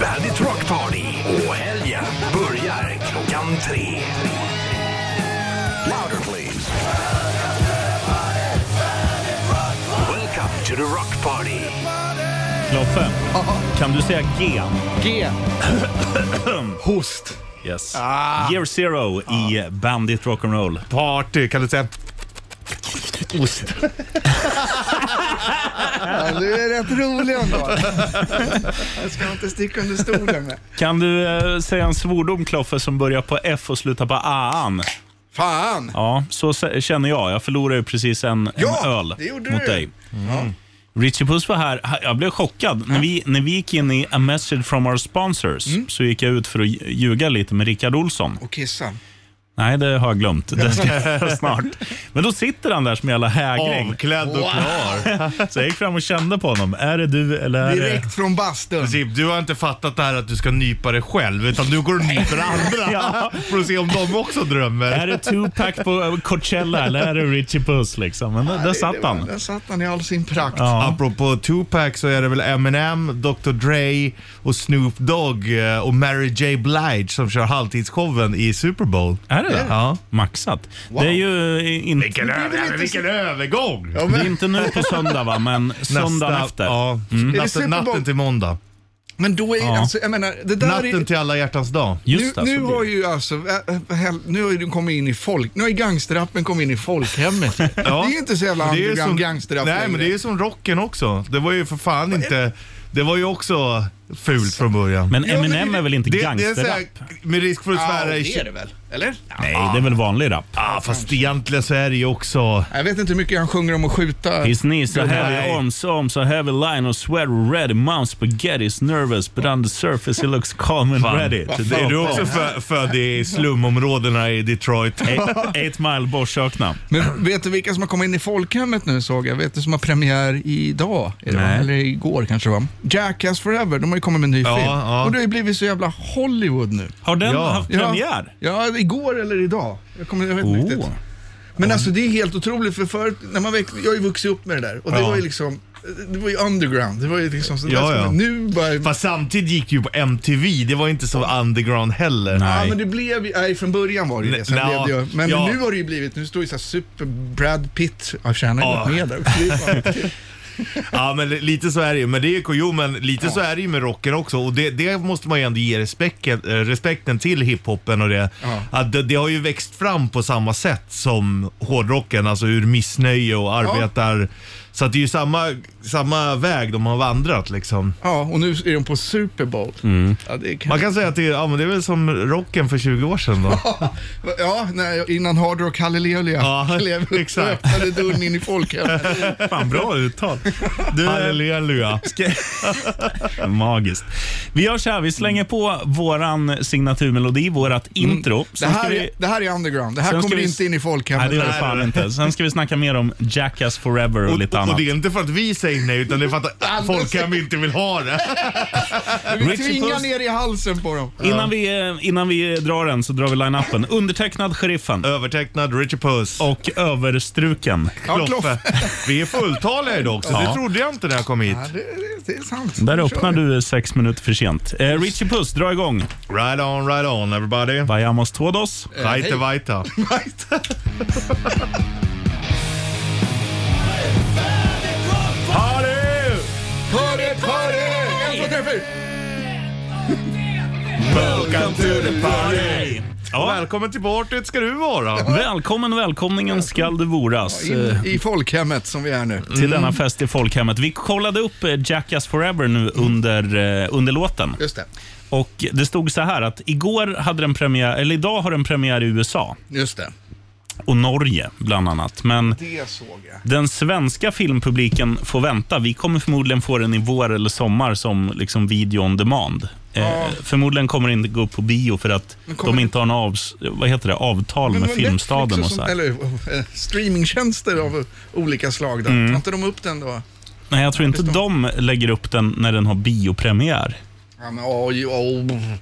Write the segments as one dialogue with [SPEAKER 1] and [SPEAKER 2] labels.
[SPEAKER 1] Bandit Rock Party och helgen börjar klockan tre. Louder please. Welcome to the Rock Party.
[SPEAKER 2] Loffe, kan du säga gen?
[SPEAKER 3] G.
[SPEAKER 4] Host.
[SPEAKER 2] Yes. Year zero i Bandit Rock'n'Roll.
[SPEAKER 4] Party. Kan du säga... Ost.
[SPEAKER 3] Ja, du är rätt rolig ändå. Jag ska inte sticka under stolen med.
[SPEAKER 2] Kan du eh, säga en svordom, Kloffe, som börjar på F och slutar på aan?
[SPEAKER 3] Fan!
[SPEAKER 2] Ja, så se- känner jag. Jag förlorade ju precis en, en
[SPEAKER 3] Ja,
[SPEAKER 2] öl
[SPEAKER 3] det gjorde
[SPEAKER 2] mot
[SPEAKER 3] du.
[SPEAKER 2] dig. Richie Puss var här. Ha- Jag blev chockad. När, vi, när vi gick in i A message from our sponsors så gick jag ut för att lj- ljuga lite med Rickard Olsson.
[SPEAKER 3] Och kissa.
[SPEAKER 2] Nej, det har jag glömt. Det ska jag göra snart. Men då sitter han där som en jävla hägring.
[SPEAKER 4] Avklädd och klar.
[SPEAKER 2] Så jag gick fram och kände på honom. Är det du eller är det...
[SPEAKER 3] Direkt från bastun.
[SPEAKER 4] Zip, du har inte fattat det här att du ska nypa dig själv, utan du går och nyper andra.
[SPEAKER 2] Ja.
[SPEAKER 4] För att se om de också
[SPEAKER 2] Är
[SPEAKER 4] drömmer.
[SPEAKER 2] det Tupac på eh, Coachella eller är det Richie Puss liksom? Men där, där satt
[SPEAKER 3] Det var-
[SPEAKER 2] han.
[SPEAKER 3] Där satt han i all sin prakt.
[SPEAKER 2] Ja.
[SPEAKER 4] Apropå Tupac så är det väl Eminem, Dr Dre och Snoop Dogg eh, och Mary J Blige som kör halvtidsshowen i Super Bowl.
[SPEAKER 2] Är det det?
[SPEAKER 4] Ja.
[SPEAKER 2] Maxat. Det är ju eh, inte...
[SPEAKER 4] Vilken,
[SPEAKER 3] väl
[SPEAKER 4] över,
[SPEAKER 3] inte
[SPEAKER 4] vilken
[SPEAKER 3] så-
[SPEAKER 4] övergång!
[SPEAKER 3] Ja,
[SPEAKER 2] Det är
[SPEAKER 3] men,
[SPEAKER 2] inte nu på söndag va, men söndagen efter. Mm.
[SPEAKER 4] Ja,
[SPEAKER 3] det
[SPEAKER 4] natten,
[SPEAKER 3] Super Bowl?
[SPEAKER 4] natten till måndag.
[SPEAKER 3] men då är
[SPEAKER 2] Ja.
[SPEAKER 3] alltså, jag menar, det där är...
[SPEAKER 4] Natten till alla hjärtans dag.
[SPEAKER 2] Just det,
[SPEAKER 3] nu,
[SPEAKER 2] så
[SPEAKER 3] nu
[SPEAKER 2] blir det.
[SPEAKER 3] har ju alltså, äh, äh, hel- nu har ju du kommit in i folk, nu har ju gangsterrappen kommit in i folkhemmet. Det är ju inte så jävla
[SPEAKER 4] Det är ju
[SPEAKER 3] underground
[SPEAKER 4] som,
[SPEAKER 3] gangsterrap
[SPEAKER 4] Nej, men det är ju som rocken också. Det var ju för fan inte... Det var ju också fult från början.
[SPEAKER 2] Men
[SPEAKER 3] Ja, men
[SPEAKER 2] Eminem
[SPEAKER 3] det-
[SPEAKER 2] är väl inte
[SPEAKER 4] det, det är så
[SPEAKER 2] gangsterrap?
[SPEAKER 4] här, med risk för att
[SPEAKER 3] Ja,
[SPEAKER 4] svära i...
[SPEAKER 3] det är det väl? Eller?
[SPEAKER 2] Nej, det är väl vanlig rap?
[SPEAKER 4] Ah, fast egentligen så är det ju också...
[SPEAKER 3] Jag vet inte hur mycket han sjunger om att skjuta.
[SPEAKER 2] His knees are heavy,
[SPEAKER 4] Nej.
[SPEAKER 2] arms, arms are heavy, line of sweat ready, mount spaghetti is nervous, but on the surface he looks calm and ready.
[SPEAKER 3] Vad
[SPEAKER 2] To
[SPEAKER 3] fan.
[SPEAKER 4] Är
[SPEAKER 2] the-
[SPEAKER 4] du också fö- född i slumområdena i Detroit?
[SPEAKER 2] Eight- Eight mile borrsökna.
[SPEAKER 3] Men vet du vilka som har kommit in i folkhemmet nu såg jag? Vet du som har premiär idag? Är det va?
[SPEAKER 2] Nej.
[SPEAKER 3] Eller igår kanske det var. Jackass Forever, de har ju kommit med en ny
[SPEAKER 4] Ja,
[SPEAKER 3] film.
[SPEAKER 4] ja.
[SPEAKER 3] Och det har ju blivit så jävla Hollywood nu.
[SPEAKER 2] Har den
[SPEAKER 4] Ja.
[SPEAKER 2] haft
[SPEAKER 3] Ja.
[SPEAKER 2] premiär?
[SPEAKER 3] Ja, igår eller idag. Jag, kommer, jag vet inte
[SPEAKER 2] Oh.
[SPEAKER 3] riktigt. Men alltså det är helt otroligt för förut, när man växt, jag har ju vuxit upp med det där och det
[SPEAKER 4] Ja.
[SPEAKER 3] var ju liksom, det var ju underground. Det var ju liksom sådär
[SPEAKER 4] Ja,
[SPEAKER 3] som-
[SPEAKER 4] ja.
[SPEAKER 3] nu bara...
[SPEAKER 4] Fast samtidigt gick det ju på MTV. Det var inte så underground heller.
[SPEAKER 2] Nej.
[SPEAKER 3] Ja men det blev ju, nej från början var det ju det. Sen
[SPEAKER 4] Nej,
[SPEAKER 3] blev det ju, men
[SPEAKER 4] ja.
[SPEAKER 3] nu har det ju blivit, nu står det ju såhär super Brad Pitt, jag tjänar ju
[SPEAKER 4] Ja.
[SPEAKER 3] något med där. Det är fan-
[SPEAKER 4] Ja men li- lite så är det ju. Men det är ju jo, men lite så är det ju med rocken också. Och det, det måste man ju ändå ge respekten, eh, respekten till hiphopen och det.
[SPEAKER 3] Ja.
[SPEAKER 4] Att det, det har ju växt fram på samma sätt som hårdrocken, alltså ur missnöje och arbetar. Så att det är ju samma, samma väg de har vandrat liksom.
[SPEAKER 3] Ja, och nu är de på Super Bowl.
[SPEAKER 2] Mm.
[SPEAKER 3] Ja, det kan...
[SPEAKER 4] Man kan säga att det, ja, men det är väl som rocken för 20 år sedan då.
[SPEAKER 3] ja när, innan Hard Rock Hallelujah
[SPEAKER 4] Ja,
[SPEAKER 3] klev upp och
[SPEAKER 4] exakt.
[SPEAKER 3] öppnade dörren in i folkhemmet.
[SPEAKER 2] Fan, bra uttal.
[SPEAKER 4] eh,
[SPEAKER 2] Du,
[SPEAKER 4] Halleluja.
[SPEAKER 2] Ska- Magiskt. Vi gör så här, vi slänger på våran signaturmelodi, vårat intro.
[SPEAKER 3] Det
[SPEAKER 2] Sen ska
[SPEAKER 3] här,
[SPEAKER 2] vi...
[SPEAKER 3] är, det här är underground, det här
[SPEAKER 2] Sen ska
[SPEAKER 3] kommer
[SPEAKER 2] vi-
[SPEAKER 3] inte in i
[SPEAKER 2] Nej,
[SPEAKER 3] folkhemmet.
[SPEAKER 2] det gör det fan inte. Sen ska vi snacka mer om Jackass Forever och, lite
[SPEAKER 4] Och,
[SPEAKER 2] annat.
[SPEAKER 4] och det är inte för att vi säger nej utan det är för att
[SPEAKER 3] Anders
[SPEAKER 4] folkhem inte vill ha det.
[SPEAKER 3] Vi
[SPEAKER 2] Richie
[SPEAKER 3] tvingar
[SPEAKER 2] Puss-
[SPEAKER 3] ner i halsen på dem.
[SPEAKER 2] Innan, vi, innan vi drar den så drar vi line-upen. Undertecknad Sheriffen
[SPEAKER 4] Övertecknad Richard Puss.
[SPEAKER 2] och Överstruken.
[SPEAKER 3] Ja,
[SPEAKER 4] Kloffe. Vi är fulltaliga idag också.
[SPEAKER 2] Ja.
[SPEAKER 4] Det trodde jag inte när jag kom hit.
[SPEAKER 3] Ja, det, det, det är sant.
[SPEAKER 2] Där
[SPEAKER 3] Nu
[SPEAKER 2] öppnar
[SPEAKER 3] kör vi.
[SPEAKER 2] du sex minuter för sent. Eh, Richie Puss, dra igång.
[SPEAKER 4] Right on, right on everybody.
[SPEAKER 2] Vayamos todos.
[SPEAKER 4] Vajta, vajta. Harry!
[SPEAKER 3] Party, party! En, två, tre, fyra.
[SPEAKER 4] Welcome to the party! Ja. Välkommen till partyt ska du vara.
[SPEAKER 2] Välkommen, välkomningen skall du voras. eh,
[SPEAKER 3] In i folkhemmet som vi är nu.
[SPEAKER 2] till denna fest i folkhemmet. Vi kollade upp eh, Jackass Forever nu under, eh, under låten.
[SPEAKER 3] Just det.
[SPEAKER 2] Och det stod så här att igår hade den premiär, eller idag har den premiär i USA
[SPEAKER 3] Just det.
[SPEAKER 2] och Norge bland annat. Men
[SPEAKER 3] Det såg jag.
[SPEAKER 2] den svenska filmpubliken får vänta. Vi kommer förmodligen få den i vår eller sommar som liksom video on demand. Eh, förmodligen kommer det inte gå upp på bio för att
[SPEAKER 3] kommer
[SPEAKER 2] de inte har en avs, vad heter det, avtal med
[SPEAKER 3] Men det var
[SPEAKER 2] Filmstaden
[SPEAKER 3] Netflix
[SPEAKER 2] och så här.
[SPEAKER 3] Eller eh, streamingtjänster av olika slag. Då.
[SPEAKER 2] Mm.
[SPEAKER 3] Tar inte de upp den då?
[SPEAKER 2] Nej, jag tror inte de lägger upp den när den har biopremiär.
[SPEAKER 3] Ja, men oj, oj.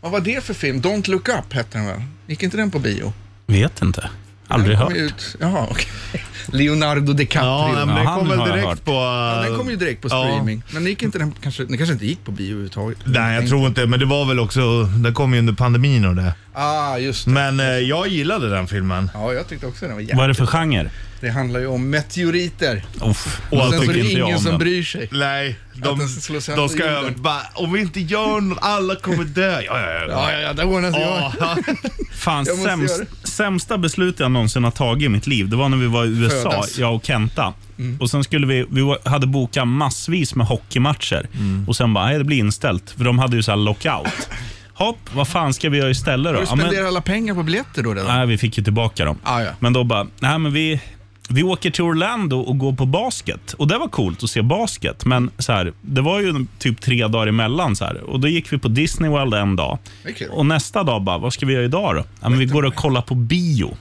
[SPEAKER 3] Vad var det för film? Don't look up hette den väl? Gick inte den på bio?
[SPEAKER 2] Vet inte. Aldrig
[SPEAKER 3] Den kom
[SPEAKER 2] hört.
[SPEAKER 3] ju Ut. Jaha, okej. Leonardo DiCaprio.
[SPEAKER 4] Ja, men den
[SPEAKER 2] han
[SPEAKER 4] kom väl
[SPEAKER 2] har jag
[SPEAKER 4] direkt
[SPEAKER 2] hört.
[SPEAKER 4] på... eh,
[SPEAKER 3] Ja, den kom ju direkt på
[SPEAKER 4] Ja.
[SPEAKER 3] streaming. Men den gick inte, den, kanske, den kanske inte gick på bio överhuvudtaget.
[SPEAKER 4] Nej, jag tror inte, men det var väl också, den kom ju under pandemin och det.
[SPEAKER 3] Ah, just det.
[SPEAKER 4] Men eh, jag gillade den filmen.
[SPEAKER 3] Ja, jag tyckte också den var
[SPEAKER 2] Vad är
[SPEAKER 3] jävligt.
[SPEAKER 2] det för genre?
[SPEAKER 3] Det handlar ju om meteoriter.
[SPEAKER 2] Uff,
[SPEAKER 4] Och
[SPEAKER 2] då
[SPEAKER 3] Sen så är
[SPEAKER 2] tycker
[SPEAKER 3] det
[SPEAKER 2] inte jag
[SPEAKER 3] ingen
[SPEAKER 2] om
[SPEAKER 3] som
[SPEAKER 2] den.
[SPEAKER 3] bryr sig.
[SPEAKER 4] Nej, de,
[SPEAKER 3] den slår sönder
[SPEAKER 4] de ska
[SPEAKER 3] jorden.
[SPEAKER 4] över bara, om vi inte gör något, alla kommer dö. Ja, ja, ja.
[SPEAKER 3] Ja, ja, ja, det ordnar sig.
[SPEAKER 4] Ja,
[SPEAKER 3] Ja.
[SPEAKER 2] Fan,
[SPEAKER 3] Jag måste
[SPEAKER 2] sämst,
[SPEAKER 3] göra
[SPEAKER 2] sämsta beslut jag någonsin har tagit i mitt liv, det var när vi var i USA,
[SPEAKER 3] Födas. Mm.
[SPEAKER 2] jag och Kenta. Och sen skulle vi, vi var- hade bokat massvis med hockeymatcher
[SPEAKER 3] Mm.
[SPEAKER 2] och sen bara, nej det blir inställt, för de hade ju så här lockout. Hopp, vad fan ska vi göra istället då?
[SPEAKER 3] Har du
[SPEAKER 2] Ja, men-
[SPEAKER 3] spenderat alla pengar på biljetter då redan?
[SPEAKER 2] Nej, vi fick ju tillbaka dem.
[SPEAKER 3] Ah, ja.
[SPEAKER 2] Men då bara, nej men vi, vi åker till Orlando och går på basket. Och det var coolt att se basket, men så här, det var ju typ tre dagar emellan. Så här. Och då gick vi på Disney World en dag.
[SPEAKER 3] Det är kul.
[SPEAKER 2] Och nästa dag bara, vad ska vi göra idag då? Ja, men vi går och kollar på bio.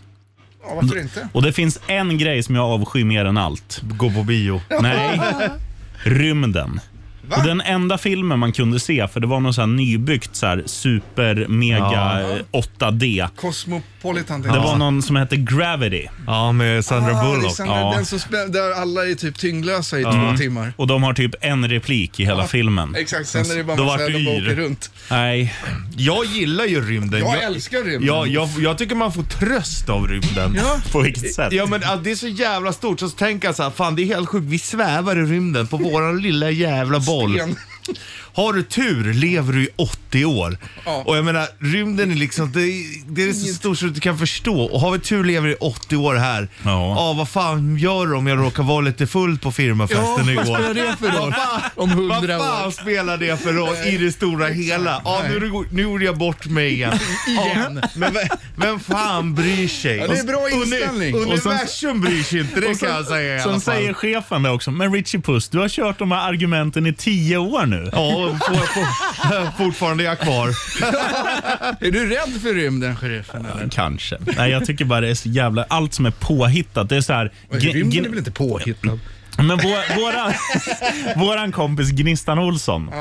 [SPEAKER 3] Ja, varför inte?
[SPEAKER 2] Och det finns en grej som jag avskyr mer än allt.
[SPEAKER 4] Gå på bio.
[SPEAKER 2] Nej, rymden.
[SPEAKER 3] Va?
[SPEAKER 2] Och den enda filmen man kunde se, för det var någon så här nybyggt så här, super, mega
[SPEAKER 4] Ja.
[SPEAKER 2] eh, 8D.
[SPEAKER 3] Cosmopolitan.
[SPEAKER 2] Det var någon som hette Gravity.
[SPEAKER 4] Ja, med Sandra
[SPEAKER 3] ah, det är
[SPEAKER 4] Bullock.
[SPEAKER 3] samma-
[SPEAKER 2] ja.
[SPEAKER 3] Den som spä- där alla är typ tyngdlösa i två timmar.
[SPEAKER 2] Och de har typ en replik i hela filmen.
[SPEAKER 3] Exakt, sen är det bara
[SPEAKER 4] Då
[SPEAKER 3] massa
[SPEAKER 4] vart du
[SPEAKER 3] de bara
[SPEAKER 4] yr.
[SPEAKER 3] åker runt.
[SPEAKER 2] Nej,
[SPEAKER 4] Jag gillar ju rymden.
[SPEAKER 3] Jag älskar rymden.
[SPEAKER 4] Ja, jag, jag tycker man får tröst av rymden.
[SPEAKER 3] Ja.
[SPEAKER 2] på vilket sätt?
[SPEAKER 4] Ja men att det är så jävla stort, så tänker jag så här, fan det är helt sjukt, vi svävar i rymden på våran lilla jävla boll.
[SPEAKER 3] Sten.
[SPEAKER 4] Har du tur lever du i 80 år.
[SPEAKER 3] Ja.
[SPEAKER 4] Och jag menar, rymden är liksom, det, är- det är så stort så du kan förstå. Och har vi tur lever du i 80 år här.
[SPEAKER 2] Ja.
[SPEAKER 4] vad fan gör du om jag råkar vara lite full på firmafesten
[SPEAKER 3] Ja, vad
[SPEAKER 4] igår?
[SPEAKER 3] spelar det för roll? Om
[SPEAKER 4] Vad
[SPEAKER 3] hundra år.
[SPEAKER 4] fan spelar det för roll i det stora hela? Ja, nu, är det- nu gjorde jag bort mig igen.
[SPEAKER 3] Igen.
[SPEAKER 4] Men vem, vem fan bryr sig?
[SPEAKER 3] Ja, det är en bra
[SPEAKER 4] Uni-
[SPEAKER 3] inställning. Och sen-
[SPEAKER 4] Universum bryr sig inte, det kan jag säga i alla
[SPEAKER 2] Som
[SPEAKER 4] fall.
[SPEAKER 2] säger chefen där också, men Richie Puss, du har kört de här argumenten i tio år nu.
[SPEAKER 4] Ja, får jag få- fortfarande är jag kvar.
[SPEAKER 3] Är du rädd för rymden, sheriffen? Eller?
[SPEAKER 2] Kanske. Nej, jag tycker bara det är så jävla, allt som är påhittat, det är så här... gr-
[SPEAKER 3] Rymden
[SPEAKER 2] gr-
[SPEAKER 3] är väl inte påhittad?
[SPEAKER 2] Men vår, våran, våran kompis Gnistan Olsson,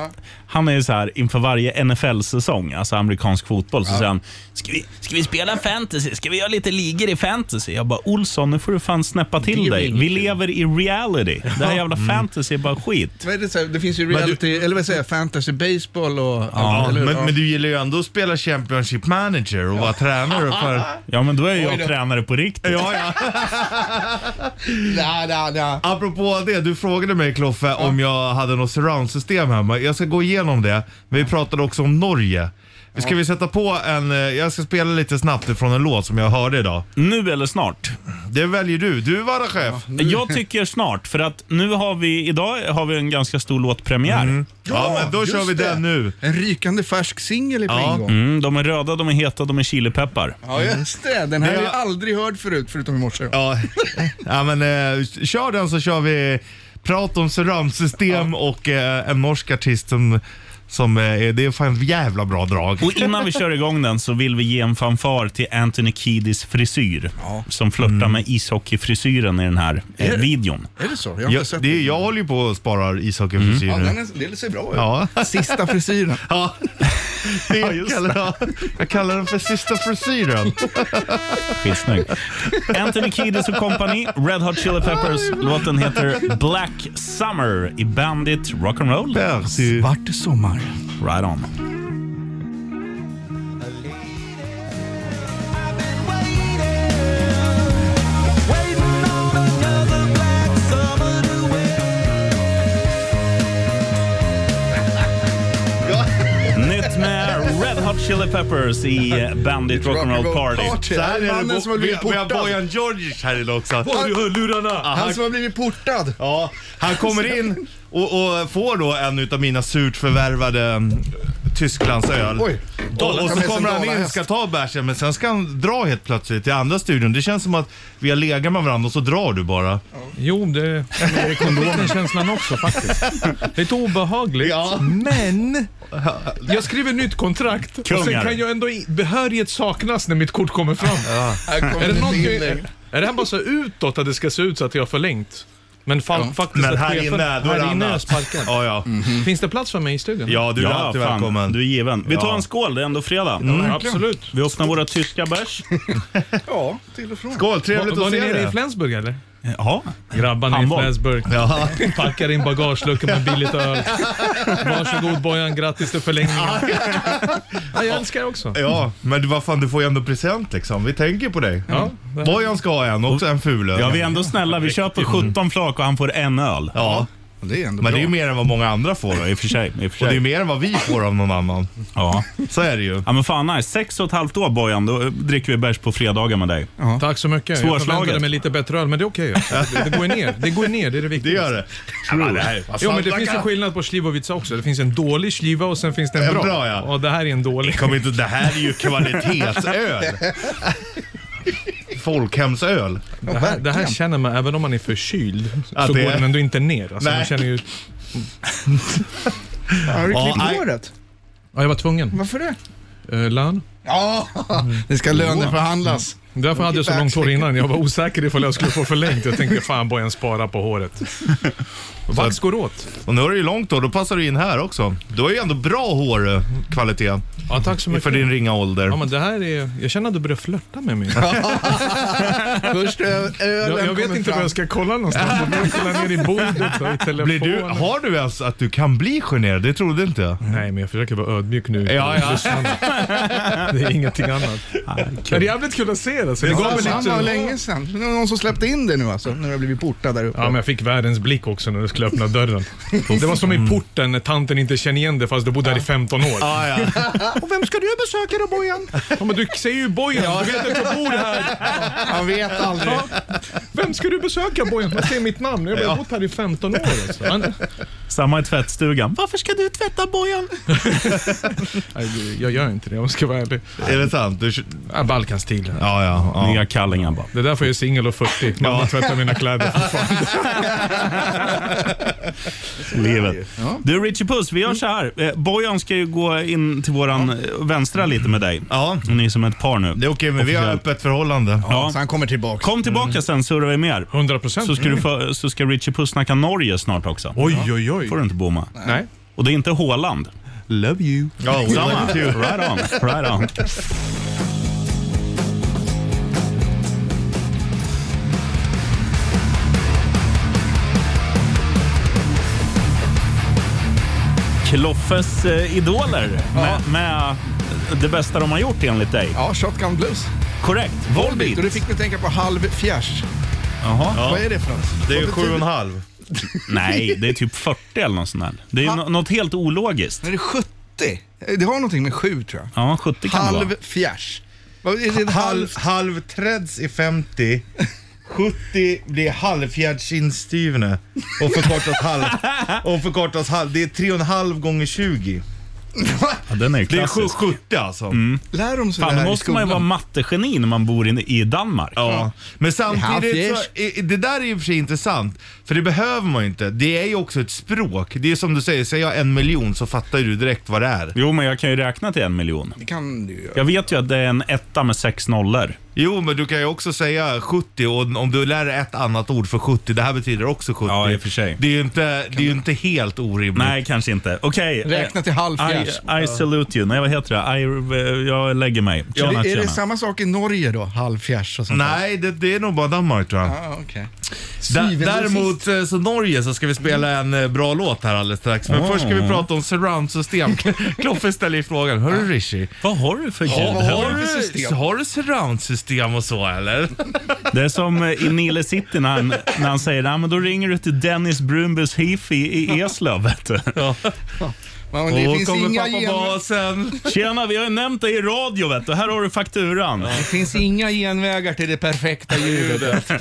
[SPEAKER 2] han är ju så här inför varje NFL-säsong, alltså amerikansk fotboll, så säger han ska vi, ska vi spela fantasy? Ska vi göra lite ligor i fantasy? Jag bara Olsson, nu får du fan snäppa till
[SPEAKER 3] Det är väl
[SPEAKER 2] dig.
[SPEAKER 3] inget
[SPEAKER 2] Vi
[SPEAKER 3] kul."
[SPEAKER 2] lever i reality. Det här
[SPEAKER 3] Mm.
[SPEAKER 2] jävla fantasy är bara skit.
[SPEAKER 3] Vad är det, så här, det finns ju reality, eller vad säger jag, fantasy baseball och
[SPEAKER 4] Ja,
[SPEAKER 3] eller,
[SPEAKER 4] men,
[SPEAKER 3] ja.
[SPEAKER 4] men du gillar ju ändå att spela Championship Manager och vara tränare för...
[SPEAKER 2] Ja, men då är jag
[SPEAKER 3] då.
[SPEAKER 2] tränare på riktigt.
[SPEAKER 4] Ja, ja.
[SPEAKER 3] Nej, nej, nej.
[SPEAKER 4] Apropå det, du frågade mig Kloffe om jag hade något surroundsystem hemma. Jag ska gå igenom det, men vi pratade också om Norge. Ska vi sätta på en, eh, jag ska spela lite snabbt från en låt som jag hörde idag.
[SPEAKER 2] Nu eller snart?
[SPEAKER 4] Det väljer du, du var chef.
[SPEAKER 2] Jag tycker snart, för att nu har vi, idag har vi en ganska stor låtpremiär. Mm.
[SPEAKER 4] Ja, men då
[SPEAKER 3] just
[SPEAKER 4] kör vi
[SPEAKER 3] det.
[SPEAKER 4] den nu.
[SPEAKER 3] En rykande färsk singel är på
[SPEAKER 4] Ja. Mm.
[SPEAKER 3] ingång.
[SPEAKER 2] Mm, de är röda, de är heta, de är chilipeppar.
[SPEAKER 3] Ja, just det. Den här
[SPEAKER 4] Det
[SPEAKER 3] har
[SPEAKER 4] har-
[SPEAKER 3] jag aldrig hört förut, förutom i morse.
[SPEAKER 4] Ja, ja men eh, kör den så kör vi prat om surroundsystem och eh, en norsk artist som, som eh, det är fan ett jävla bra drag.
[SPEAKER 2] Och innan vi kör igång den så vill vi ge en fanfar till Anthony Kiedis frisyr. Som flörtar med ishockeyfrisyren i den här eh, videon.
[SPEAKER 3] Är det så? Jag Mm. har inte
[SPEAKER 4] Jag,
[SPEAKER 3] sett
[SPEAKER 4] det, jag håller ju på och sparar ishockeyfrisyr
[SPEAKER 3] Ja,
[SPEAKER 4] nu.
[SPEAKER 3] den är, det ser bra ut.
[SPEAKER 4] Ja.
[SPEAKER 3] Sista frisyren.
[SPEAKER 4] Ja, det jag, kallar, jag kallar den för sista frisyren.
[SPEAKER 2] Skitsnygg. Anthony Kiedis och kompani, Red Hot Chili Peppers. Låten heter Black Summer i Bandit Rock'n'Roll.
[SPEAKER 4] Percy.
[SPEAKER 3] Vart det sommar?
[SPEAKER 2] Right on. Nytt med Red Hot Chili Peppers i eh, Bandit Rock'n'Roll Party.
[SPEAKER 4] Så här
[SPEAKER 3] här
[SPEAKER 4] är det.
[SPEAKER 3] Mannen som har
[SPEAKER 4] vi,
[SPEAKER 3] blivit
[SPEAKER 4] vi har
[SPEAKER 3] portad.
[SPEAKER 4] Bojan Georgic här idag också.
[SPEAKER 3] du
[SPEAKER 4] Ja,
[SPEAKER 3] Han
[SPEAKER 4] han,
[SPEAKER 3] som har blivit portad.
[SPEAKER 4] ja, han kommer in och, och får då en utav mina surt förvärvade mm, Tysklandsöl.
[SPEAKER 3] Oj.
[SPEAKER 4] Och, och
[SPEAKER 3] Ta
[SPEAKER 4] så
[SPEAKER 3] med sig
[SPEAKER 4] kommer
[SPEAKER 3] en
[SPEAKER 4] han in
[SPEAKER 3] dalahäst.
[SPEAKER 4] ska ta bärsen men sen ska han dra helt plötsligt till andra studion. Det känns som att vi har legat med varandra och så drar du bara.
[SPEAKER 5] Jo, det är den känslan också faktiskt. Lite obehagligt.
[SPEAKER 4] Ja.
[SPEAKER 5] Men jag skriver nytt kontrakt och
[SPEAKER 2] Kungar.
[SPEAKER 5] sen kan jag ändå... i- Behörighet saknas när mitt kort kommer fram. Är, det någon, är, är det här bara så utåt att det ska se ut så att jag har förlängt? Men fa- faktiskt
[SPEAKER 4] Men
[SPEAKER 5] att
[SPEAKER 4] här
[SPEAKER 5] chefen-
[SPEAKER 4] inne, då är det
[SPEAKER 5] här inne är jag
[SPEAKER 4] annat.
[SPEAKER 5] sparkad.
[SPEAKER 4] Ja, ja.
[SPEAKER 5] Finns det plats för mig i studion?
[SPEAKER 4] ja du är
[SPEAKER 2] Ja,
[SPEAKER 4] alltid
[SPEAKER 2] fan,
[SPEAKER 4] välkommen.
[SPEAKER 2] du är given. Vi tar
[SPEAKER 4] Ja. Mm.
[SPEAKER 2] en skål, det är ändå fredag.
[SPEAKER 5] Absolut.
[SPEAKER 2] Vi öppnar våra tyska bärs.
[SPEAKER 3] Ja, till och från.
[SPEAKER 4] Skål,
[SPEAKER 5] Var,
[SPEAKER 4] trevligt
[SPEAKER 5] var
[SPEAKER 4] att
[SPEAKER 5] ni
[SPEAKER 4] se
[SPEAKER 5] nere i
[SPEAKER 4] dig.
[SPEAKER 5] Flensburg eller?
[SPEAKER 2] Jaha.
[SPEAKER 5] Grabbarna i
[SPEAKER 2] Handboll.
[SPEAKER 5] Flensburg
[SPEAKER 4] Ja.
[SPEAKER 5] packar in bagageluckan med billigt öl. Varsågod Bojan, grattis till förlängningen. Ja, jag älskar det också.
[SPEAKER 4] ja, men du- vad fan du får ju ändå present liksom. Vi tänker på dig.
[SPEAKER 5] Ja,
[SPEAKER 4] Bojan ska ha en, också en ful
[SPEAKER 2] Ja,
[SPEAKER 4] öl.
[SPEAKER 2] vi är ändå snälla. Vi köper 17 flak och han får en öl.
[SPEAKER 4] Ja,
[SPEAKER 3] Det är ändå
[SPEAKER 4] men
[SPEAKER 3] bra.
[SPEAKER 4] det är ju mer än vad många andra får.
[SPEAKER 2] I och för sig. I och för
[SPEAKER 4] Och det är
[SPEAKER 2] sig.
[SPEAKER 4] ju mer än vad vi får av någon annan.
[SPEAKER 2] Ja.
[SPEAKER 4] Så är det ju.
[SPEAKER 2] ja, men fan nice. Sex och ett halvt år Bojan, då eh, dricker vi bärs på fredagar med dig.
[SPEAKER 5] tack så mycket. Jag
[SPEAKER 2] Svårslaget.
[SPEAKER 5] förväntade mig lite bättre öl, men det är okej. Det, det går ner. Det går ner, det är
[SPEAKER 4] Det
[SPEAKER 5] det viktigaste.
[SPEAKER 4] gör det. Ja, det här är-
[SPEAKER 5] Jo, men det finns ju skillnad på slivovica också. Det finns en dålig sliva och sen finns det en
[SPEAKER 4] En
[SPEAKER 5] bra.
[SPEAKER 4] bra, ja.
[SPEAKER 5] Och det här är en dålig.
[SPEAKER 4] Kom inte, det här är ju kvalitetsöl. Folkhemsöl.
[SPEAKER 5] Det här, det här känner man, även om man är förkyld,
[SPEAKER 4] Ja,
[SPEAKER 5] så
[SPEAKER 4] det-
[SPEAKER 5] går den ändå inte ner. Alltså,
[SPEAKER 4] Nej.
[SPEAKER 5] man känner ju,
[SPEAKER 3] Har du klippt
[SPEAKER 4] Ja, nej.
[SPEAKER 3] håret?
[SPEAKER 5] ja, jag var tvungen.
[SPEAKER 3] Varför det?
[SPEAKER 5] Eh, lön.
[SPEAKER 3] Ja, det ska löneförhandlas.
[SPEAKER 5] Därför hade jag så långt hår innan. Jag var osäker ifall jag skulle få förlängt. Jag tänkte fan Bojan spara på håret. Vax går åt.
[SPEAKER 4] Och nu har du ju långt då, då passar du in här också. Du har ju ändå bra hårkvalitet
[SPEAKER 5] Ja, tack så mycket.
[SPEAKER 4] för din ringa ålder.
[SPEAKER 5] Ja, men det här är, jag känner att du börjar flörta med mig.
[SPEAKER 3] Först ö- ölen
[SPEAKER 5] Jag, jag vet
[SPEAKER 3] kommer
[SPEAKER 5] inte var
[SPEAKER 3] fram.
[SPEAKER 5] jag ska kolla någonstans. Jag börjar kolla ner i bordet och i telefonen.
[SPEAKER 4] Blir du, har du ens att du kan bli generad? Det trodde inte jag.
[SPEAKER 5] Nej, men jag försöker vara ödmjuk nu.
[SPEAKER 4] Ja, ja.
[SPEAKER 5] Det är ingenting annat. Men det är jävligt kul att se det. Så det gav mig
[SPEAKER 3] Ja, det var
[SPEAKER 5] lite...
[SPEAKER 3] Alltså, länge sedan. Det var någon som släppte in det nu alltså, när det har blivit portad där uppe.
[SPEAKER 5] Ja, men jag fick världens blick också när du skulle öppna dörren. Det var som i porten när tanten inte känner igen dig fast du bodde här i 15 år.
[SPEAKER 4] Ah, ja.
[SPEAKER 5] Och vem ska du besöka då Bojan? Ja, men du säger ju Bojan, du vet att jag bor här.
[SPEAKER 3] Man vet aldrig.
[SPEAKER 5] Vem ska du besöka Bojan? Man säger mitt namn, jag har bara bott här i 15 år. Alltså. Han-
[SPEAKER 2] Samma i tvättstugan. Varför ska du tvätta Bojan?
[SPEAKER 5] Nej, Jag gör inte det om jag ska vara ärlig.
[SPEAKER 4] Är det sant? Du,
[SPEAKER 5] Ja, Balkanstil.
[SPEAKER 4] ja, ja, ja.
[SPEAKER 2] Nya kallingar bara.
[SPEAKER 5] Det är därför jag är singel och 40. Mamma tvättar mina kläder fortfarande.
[SPEAKER 2] Livet. Du Richie Puss, vi gör så här. Eh, Bojan ska ju gå in till våran eh, vänstra lite med dig.
[SPEAKER 4] ja.
[SPEAKER 2] Ni är som ett par nu.
[SPEAKER 4] Det är okej, men vi har
[SPEAKER 2] Officiellt.
[SPEAKER 4] öppet förhållande.
[SPEAKER 2] Ja.
[SPEAKER 3] Så han kommer tillbaka.
[SPEAKER 2] Kom tillbaka sen surrar vi mer.
[SPEAKER 5] 100 procent.
[SPEAKER 2] Så ska, du få, så ska Richie Puss snacka Norge snart också.
[SPEAKER 5] Oj, oj, oj.
[SPEAKER 2] får du inte bomma.
[SPEAKER 5] Nej.
[SPEAKER 2] Och det är inte Håland. Love you.
[SPEAKER 4] Ja, we
[SPEAKER 2] Samma.
[SPEAKER 4] love you too.
[SPEAKER 2] Right on. Right on. Kloffes eh, idoler med, med det bästa de har gjort enligt dig.
[SPEAKER 3] Ja, Shotgun Blues.
[SPEAKER 2] Korrekt.
[SPEAKER 3] Volbeat. Och det
[SPEAKER 2] Volbeat.
[SPEAKER 3] fick mig tänka på halv fjärs.
[SPEAKER 2] Jaha.
[SPEAKER 3] Vad är det för något?
[SPEAKER 4] Det är ju
[SPEAKER 3] Vad
[SPEAKER 4] sju och
[SPEAKER 3] betyder-
[SPEAKER 4] en halv.
[SPEAKER 2] Nej, det är typ 40 eller något sånt där. Det är ju
[SPEAKER 3] Ha-
[SPEAKER 2] nå- något helt ologiskt.
[SPEAKER 3] Är det 70? Det har någonting med sju tror jag.
[SPEAKER 2] Ja, 70 kan det vara.
[SPEAKER 3] Halv fjärs. Vad är det ett halvt?
[SPEAKER 4] halv träds i 50. 70 blir halvfjärdsinstyvne och förkortas halv. Och förkortas halv. Det är 3,5 gånger 20.
[SPEAKER 2] Ja, den är ju
[SPEAKER 4] Det är
[SPEAKER 2] klassisk.
[SPEAKER 4] 70 alltså.
[SPEAKER 3] Lär de sig
[SPEAKER 2] Fan,
[SPEAKER 3] det
[SPEAKER 2] då
[SPEAKER 3] här i
[SPEAKER 2] måste man ju
[SPEAKER 3] skolan?
[SPEAKER 2] vara mattegeni när man bor i, i Danmark.
[SPEAKER 4] Ja. Men samtidigt,
[SPEAKER 3] Halvfjärs.
[SPEAKER 4] så, i- det där är ju för sig intressant. För det behöver man ju inte. Det är ju också ett språk. Det är som du säger, säger jag en miljon så fattar ju du direkt vad det är.
[SPEAKER 2] Jo, men jag kan ju räkna till en miljon.
[SPEAKER 3] Det kan du ju göra.
[SPEAKER 2] Jag vet ju att det är en etta med sex nollor.
[SPEAKER 4] Jo, men du kan ju också säga 70 och om du lär dig ett annat ord för 70, det här betyder också 70.
[SPEAKER 2] Ja, i och för sig.
[SPEAKER 4] Det är ju inte, det är ju inte helt orimligt.
[SPEAKER 2] Nej, kanske inte. Okej. eh,
[SPEAKER 3] Mm. Räkna till halv fjärs.
[SPEAKER 2] I, I salute you. Nej, vad heter det? I, eh, jag lägger mig. Tjena,
[SPEAKER 3] Är det, är
[SPEAKER 2] tjena.
[SPEAKER 3] det samma sak i Norge då? Halv fjärs och sånt där?
[SPEAKER 4] Nej, det, det är nog bara Danmark tror jag.
[SPEAKER 3] Ah, okej.
[SPEAKER 4] Dä-
[SPEAKER 3] Syvende och
[SPEAKER 4] Däremot eh, så Norge så ska vi spela en eh, bra låt här alldeles strax.
[SPEAKER 2] Ah.
[SPEAKER 4] Men först ska vi prata om surroundsystem. Kloffe ställer ju frågan, hörru
[SPEAKER 2] Ah.
[SPEAKER 4] Rishi.
[SPEAKER 2] Vad har du för ljud?
[SPEAKER 4] Har, har,
[SPEAKER 3] du för
[SPEAKER 4] du,
[SPEAKER 3] system?
[SPEAKER 4] har du surroundsystem och så eller?
[SPEAKER 2] Det är som eh, i Nile City när han, när han säger "Nej, men då ringer du till Dennis Brumbus Heath i, i Eslöv. vet du."
[SPEAKER 3] Ja, men det
[SPEAKER 4] och
[SPEAKER 3] finns
[SPEAKER 4] kommer
[SPEAKER 3] inga
[SPEAKER 4] pappa
[SPEAKER 3] genvägar.
[SPEAKER 4] basen.
[SPEAKER 2] Tjena, vi har ju nämnt dig i radio. Vet du. Här har du fakturan.
[SPEAKER 3] Det finns inga genvägar till det perfekta ljudet.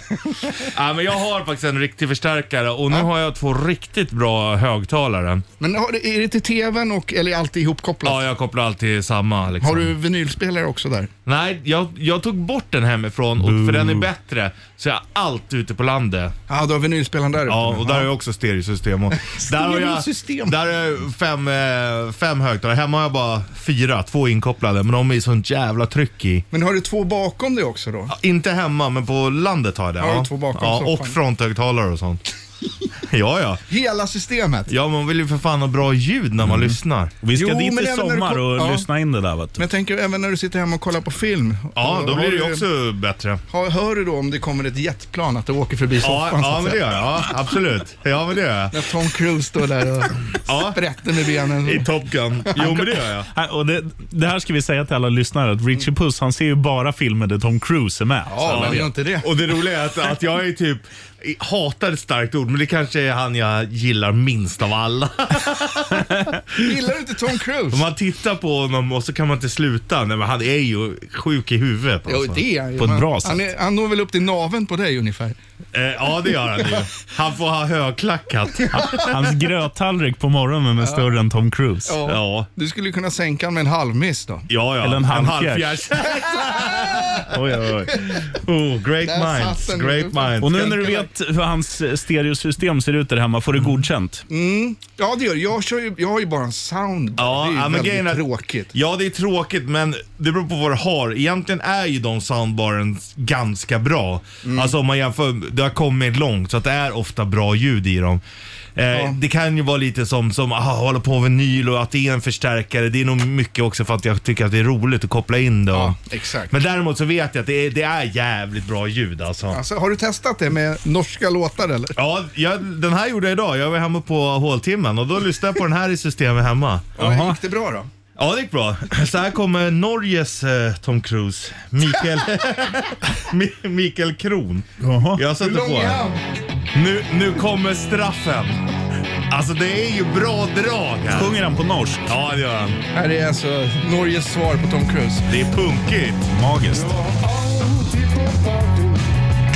[SPEAKER 4] Ja, men jag har faktiskt en riktig förstärkare och nu har jag två riktigt bra högtalare.
[SPEAKER 3] Men har det, är det till tvn och, eller är allt ihopkopplat?
[SPEAKER 4] Ja, jag kopplar alltid till samma. Liksom.
[SPEAKER 3] Har du vinylspelare också där?
[SPEAKER 4] Nej, jag, jag tog bort den hemifrån och, för den är bättre. Så jag är alltid ute på landet.
[SPEAKER 3] Ja, du har vinylspelaren där
[SPEAKER 4] Ja,
[SPEAKER 3] ute nu.
[SPEAKER 4] och där har jag också stereosystem. Och där har jag,
[SPEAKER 3] Stereosystem.
[SPEAKER 4] där har jag fem, eh, fem högtalare. Hemma har jag bara fyra, två inkopplade. Men de är sånt jävla tryck i.
[SPEAKER 3] Men har du två bakom dig också då?
[SPEAKER 4] Inte hemma, men på landet har jag det.
[SPEAKER 3] Har du två bakom
[SPEAKER 4] ja,
[SPEAKER 3] soffan?
[SPEAKER 4] och fronthögtalare och sånt. Ja, ja.
[SPEAKER 3] Hela systemet.
[SPEAKER 4] Ja, man vill ju för fan ha bra ljud när man lyssnar.
[SPEAKER 2] Vi ska
[SPEAKER 3] Jo,
[SPEAKER 2] dit
[SPEAKER 3] men
[SPEAKER 2] i
[SPEAKER 3] även när du
[SPEAKER 2] sommar
[SPEAKER 3] kom-
[SPEAKER 2] och
[SPEAKER 3] ja.
[SPEAKER 2] lyssna in det där. Vet
[SPEAKER 3] Men
[SPEAKER 2] du.
[SPEAKER 3] jag tänker även när du sitter hemma och kollar på film.
[SPEAKER 4] Ja, då
[SPEAKER 3] har
[SPEAKER 4] blir det
[SPEAKER 3] du-
[SPEAKER 4] ju också bättre.
[SPEAKER 3] Har, hör du då om det kommer ett jetplan att det åker förbi
[SPEAKER 4] Ja,
[SPEAKER 3] soffan? så
[SPEAKER 4] ja
[SPEAKER 3] att
[SPEAKER 4] men
[SPEAKER 3] säga?
[SPEAKER 4] det gör jag. Ja, absolut. Ja, men det gör jag.
[SPEAKER 3] När Tom Cruise står där och
[SPEAKER 4] Ja.
[SPEAKER 3] sprätter med benen.
[SPEAKER 4] I Top Gun. Jo, men det gör jag. Mm.
[SPEAKER 2] Nej, Äh, Och det, det här ska vi säga till alla lyssnare, att Richie Puss han ser ju bara filmer där Tom Cruise är med.
[SPEAKER 3] Ja, men gör inte det.
[SPEAKER 4] Och det roliga är att, att jag är typ, hatar ett starkt ord, men det kanske är han jag gillar minst av alla.
[SPEAKER 3] Gillar du inte Tom Cruise?
[SPEAKER 4] Om man tittar på honom och så kan man inte sluta. Nej, men han är ju sjuk i huvudet.
[SPEAKER 3] Jo,
[SPEAKER 4] Alltså.
[SPEAKER 3] det är han ju,
[SPEAKER 2] På ett
[SPEAKER 3] men
[SPEAKER 2] bra
[SPEAKER 3] Han, är, han når väl upp till naveln på dig ungefär.
[SPEAKER 4] Eh, ja, det gör han ju. Han får ha högklackat.
[SPEAKER 2] Hans gröttallrik på morgonen är större än Tom Cruise.
[SPEAKER 4] Ja.
[SPEAKER 3] Du skulle ju kunna sänka honom med en halvmiss då.
[SPEAKER 4] Ja, ja.
[SPEAKER 2] Eller en
[SPEAKER 4] halvfjärs.
[SPEAKER 2] halvfjärs.
[SPEAKER 4] oj, oj, oj. Oh, great
[SPEAKER 3] Där satt
[SPEAKER 4] minds.
[SPEAKER 3] den.
[SPEAKER 4] Great minds.
[SPEAKER 2] Och nu när du vet hur hans stereosystem ser ut där hemma, får du
[SPEAKER 4] Mm.
[SPEAKER 2] godkänt?
[SPEAKER 3] Ja, det gör jag. jag. Kör ju, jag har ju bara en soundbar.
[SPEAKER 4] Ja,
[SPEAKER 3] det är ju
[SPEAKER 4] ja, men
[SPEAKER 3] väldigt
[SPEAKER 4] grejen är-
[SPEAKER 3] tråkigt.
[SPEAKER 4] Ja, det är tråkigt, men det beror på vad du har. Egentligen är ju de soundbaren ganska bra. Alltså om man jämför, det har kommit långt så att det är ofta bra ljud i dem. Eh, Det kan ju vara lite som, som aha, hålla på med vinyl och att det är en förstärkare. Det är nog mycket också för att jag tycker att det är roligt att koppla in det. och-
[SPEAKER 3] Ja, exakt.
[SPEAKER 4] Men däremot så vet jag att det är, det är jävligt bra ljud alltså.
[SPEAKER 3] Alltså, har du testat det med norska låtar eller?
[SPEAKER 4] Ja, jag, den här gjorde jag idag. Jag var hemma på håltimmen och då lyssnade jag på den här i systemet hemma.
[SPEAKER 3] Ja, gick det bra då?
[SPEAKER 4] Ja, det gick bra. Så här kommer Norges eh, Tom Cruise, Mikael, Mi- Mikael Kron. Jag
[SPEAKER 3] Hur
[SPEAKER 4] satte
[SPEAKER 3] lång
[SPEAKER 4] på
[SPEAKER 3] är
[SPEAKER 4] den.
[SPEAKER 3] han?
[SPEAKER 4] Nu, nu kommer straffen. Alltså det är ju bra drag här.
[SPEAKER 2] Sjunger han på norsk?
[SPEAKER 4] Ja, det gör han.
[SPEAKER 3] Här är alltså Norges svar på Tom Cruise.
[SPEAKER 4] Det är punkigt.
[SPEAKER 2] Magiskt.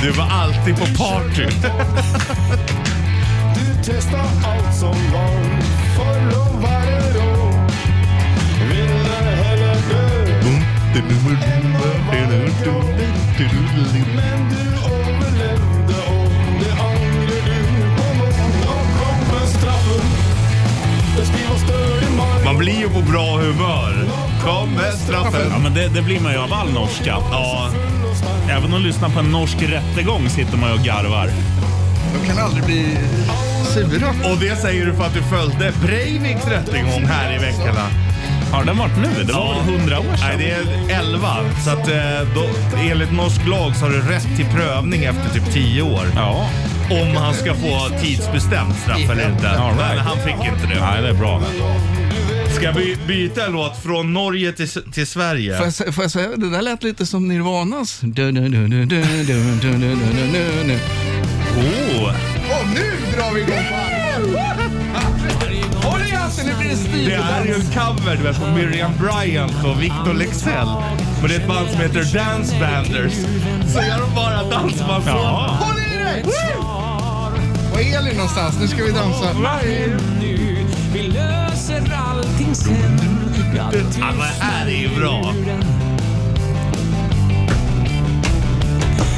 [SPEAKER 4] Du var alltid på party.
[SPEAKER 6] Du testar allt som barn Förlovade då Ville hellre dö Men du överlevde och det ångrar du på morgon Då kommer straffen Jag skriver stöd i maj
[SPEAKER 4] Man blir ju på bra humör. Kommer straffen.
[SPEAKER 2] Ja, men det, det blir man ju av all norska.
[SPEAKER 4] Ja,
[SPEAKER 2] Även att lyssna på en norsk rättegång sitter man ju och garvar.
[SPEAKER 3] De kan aldrig bli sura.
[SPEAKER 4] och det säger du för att du följde Breiviks rättegång här i veckan. va?
[SPEAKER 2] Har den varit nu? Det var
[SPEAKER 4] Ja.
[SPEAKER 2] väl hundra år
[SPEAKER 4] Nej,
[SPEAKER 2] sedan?
[SPEAKER 4] det är 11. Så att, eh, då, enligt norsk lag så har du rätt till prövning efter typ 10 år.
[SPEAKER 2] Ja.
[SPEAKER 4] Om han ska få tidsbestämt straff eller inte.
[SPEAKER 2] All right.
[SPEAKER 4] Men han fick inte det.
[SPEAKER 2] Nej, det är bra. det.
[SPEAKER 4] Ska vi byta låt från Norge till, till Sverige?
[SPEAKER 3] Får jag, sä- får jag säga, det där lät lite som Nirvanas. Du, du, du, du, du, du, du, du, du, du, du, du.
[SPEAKER 2] Oh.
[SPEAKER 3] Och nu drar vi igång på allvar! Håll i hatten, nu blir det stil.
[SPEAKER 4] Det är ju en cover du vet, på Miriam Bryant och Victor Lexell. Men det är ett band som heter Dance Banders. Så gör de bara dansband på.
[SPEAKER 2] Ja.
[SPEAKER 3] Håll i dig! Var är Elin någonstans? Nu ska vi dansa.
[SPEAKER 7] nu. Vi löser allting sen. Jag
[SPEAKER 4] Ja, men det här är ju bra.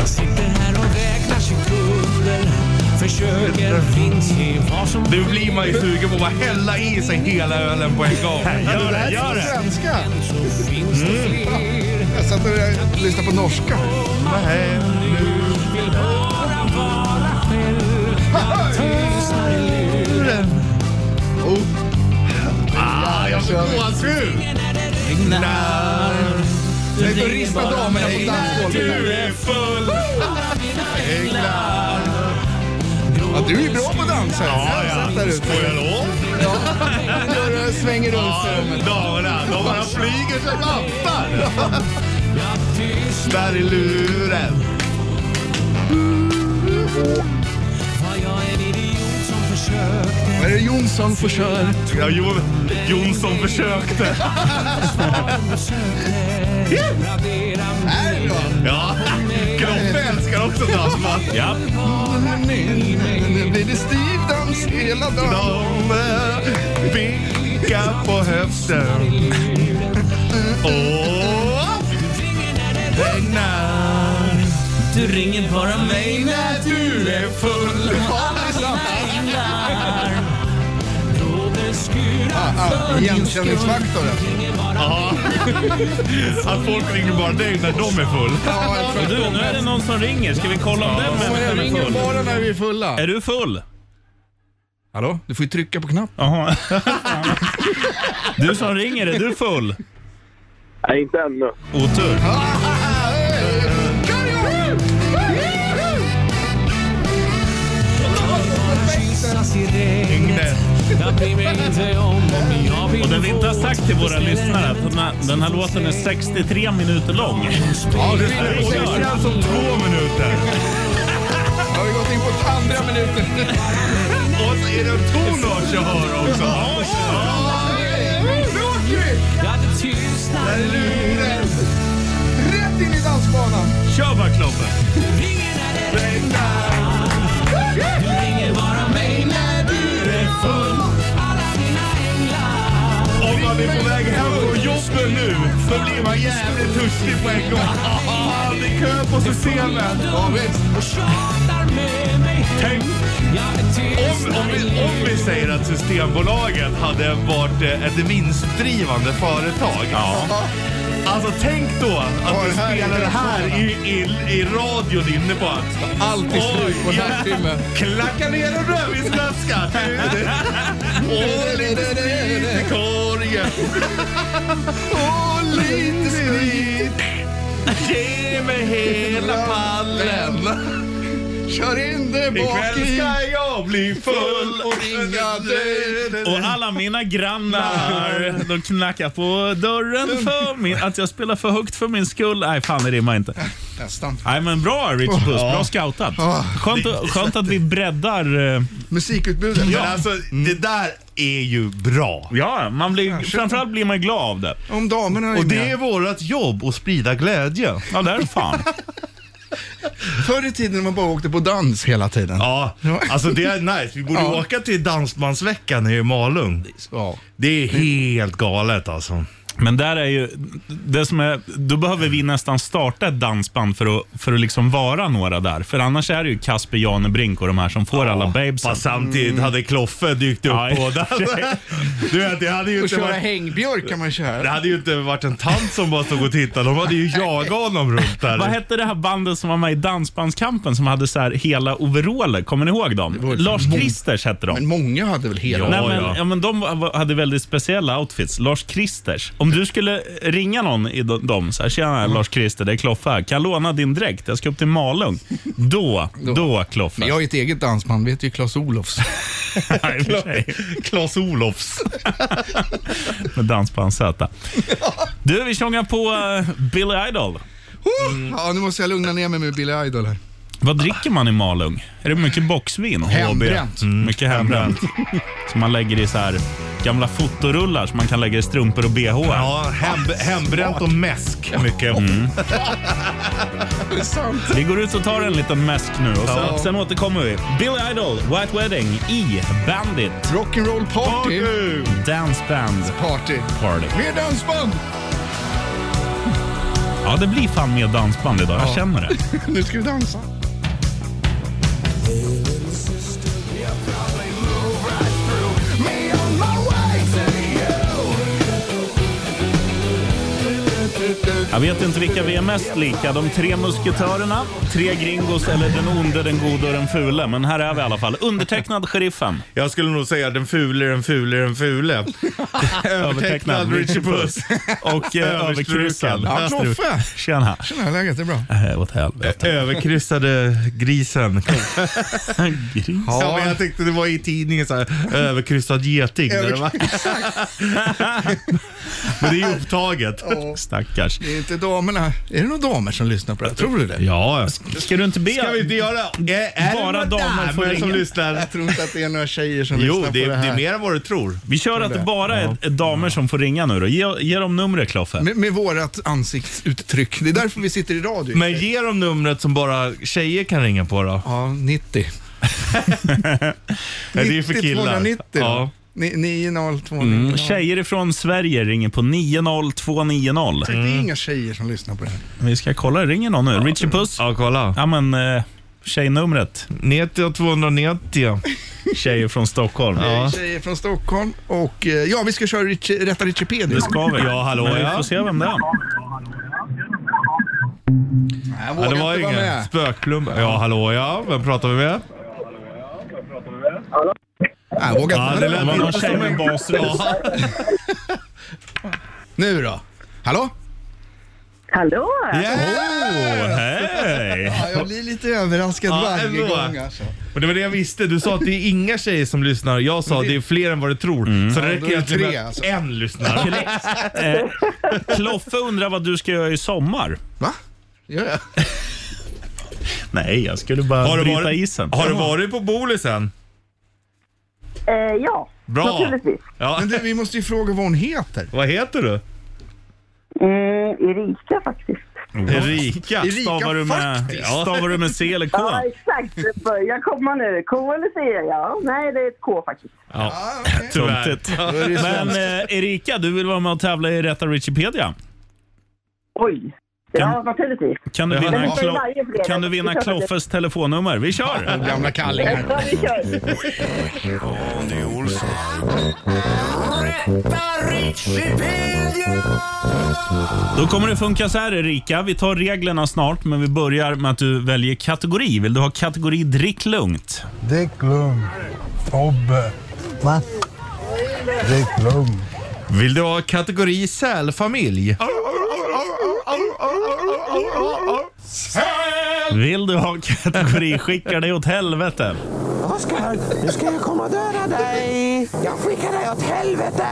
[SPEAKER 7] sitter här och räknar sekunder. Försöker finns i vad som
[SPEAKER 4] Nu blir man ju sugen på att bara hälla i sig hela ölen på en gång.
[SPEAKER 2] Gör det, gör det.
[SPEAKER 3] Svenska. Mm.
[SPEAKER 7] finns det fler.
[SPEAKER 3] Jag satt och lyssnade på norska.
[SPEAKER 7] Vill bara vara själv.
[SPEAKER 3] Ah,
[SPEAKER 7] Jag tystnar i luren.
[SPEAKER 4] Ah, jag får gåshud!
[SPEAKER 3] Tänk att rista damerna på dansgolvet.
[SPEAKER 4] är full!
[SPEAKER 3] Ja, du är ju bra på att dansa.
[SPEAKER 4] Ja, ja.
[SPEAKER 3] Sätt där ute.
[SPEAKER 4] Får jag lov?
[SPEAKER 3] Gör det, Svänger runt sig.
[SPEAKER 4] Damerna, de bara flyger som attar. Där i luren.
[SPEAKER 7] Var jag en idiot som försökte.
[SPEAKER 3] Vad är det Jonsson får köra?
[SPEAKER 4] Ja, jo, Jonsson försökte.
[SPEAKER 7] Radera
[SPEAKER 4] Ja, Kloffe älskar också dansband.
[SPEAKER 2] Ja.
[SPEAKER 3] Nu blir det stiv dans hela dagen.
[SPEAKER 4] De eh, vinkar på höften. Och... Regnar.
[SPEAKER 7] Du ringer bara mig när
[SPEAKER 4] Du är full.
[SPEAKER 7] regnar. Låter skurar
[SPEAKER 3] Ah, Igenkänningsfaktoren.
[SPEAKER 4] Att folk ringer bara dig när de är full.
[SPEAKER 3] Ja, jag tror-
[SPEAKER 2] Du, nu är det någon som ringer. Ska vi kolla om den
[SPEAKER 3] Jag
[SPEAKER 2] människan är
[SPEAKER 3] ringer
[SPEAKER 2] full?
[SPEAKER 3] bara när vi är fulla.
[SPEAKER 2] Är du full?
[SPEAKER 3] Hallå? Du får ju trycka på knappen.
[SPEAKER 2] Jaha. Du som ringer, är du full?
[SPEAKER 8] Nej, inte ännu.
[SPEAKER 2] Otur.
[SPEAKER 7] kyssas i regnet. Jag bryr mig inte om om jag vill
[SPEAKER 2] Och det vi inte har
[SPEAKER 7] få
[SPEAKER 2] sagt till våra
[SPEAKER 7] spelar
[SPEAKER 2] lyssnare att
[SPEAKER 7] ingen
[SPEAKER 2] den här, den här låten är 63 minuter lång.
[SPEAKER 3] Ja, det är
[SPEAKER 4] Och det är alltså två minuter.
[SPEAKER 3] Har vi gått in på andra minuten?
[SPEAKER 4] Och så är det en tonart jag hör också.
[SPEAKER 3] Nu åker vi!
[SPEAKER 7] Ja, det tystnar i luren.
[SPEAKER 3] Rätt in i dansbanan!
[SPEAKER 2] Kör bara Klobbe!
[SPEAKER 7] Ringer när det regnar. Du ringer bara mig när du är full. Alla dina änglar.
[SPEAKER 4] Om man är på väg hem från jobbet nu så blir man jävligt törstig på en gång. Fan, det är kö på systemet.
[SPEAKER 3] Ja, visst.
[SPEAKER 7] Och tjatar med mig hem. Jag är
[SPEAKER 4] Om, om,
[SPEAKER 7] tystnar i
[SPEAKER 4] vi, om vi säger att Systembolaget hade varit eh, ett vinstdrivande företag. Alltså tänk då att
[SPEAKER 3] Ja,
[SPEAKER 4] du
[SPEAKER 3] det här är
[SPEAKER 4] spelar det här i, i, i radion inne på att...
[SPEAKER 3] Allt är slut på
[SPEAKER 4] Oj,
[SPEAKER 3] en
[SPEAKER 4] ja.
[SPEAKER 3] halvtimme.
[SPEAKER 4] Klacka ner en rödvinsflaska! Och lite sprit i korgen. Och lite sprit. Ge mig hela pallen.
[SPEAKER 3] Kör in det bak
[SPEAKER 4] Ikväll
[SPEAKER 3] i...
[SPEAKER 4] ska jag bli full
[SPEAKER 3] och ringa dig.
[SPEAKER 2] Och alla mina grannar, de knackar på dörren för min, att jag spelar för högt för min skull. Nej, fan det rimmar inte.
[SPEAKER 3] Nästan.
[SPEAKER 2] Nej men bra Rich Puss, bra scoutat. Skönt, att- skönt att vi breddar. eh,
[SPEAKER 3] Musikutbudet.
[SPEAKER 4] Men alltså, det
[SPEAKER 3] Mm.
[SPEAKER 4] där är ju bra.
[SPEAKER 2] Ja, man blir, framförallt blir man glad av det.
[SPEAKER 3] Om damerna är
[SPEAKER 4] Och det
[SPEAKER 3] med.
[SPEAKER 4] är vårt jobb att sprida glädje.
[SPEAKER 2] Ja, det är det fan.
[SPEAKER 3] Förr i tiden när man bara åkte på dans hela tiden.
[SPEAKER 4] Ja, alltså det är nice. Vi borde
[SPEAKER 3] Ja.
[SPEAKER 4] åka till Dansbandsveckan i Malung.
[SPEAKER 3] Ja.
[SPEAKER 4] Det är
[SPEAKER 3] Mm.
[SPEAKER 4] helt galet alltså.
[SPEAKER 2] Men där är ju, det som är, då behöver vi nästan starta ett dansband för att, för att liksom vara några där. För annars är det ju Kasper Janebrink och de här som får alla babesen.
[SPEAKER 4] Fast
[SPEAKER 3] Mm.
[SPEAKER 4] samtidigt hade Kloffe dykt upp
[SPEAKER 2] Ja, i och
[SPEAKER 4] på
[SPEAKER 2] för sig.
[SPEAKER 4] den. Du vet, det hade ju
[SPEAKER 3] Och
[SPEAKER 4] inte
[SPEAKER 3] köra
[SPEAKER 4] varit...
[SPEAKER 3] hängbjörk kan man
[SPEAKER 4] Det
[SPEAKER 3] köra.
[SPEAKER 4] hade ju inte varit en tant som bara stod och tittade. De hade ju jagat honom runt där.
[SPEAKER 2] Vad hette det här bandet som var med i Dansbandskampen som hade så här hela overaller? Kommer ni ihåg dem? Lars Kristers hette de.
[SPEAKER 3] Men många hade väl hela...
[SPEAKER 2] Nej,
[SPEAKER 4] Ja,
[SPEAKER 2] men,
[SPEAKER 4] ja.
[SPEAKER 2] ja, men de var- hade väldigt speciella outfits. Lars Kristers. Om du skulle ringa någon i de- dem så här, tjena Lars Krister, det är Kloffe här. Kan jag låna din dräkt? Jag ska upp till Malung. Då, då, Kloffe.
[SPEAKER 3] Men jag är ett eget dansband, vet ju Claes Olofs.
[SPEAKER 2] Nej, i och för sig.
[SPEAKER 4] Klas Olofs.
[SPEAKER 2] Med dansband Z. Du, vi tjongar på eh, Billy Idol.
[SPEAKER 3] Ja, nu måste jag lugna ner mig med Billy Idol här.
[SPEAKER 2] Vad dricker man i Malung? Är det mycket boxvin? HB?
[SPEAKER 3] Hembränt.
[SPEAKER 2] Mm, mycket hembränt. Som man lägger i så här gamla fotorullar som man kan lägga i strumpor och bh.
[SPEAKER 4] Ja, hem, hembränt och mäsk mycket.
[SPEAKER 3] Det är sant.
[SPEAKER 2] Vi går ut och tar en liten mäsk nu och sen,
[SPEAKER 4] Ja.
[SPEAKER 2] sen återkommer vi. Billy Idol, White Wedding i Bandit.
[SPEAKER 3] Rock'n'roll party.
[SPEAKER 2] Dance Band
[SPEAKER 3] Party.
[SPEAKER 2] Party.
[SPEAKER 3] Mer dansband!
[SPEAKER 2] Ja, det blir fan mer dansband idag. Jag känner det.
[SPEAKER 3] Nu ska vi dansa.
[SPEAKER 2] Jag vet inte vilka vi är mest lika. De tre musketörerna, tre gringos eller den onde, den gode och den fule. Men här är vi i alla fall. Undertecknad sheriffen.
[SPEAKER 4] Jag skulle nog säga den fule, den fule, den fule. Övertecknad Richie Puss.
[SPEAKER 2] Och eh,
[SPEAKER 4] Överstrukad.
[SPEAKER 2] överkryssad.
[SPEAKER 3] Ja, Kloffe.
[SPEAKER 2] Tjena.
[SPEAKER 3] Tjena, hur är läget? Det är bra.
[SPEAKER 2] Äh, åt helvete.
[SPEAKER 4] Överkryssade grisen.
[SPEAKER 2] Gris.
[SPEAKER 4] Ja, men jag tänkte det var i tidningen så här, överkryssad geting. där det var. men det är ju upptaget.
[SPEAKER 2] Stackars.
[SPEAKER 3] Det är inte damerna. Är det några damer som lyssnar på det här? Tror du det?
[SPEAKER 4] Ja.
[SPEAKER 2] Ska du inte be?
[SPEAKER 4] Kan vi inte göra? Är, är
[SPEAKER 2] Bara
[SPEAKER 4] det några
[SPEAKER 2] damer får
[SPEAKER 4] som
[SPEAKER 2] ringa.
[SPEAKER 4] lyssnar?
[SPEAKER 3] Jag tror inte att det är några tjejer som
[SPEAKER 4] Jo,
[SPEAKER 3] lyssnar
[SPEAKER 4] det, är-
[SPEAKER 3] på det
[SPEAKER 4] det
[SPEAKER 3] här.
[SPEAKER 4] är mer än vad du tror.
[SPEAKER 2] Vi kör att det bara är är damer som får ringa nu då. Ge, ge dem numret Kloffe.
[SPEAKER 4] Mm.
[SPEAKER 3] med, med vårat ansiktsuttryck. Det är därför vi sitter i radio.
[SPEAKER 4] Men ge dem numret som bara tjejer kan ringa på då.
[SPEAKER 3] Ja, 90.
[SPEAKER 4] Nej, det är för killar.
[SPEAKER 3] 290 då.
[SPEAKER 4] Ja.
[SPEAKER 3] Ni- 90290.
[SPEAKER 2] Mm, Tjejer ifrån Sverige ringer på 90290.
[SPEAKER 3] Det
[SPEAKER 4] Mm.
[SPEAKER 3] är inga tjejer som lyssnar på det här.
[SPEAKER 2] Vi ska kolla, ringer någon nu? Richie Puss?
[SPEAKER 4] Ja, kolla.
[SPEAKER 2] Ja men, eh, tjejnumret.
[SPEAKER 4] 90 290.
[SPEAKER 2] Tjejer från Stockholm.
[SPEAKER 3] Det är
[SPEAKER 2] Ja.
[SPEAKER 3] tjejer från Stockholm och eh, ja, vi ska köra Richie, Rätta Richipedia.
[SPEAKER 2] Det ska vi.
[SPEAKER 4] Ja, hallå,
[SPEAKER 2] Men vi
[SPEAKER 4] ja.
[SPEAKER 2] får se vem det är.
[SPEAKER 3] Nej, jag
[SPEAKER 4] Ja,
[SPEAKER 3] vågar
[SPEAKER 4] det var
[SPEAKER 3] inte vara
[SPEAKER 4] ingen
[SPEAKER 3] med.
[SPEAKER 4] spökplump. Ja, hallå ja. Vem pratar vi med?
[SPEAKER 3] Nej, jag vågar
[SPEAKER 4] Ja,
[SPEAKER 3] inte.
[SPEAKER 4] det
[SPEAKER 2] Det
[SPEAKER 4] lät
[SPEAKER 2] var någon
[SPEAKER 4] inte
[SPEAKER 2] tjej
[SPEAKER 4] som
[SPEAKER 2] med
[SPEAKER 4] en...
[SPEAKER 2] basröst.
[SPEAKER 3] Nu då? Hallå?
[SPEAKER 9] Hallå!
[SPEAKER 4] Yeah!
[SPEAKER 2] Hej!
[SPEAKER 3] Ja, jag blir lite överraskad
[SPEAKER 4] Ja,
[SPEAKER 3] varje
[SPEAKER 4] ändå.
[SPEAKER 3] gång alltså.
[SPEAKER 4] Och det var det jag visste. Du sa att det är inga tjejer som lyssnar. Jag sa att det är fler än vad du tror.
[SPEAKER 2] Mm.
[SPEAKER 4] Så det
[SPEAKER 3] Ja,
[SPEAKER 4] räcker
[SPEAKER 3] då är det
[SPEAKER 4] egentligen
[SPEAKER 3] tre,
[SPEAKER 4] med
[SPEAKER 3] alltså.
[SPEAKER 4] att en lyssnar.
[SPEAKER 2] Eh, Kloffe undrar vad du ska göra i sommar.
[SPEAKER 3] Va? Gör jag?
[SPEAKER 2] Nej, jag skulle bara
[SPEAKER 4] Har du
[SPEAKER 2] bryta
[SPEAKER 4] varit,
[SPEAKER 2] isen.
[SPEAKER 4] har du varit på bolisen?
[SPEAKER 9] Eh, ja,
[SPEAKER 4] Bra!
[SPEAKER 9] naturligtvis.
[SPEAKER 4] Ja.
[SPEAKER 3] Men du, vi måste ju fråga vad hon heter.
[SPEAKER 4] Vad heter du?
[SPEAKER 9] Eh, Erika faktiskt.
[SPEAKER 4] Erika.
[SPEAKER 2] Stavar du, med, stavar du med C eller K?
[SPEAKER 9] Ja, exakt. Börja komma nu. K eller C? Ja, nej, det är ett K faktiskt.
[SPEAKER 3] Ja, okej.
[SPEAKER 2] Tuntigt.
[SPEAKER 3] Då är det ju
[SPEAKER 2] Men
[SPEAKER 3] svenskt.
[SPEAKER 2] eh, Erika, du vill vara med och tävla i Rätta Wikipedia.
[SPEAKER 9] Oj.
[SPEAKER 2] Mm.
[SPEAKER 9] Ja, naturligtvis.
[SPEAKER 2] Kan du vinna,
[SPEAKER 9] Men det är
[SPEAKER 2] Klo-
[SPEAKER 9] varje fredag.
[SPEAKER 2] kan du vinna
[SPEAKER 9] Det är klart att det-
[SPEAKER 2] Kloffes telefonnummer? Vi kör!
[SPEAKER 3] Gamla kallingar.
[SPEAKER 9] Ja, vi kör.
[SPEAKER 1] Ronny Olsson.
[SPEAKER 2] Då kommer det funka så här Erika. Vi tar reglerna snart, men vi börjar med att du väljer kategori. Vill du ha kategori drick lugnt?
[SPEAKER 10] Dick Lund. Tobbe. Va? Dick Lund.
[SPEAKER 4] Vill du ha kategori sälfamilj?
[SPEAKER 2] Vill du ha kategori skicka dig åt helvete?
[SPEAKER 7] Oskar, nu ska jag komma och döda dig! Jag skickar dig åt helvete!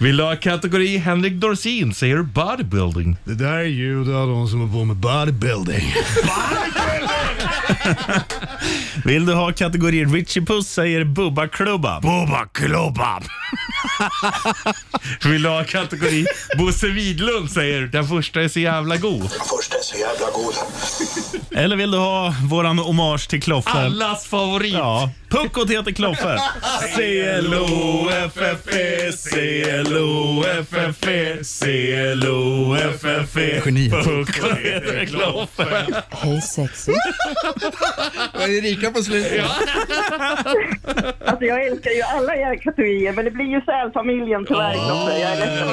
[SPEAKER 4] Vill du ha kategori Henrik Dorsin säger bodybuilding?
[SPEAKER 10] Det där är ljud av de som håller på med bodybuilding.
[SPEAKER 2] Vill du ha kategori Richie Puss säger Bubba Klubba?
[SPEAKER 4] Bobba klubba. Vill du ha kategori Bosse Widlund säger den första är så jävla god?
[SPEAKER 6] Först är så jävla god.
[SPEAKER 2] Eller vill du ha våran hommage till Kloffe?
[SPEAKER 4] Allas favorit.
[SPEAKER 2] Ja. Puckot heter Kloffe.
[SPEAKER 4] C-L-O-F-F-E,
[SPEAKER 2] E.
[SPEAKER 4] C-L-O-F-F-E, C-L-O-F-F-E.
[SPEAKER 3] Geni.
[SPEAKER 4] E. Puckot heter Kloffe.
[SPEAKER 11] Hej sexy.
[SPEAKER 3] Vad är Erika på slutet?
[SPEAKER 9] Alltså, jag älskar ju alla era kategorier, men det blir ju sälfamiljen tyvärr, Kloffe. Jag är ledsen.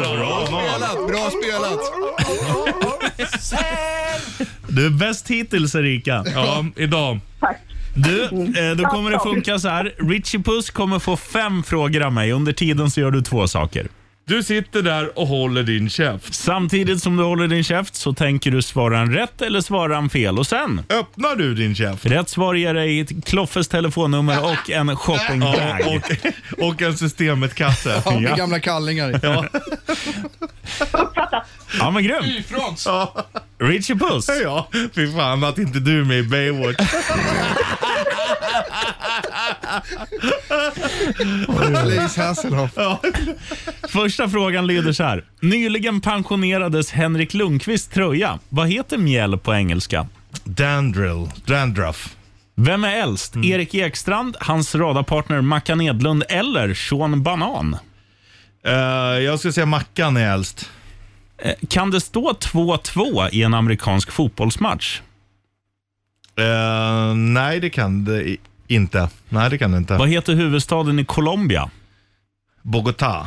[SPEAKER 3] Spelat, bra spelat.
[SPEAKER 2] Du är bäst hittills Erika.
[SPEAKER 4] Ja, idag.
[SPEAKER 9] Tack.
[SPEAKER 2] Du, eh, då kommer det funka så här. Richie Puss kommer få fem frågor av mig. Under tiden så gör du två saker.
[SPEAKER 4] Du sitter där och håller din käft.
[SPEAKER 2] Samtidigt som du håller din käft så tänker du svara en rätt eller svara en fel. Och sen,
[SPEAKER 4] Öppnar du din käft?
[SPEAKER 2] rätt svar ger dig Kloffes telefonnummer och en
[SPEAKER 4] Ja,
[SPEAKER 2] shoppingbag.
[SPEAKER 4] och, och en systemet-kasse.
[SPEAKER 3] Ja, med gamla kallingar.
[SPEAKER 2] Ja men grymt! Richie Puss!
[SPEAKER 4] Ja, fy fan att inte du är med i Baywatch.
[SPEAKER 3] Lace Hasselhoff.
[SPEAKER 2] Första frågan lyder så här. Nyligen pensionerades Henrik Lundqvists tröja. Vad heter mjäll på engelska?
[SPEAKER 4] Dandrill, dandruff.
[SPEAKER 2] Vem är äldst?
[SPEAKER 4] Mm.
[SPEAKER 2] Erik Ekstrand, hans radarpartner Mackan Edlund eller Sean Banan?
[SPEAKER 4] Eh, jag skulle säga Mackan är äldst.
[SPEAKER 2] Eh, Kan det stå 2-2 i en amerikansk fotbollsmatch?
[SPEAKER 4] Eh, nej, det kan det i- inte. Nej, det kan det inte.
[SPEAKER 2] Vad heter huvudstaden i Colombia?
[SPEAKER 4] Bogotá.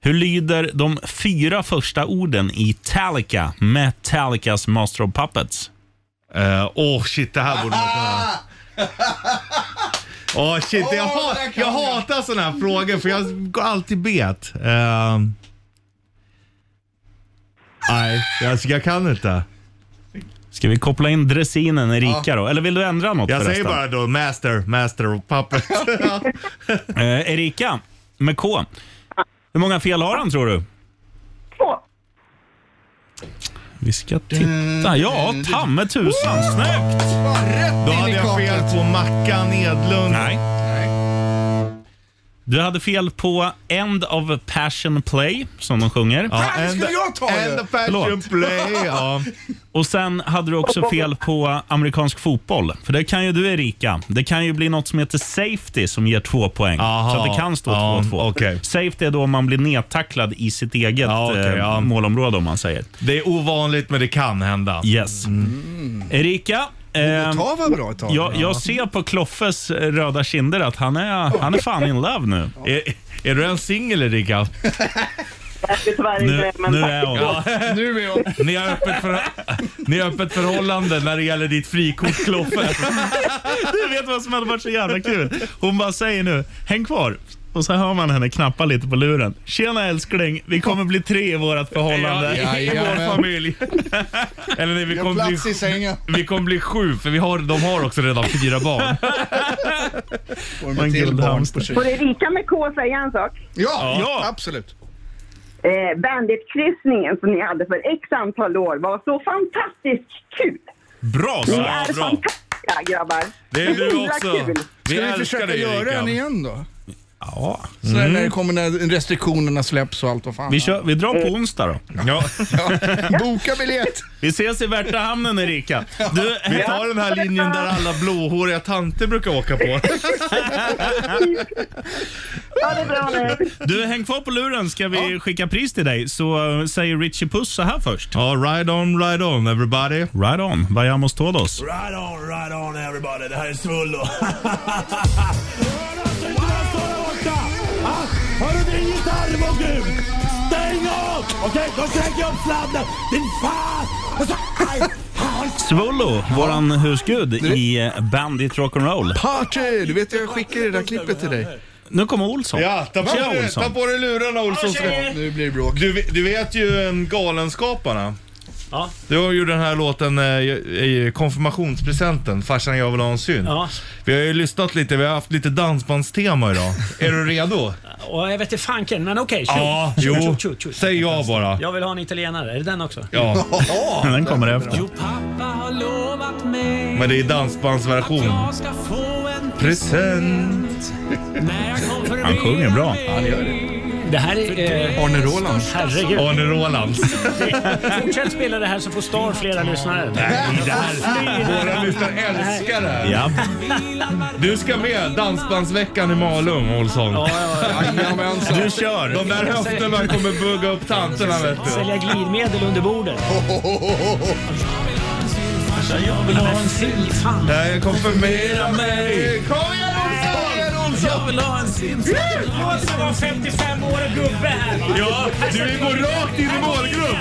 [SPEAKER 2] Hur lyder de fyra första orden i Metallica, Metallicas Master of Puppets?
[SPEAKER 4] Åh, oh, shit, det här borde man kunna. Åh, shit. Jag,
[SPEAKER 3] Åh,
[SPEAKER 4] ha,
[SPEAKER 3] där kan
[SPEAKER 4] jag
[SPEAKER 3] jag.
[SPEAKER 4] hatar sådana här frågor för jag går alltid bet. Eh, nej, jag, jag kan inte.
[SPEAKER 2] Ska vi koppla in dressinen Erika då? Eller vill du ändra något
[SPEAKER 4] Jag säger
[SPEAKER 2] förresten?
[SPEAKER 4] bara då master, master och puppet.
[SPEAKER 2] Eh, Erika, med K. Hur många fel har han tror du?
[SPEAKER 9] Två.
[SPEAKER 2] Vi ska titta. Ja, tamme tusan. Snyggt!
[SPEAKER 3] Rätt
[SPEAKER 4] Då
[SPEAKER 3] in
[SPEAKER 4] hade
[SPEAKER 3] i
[SPEAKER 4] jag fel
[SPEAKER 3] kaklet.
[SPEAKER 4] på Mackan Edlund.
[SPEAKER 2] Nej. Du hade fel på End of Passion Play, som de sjunger.
[SPEAKER 4] Ja,
[SPEAKER 3] Fan, skulle jag ta
[SPEAKER 4] and
[SPEAKER 3] det?
[SPEAKER 4] the passion
[SPEAKER 2] Förlåt.
[SPEAKER 4] play. Ja.
[SPEAKER 2] Och sen hade du också fel på amerikansk fotboll. För det kan ju du Erika. Det kan ju bli något som heter safety som ger två poäng.
[SPEAKER 4] Aha.
[SPEAKER 2] Så att det kan stå 2-2.
[SPEAKER 4] Ja, okej.
[SPEAKER 2] Safety är då om man blir nedtacklad i sitt eget
[SPEAKER 4] Ja, okej,
[SPEAKER 2] eh,
[SPEAKER 4] ja.
[SPEAKER 2] målområde om man säger.
[SPEAKER 4] Det är ovanligt men det kan hända.
[SPEAKER 2] Yes. Mm. Erika. ehm,
[SPEAKER 3] Ta var bra ett tag.
[SPEAKER 2] jag, jag ser på Kloffes eh, röda kinder att han är, han är fan in love nu. Eh,
[SPEAKER 4] Är, är du en singel Erika?
[SPEAKER 9] Jag är vi tyvärr
[SPEAKER 2] Nu,
[SPEAKER 9] inte. Men
[SPEAKER 2] nu är hon.
[SPEAKER 3] Nu är hon.
[SPEAKER 4] Ni har öppet, för, ni har öppet förhållande när det gäller ditt frikort Kloffe.
[SPEAKER 2] Du vet vad som hade varit så jävla kul? Hon bara säger nu, häng kvar. Och så hör man henne knappa lite på luren. Tjena älskling, vi kommer bli tre i vårt förhållande.
[SPEAKER 4] Ja, i- i vår
[SPEAKER 3] Jajamän.
[SPEAKER 4] familj. Eller nej, vi
[SPEAKER 3] Jag har
[SPEAKER 4] kommer bli,
[SPEAKER 3] plats i sängen.
[SPEAKER 4] vi kommer bli sju för vi har, de har också redan fyra barn.
[SPEAKER 3] Får
[SPEAKER 2] Och en
[SPEAKER 3] med till barn
[SPEAKER 2] guldhamster.
[SPEAKER 3] på kyl.
[SPEAKER 9] Får det rika med K säga en sak?
[SPEAKER 3] Ja,
[SPEAKER 2] Ja.
[SPEAKER 3] absolut.
[SPEAKER 9] Eh, Bandit-kryssningen som ni hade för x antal år var så fantastiskt kul.
[SPEAKER 2] Bra
[SPEAKER 9] Ni
[SPEAKER 2] Sara!
[SPEAKER 9] är
[SPEAKER 4] bra.
[SPEAKER 9] fantastiska grabbar.
[SPEAKER 4] Det är du
[SPEAKER 9] Himla
[SPEAKER 4] också.
[SPEAKER 9] kul.
[SPEAKER 4] Vi
[SPEAKER 3] Ska vi
[SPEAKER 4] älskar
[SPEAKER 3] försöka
[SPEAKER 4] dig
[SPEAKER 3] göra den
[SPEAKER 4] Erika.
[SPEAKER 3] igen då?
[SPEAKER 2] Ja.
[SPEAKER 3] Så när det kommer när restriktionerna släpps och allt vad fan.
[SPEAKER 2] Vi, kör, vi drar på
[SPEAKER 1] Eh.
[SPEAKER 2] onsdag då.
[SPEAKER 4] Ja,
[SPEAKER 3] Ja. Boka biljett!
[SPEAKER 2] Vi ses i Värtahamnen Erika. Du,
[SPEAKER 4] vi tar den här linjen där alla blåhåriga tanter brukar åka på.
[SPEAKER 9] Ja, det är bra nu.
[SPEAKER 2] du, häng kvar på luren ska vi skicka pris till dig. Så eh, säger Richie Puss så här först.
[SPEAKER 4] Ja, ride on, ride on everybody.
[SPEAKER 2] Right on, vayamos todos.
[SPEAKER 1] Right on, right on everybody. Det här är Svullo. Hörru din gitarr var grym! Stäng av! Okej, då slänger jag upp sladden. Din fan! Och så- Aj, fan.
[SPEAKER 2] Svullo, våran husgud i eh, Bandit Rock'n'Roll.
[SPEAKER 3] Party! Du vet jag skickade det där klippet till dig.
[SPEAKER 2] Nu kommer Olsson.
[SPEAKER 4] Ja, ta på,
[SPEAKER 2] Tjena,
[SPEAKER 4] dig,
[SPEAKER 2] Olsson.
[SPEAKER 4] ta på dig lurarna Olsson.
[SPEAKER 3] Nu blir det bråk.
[SPEAKER 4] Du, ve- du vet ju eh, Galenskaparna. Ja. Du gjorde den här låten eh, i i konfirmationspresenten, Farsan jag vill ha en syn.
[SPEAKER 11] Ja.
[SPEAKER 4] Vi har ju lyssnat lite, vi har haft lite dansbandstema idag. är du redo?
[SPEAKER 11] Och jag vet inte fanken, men okej. shoot.
[SPEAKER 4] Ja,
[SPEAKER 11] Shoot,
[SPEAKER 4] jo.
[SPEAKER 11] shoot, shoot, shoot.
[SPEAKER 4] Säg ja bara.
[SPEAKER 11] Jag vill ha en italienare. Är det den också?
[SPEAKER 4] Ja,
[SPEAKER 2] Den kommer efter.
[SPEAKER 7] Jo, pappa har lovat mig
[SPEAKER 4] men det är dansbandsversion.
[SPEAKER 7] jag ska få en
[SPEAKER 4] Present.
[SPEAKER 7] när jag kom förbi
[SPEAKER 2] Han sjunger bra.
[SPEAKER 7] Han gör det.
[SPEAKER 11] Det här är... Eh,
[SPEAKER 3] Arne Roland.
[SPEAKER 11] herregud.
[SPEAKER 4] Arne Rolands.
[SPEAKER 11] Fortsätt spela det här så får Star flera lyssnare.
[SPEAKER 4] Det här- Våra lyssnare älskar det här.
[SPEAKER 2] Ja.
[SPEAKER 4] Du ska med Dansbandsveckan i Malung, Olsson.
[SPEAKER 11] Ja, ja,
[SPEAKER 3] Jajamensan.
[SPEAKER 2] Du kör.
[SPEAKER 4] De där höfterna kommer bugga upp tanterna vet
[SPEAKER 11] ja.
[SPEAKER 4] du.
[SPEAKER 11] Sälja glidmedel under bordet.
[SPEAKER 2] Jag vill ha en
[SPEAKER 11] Fy fan.
[SPEAKER 4] Nej, konfirmera mig. Kom igen Olsson!
[SPEAKER 7] Jag vill ha en sin
[SPEAKER 11] Låt vara 55 år och gubbe här.
[SPEAKER 4] Ja, du vill gå rakt in i målgrupp.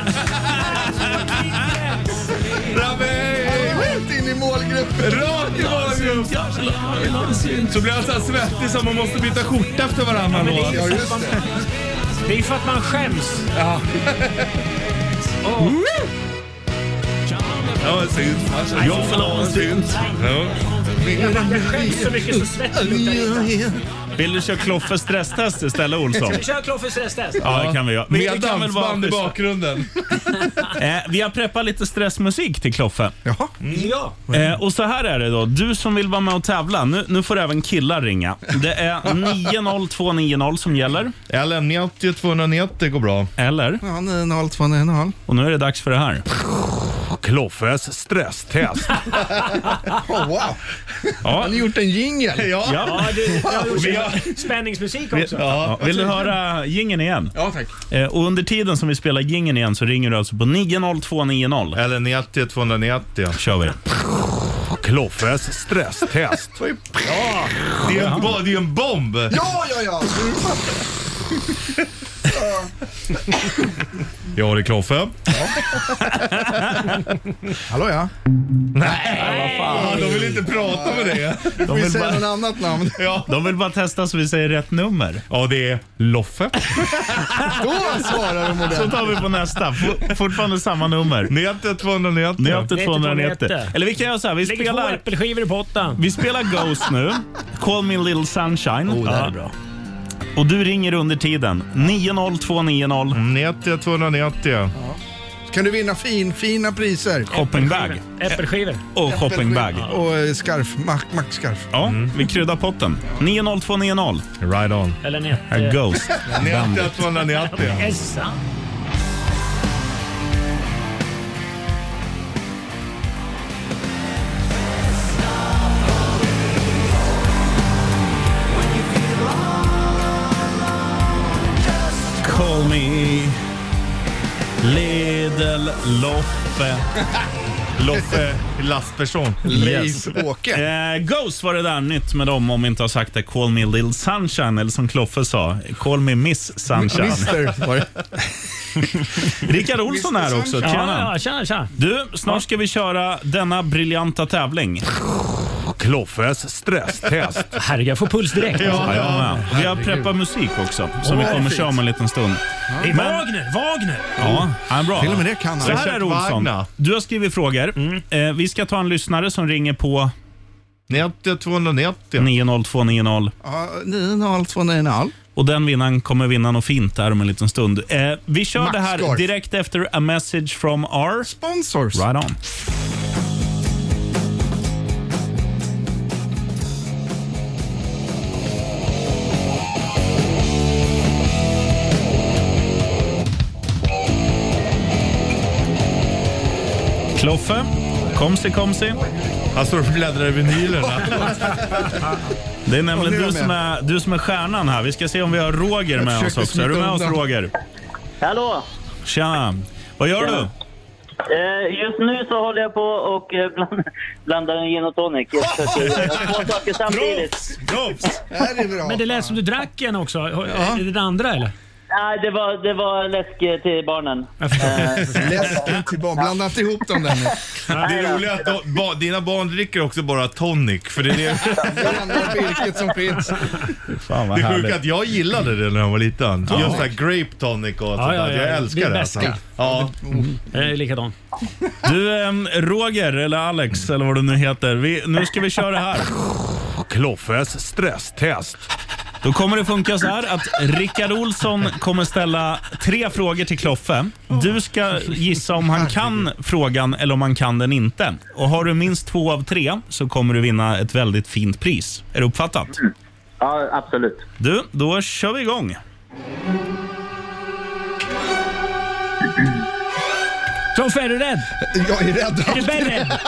[SPEAKER 4] Ramey!
[SPEAKER 3] Rätt in i målgruppen.
[SPEAKER 4] Rakt i målgrupp. Så blir han så här svettig som man måste byta skjorta efter varannan låt.
[SPEAKER 3] Ja, just det.
[SPEAKER 11] Det är för att man skäms.
[SPEAKER 4] Ja, synt. Jag vill ha en synt. Ja.
[SPEAKER 11] Jag skäms så mycket så svettas
[SPEAKER 2] Vill du köra Kloffe stresstest istället Olsson?
[SPEAKER 11] Vi kör Kloffes stresstest.
[SPEAKER 2] Ja, det kan vi göra. Vi,
[SPEAKER 4] Med
[SPEAKER 2] det kan väl
[SPEAKER 4] dansband i
[SPEAKER 2] vara-
[SPEAKER 4] bakgrunden.
[SPEAKER 2] Eh, vi har preppat lite stressmusik till Kloffe.
[SPEAKER 3] Jaha.
[SPEAKER 11] Ja.
[SPEAKER 2] Eh, och så här är det då. Du som vill vara med och tävla, nu, nu får även killar ringa. Det är 90290 som gäller.
[SPEAKER 4] Eller 90 290 går bra.
[SPEAKER 2] Eller?
[SPEAKER 3] Ja, 9,5, 2,5.
[SPEAKER 2] Och nu är det dags för det här.
[SPEAKER 1] Kloffes stresstest.
[SPEAKER 3] Oh, wow.
[SPEAKER 2] Ja.
[SPEAKER 3] Har ni gjort en jingel?
[SPEAKER 4] Ja.
[SPEAKER 11] Ja, du, jag har gjort
[SPEAKER 4] Vi har-
[SPEAKER 11] spänningsmusik också.
[SPEAKER 2] Ja, vill du höra gingen igen?
[SPEAKER 3] Ja, tack.
[SPEAKER 2] Eh, och under tiden som vi spelar gingen igen så ringer du alltså på 90290.
[SPEAKER 4] Eller 90 290.
[SPEAKER 2] kör vi.
[SPEAKER 1] Kloffes stresstest.
[SPEAKER 4] Det är en, bo- det är en bomb.
[SPEAKER 3] Ja, ja, ja.
[SPEAKER 4] Ja, det är Kloffe.
[SPEAKER 3] Hallå ja.
[SPEAKER 4] Ja, de vill inte prata med dig.
[SPEAKER 2] De
[SPEAKER 3] Vi
[SPEAKER 2] vill,
[SPEAKER 3] säger något
[SPEAKER 2] bara,
[SPEAKER 3] annat namn.
[SPEAKER 4] Ja.
[SPEAKER 2] de vill bara testa så vi säger rätt nummer.
[SPEAKER 4] Ja, det är Loffe.
[SPEAKER 3] Då svarar de
[SPEAKER 2] Så
[SPEAKER 3] ordentligt.
[SPEAKER 2] tar vi på nästa. F- fortfarande samma nummer.
[SPEAKER 4] 90 290.
[SPEAKER 2] Ni har haft ett
[SPEAKER 11] 290.
[SPEAKER 2] 290. Eller vi kan göra så här. Vi
[SPEAKER 11] Lägg två
[SPEAKER 2] spelar,
[SPEAKER 11] äppelskivor i potten.
[SPEAKER 2] vi spelar Ghost nu. Call me little sunshine.
[SPEAKER 3] Oh, det här är
[SPEAKER 2] Ja.
[SPEAKER 3] bra.
[SPEAKER 2] Och du ringer under tiden. 90290
[SPEAKER 3] Mm.
[SPEAKER 4] 90 290.
[SPEAKER 3] Kan du vinna fin, fina priser?
[SPEAKER 2] shoppingbag.
[SPEAKER 11] Äppelskivor.
[SPEAKER 2] Och shoppingbag.
[SPEAKER 3] Och eh, skarf, mack, mackskarf.
[SPEAKER 2] Ja, vi kryddar potten. 90290.
[SPEAKER 4] Right on.
[SPEAKER 11] Eller
[SPEAKER 2] Här är
[SPEAKER 11] nät.
[SPEAKER 2] Ghost.
[SPEAKER 4] 90 290.
[SPEAKER 11] Essa.
[SPEAKER 2] Call me Lidl Loffe.
[SPEAKER 4] Loffe Laspersson.
[SPEAKER 2] Eh, Ghost var det där nytt med dem om vi inte har sagt det. Call me Lil Sunshine eller som Kloffe sa, Call me Miss Sunshine.
[SPEAKER 11] Mister, var det.
[SPEAKER 2] Rickard Olsson här också.
[SPEAKER 11] Ja,
[SPEAKER 2] Tjena.
[SPEAKER 11] ja, tjena, tjena.
[SPEAKER 2] Du, snart ska vi köra denna briljanta tävling. Kloffes
[SPEAKER 11] stresstest. Herregud, jag får puls direkt.
[SPEAKER 2] Ja, jag med. Vi har
[SPEAKER 11] Herregud.
[SPEAKER 2] preppat musik också som vi
[SPEAKER 11] Åh,
[SPEAKER 2] kommer
[SPEAKER 11] fint.
[SPEAKER 2] köra om en liten stund.
[SPEAKER 11] Det är Wagner, Wagner!
[SPEAKER 2] Ja, han är bra.
[SPEAKER 11] Till och med det kan han.
[SPEAKER 2] Så här är
[SPEAKER 11] Richard
[SPEAKER 2] det, Olsson.
[SPEAKER 11] Wagner. Mm.
[SPEAKER 2] Du har skrivit frågor. Eh, vi ska ta en lyssnare som ringer på... 90 290. 902 90.
[SPEAKER 3] Ja, 90290.
[SPEAKER 2] Och den vinnaren kommer vinna något fint där om en liten stund. Eh, vi kör
[SPEAKER 3] Max
[SPEAKER 2] det här
[SPEAKER 3] Gorf.
[SPEAKER 2] direkt efter A message from our... Sponsors. Right on. Kloffe, komsi komsi. Han står och bläddrar i vinylerna. Det är
[SPEAKER 7] Och nu
[SPEAKER 2] nämligen
[SPEAKER 7] är
[SPEAKER 2] du
[SPEAKER 7] jag
[SPEAKER 2] som
[SPEAKER 7] med.
[SPEAKER 2] är, du som är stjärnan här. Vi ska se om vi har Roger
[SPEAKER 7] Jag
[SPEAKER 2] med oss
[SPEAKER 7] försökte
[SPEAKER 2] också. Är du
[SPEAKER 7] smita
[SPEAKER 2] med oss
[SPEAKER 7] undan.
[SPEAKER 2] Roger?
[SPEAKER 12] Hallå!
[SPEAKER 2] Tja! Vad gör
[SPEAKER 12] Tjena.
[SPEAKER 2] du?
[SPEAKER 12] Eh, just nu så håller jag på och eh, bland, blandar en gin och tonic. Jag försöker göra två saker samtidigt.
[SPEAKER 2] Proffs!
[SPEAKER 11] Det är bra. Men det lät som du drack en också. Är det den andra eller?
[SPEAKER 12] Nej, det var, det var läsk eh, till barnen.
[SPEAKER 3] Läsken till barn. Blanda inte ihop dem där nu.
[SPEAKER 4] Det är roligt att de, ba, dina barn dricker också bara tonic. För det är det,
[SPEAKER 3] Blandar virket som finns.
[SPEAKER 2] Fan
[SPEAKER 4] det är sjukt att jag gillade det när jag var liten.
[SPEAKER 3] Ja.
[SPEAKER 4] Just det här grape tonic och sånt
[SPEAKER 2] Ja, ja,
[SPEAKER 4] där.
[SPEAKER 2] ja,
[SPEAKER 4] Jag
[SPEAKER 2] ja. Det
[SPEAKER 4] älskar
[SPEAKER 2] är
[SPEAKER 4] det.
[SPEAKER 2] bästa.
[SPEAKER 4] alltså. Ja.
[SPEAKER 11] Jag är likadan.
[SPEAKER 2] Du, ehm, Roger, eller Alex, eller vad du nu heter. Vi, nu ska vi köra här. Kloffes stresstest. Då kommer det funka så här att Rickard Olsson kommer ställa tre frågor till Kloffe. Du ska gissa om han kan frågan eller om han kan den inte. Och Har du minst två av tre så kommer du vinna ett väldigt fint pris. Är det uppfattat?
[SPEAKER 12] Ja, absolut.
[SPEAKER 2] Du, då kör vi igång.
[SPEAKER 11] Kloffe, är du rädd?
[SPEAKER 3] Jag är rädd.
[SPEAKER 11] Är du
[SPEAKER 3] Alltid
[SPEAKER 11] rädd?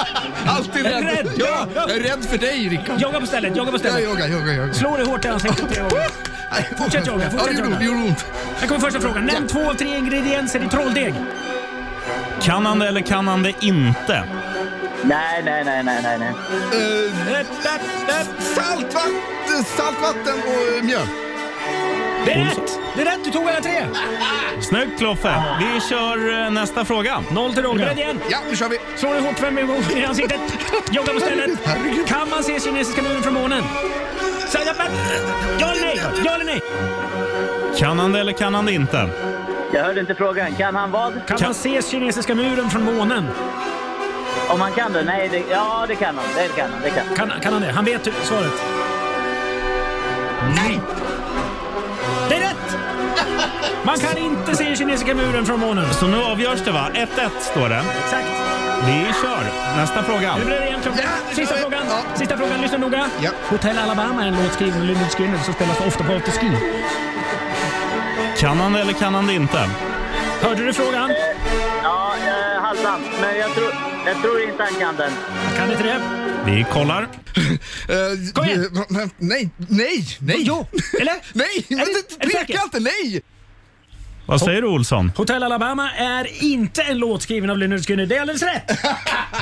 [SPEAKER 3] Alltid
[SPEAKER 11] Är du
[SPEAKER 3] rädd.
[SPEAKER 11] rädd?
[SPEAKER 3] Ja, jag är rädd för dig Rickard.
[SPEAKER 11] Jogga på stället, jogga på stället.
[SPEAKER 3] Ja, jogga, jogga, jogga.
[SPEAKER 11] Slå dig hårt i ansiktet tre gånger. Fortsätt jogga,
[SPEAKER 3] Ja, det
[SPEAKER 11] fortsätt
[SPEAKER 3] gjorde
[SPEAKER 11] jogga.
[SPEAKER 3] ont, det gjorde ont.
[SPEAKER 11] Här kommer första frågan. Nämn två av tre ingredienser i trolldeg.
[SPEAKER 2] Kan han det eller kan han det inte?
[SPEAKER 12] Nej, nej, nej, nej, nej. nej.
[SPEAKER 3] Saltvatten, saltvatten och eh, mjöl.
[SPEAKER 11] Det är rätt! Det är rätt, du tog alla tre.
[SPEAKER 2] Snyggt Kloffe! Vi kör eh, nästa fråga.
[SPEAKER 11] Noll till Roger. Är du beredd igen?
[SPEAKER 3] Ja, nu kör vi.
[SPEAKER 11] Slå dig hårt fem gånger i ansiktet. Jogga på stället. Kan man se kinesiska muren från månen? Så, ja, men- Ja eller nej? Ja eller nej?
[SPEAKER 2] Kan han det eller kan han det inte?
[SPEAKER 12] Jag hörde inte frågan. Kan han vad?
[SPEAKER 11] Kan man se kinesiska muren från månen?
[SPEAKER 12] Om han kan det? Nej, det, ja det kan han. Det kan han. Det kan. han.
[SPEAKER 11] Kan, kan han det? Han vet hur- svaret. Nej! Det är rätt! Man kan inte se kinesiska muren från månen.
[SPEAKER 2] Så nu avgörs det va? 1-1 står det.
[SPEAKER 11] Exakt.
[SPEAKER 2] Vi kör. Nästa fråga.
[SPEAKER 11] Är du beredd igen Kloffe? Sista frågan. Sista frågan, lyssna noga. Hotel Alabama är en låt skriven av Lynyrd Skynyrd som spelas ofta på afterski.
[SPEAKER 2] Kan han det eller kan han det inte?
[SPEAKER 11] Hörde du frågan?
[SPEAKER 12] Ja, eh, halvdant. Men jag tror, jag tror inte han kan den.
[SPEAKER 11] Kan inte det?
[SPEAKER 2] Vi kollar.
[SPEAKER 3] Kom igen. Eh, Nej, nej, nej.
[SPEAKER 11] Jo, eller?
[SPEAKER 3] Nej, men det- tveka inte. Nej!
[SPEAKER 2] Vad säger du Olsson?
[SPEAKER 11] Hotel Alabama är inte en låt skriven av Lynyrd Skynyrd. Det är alldeles rätt!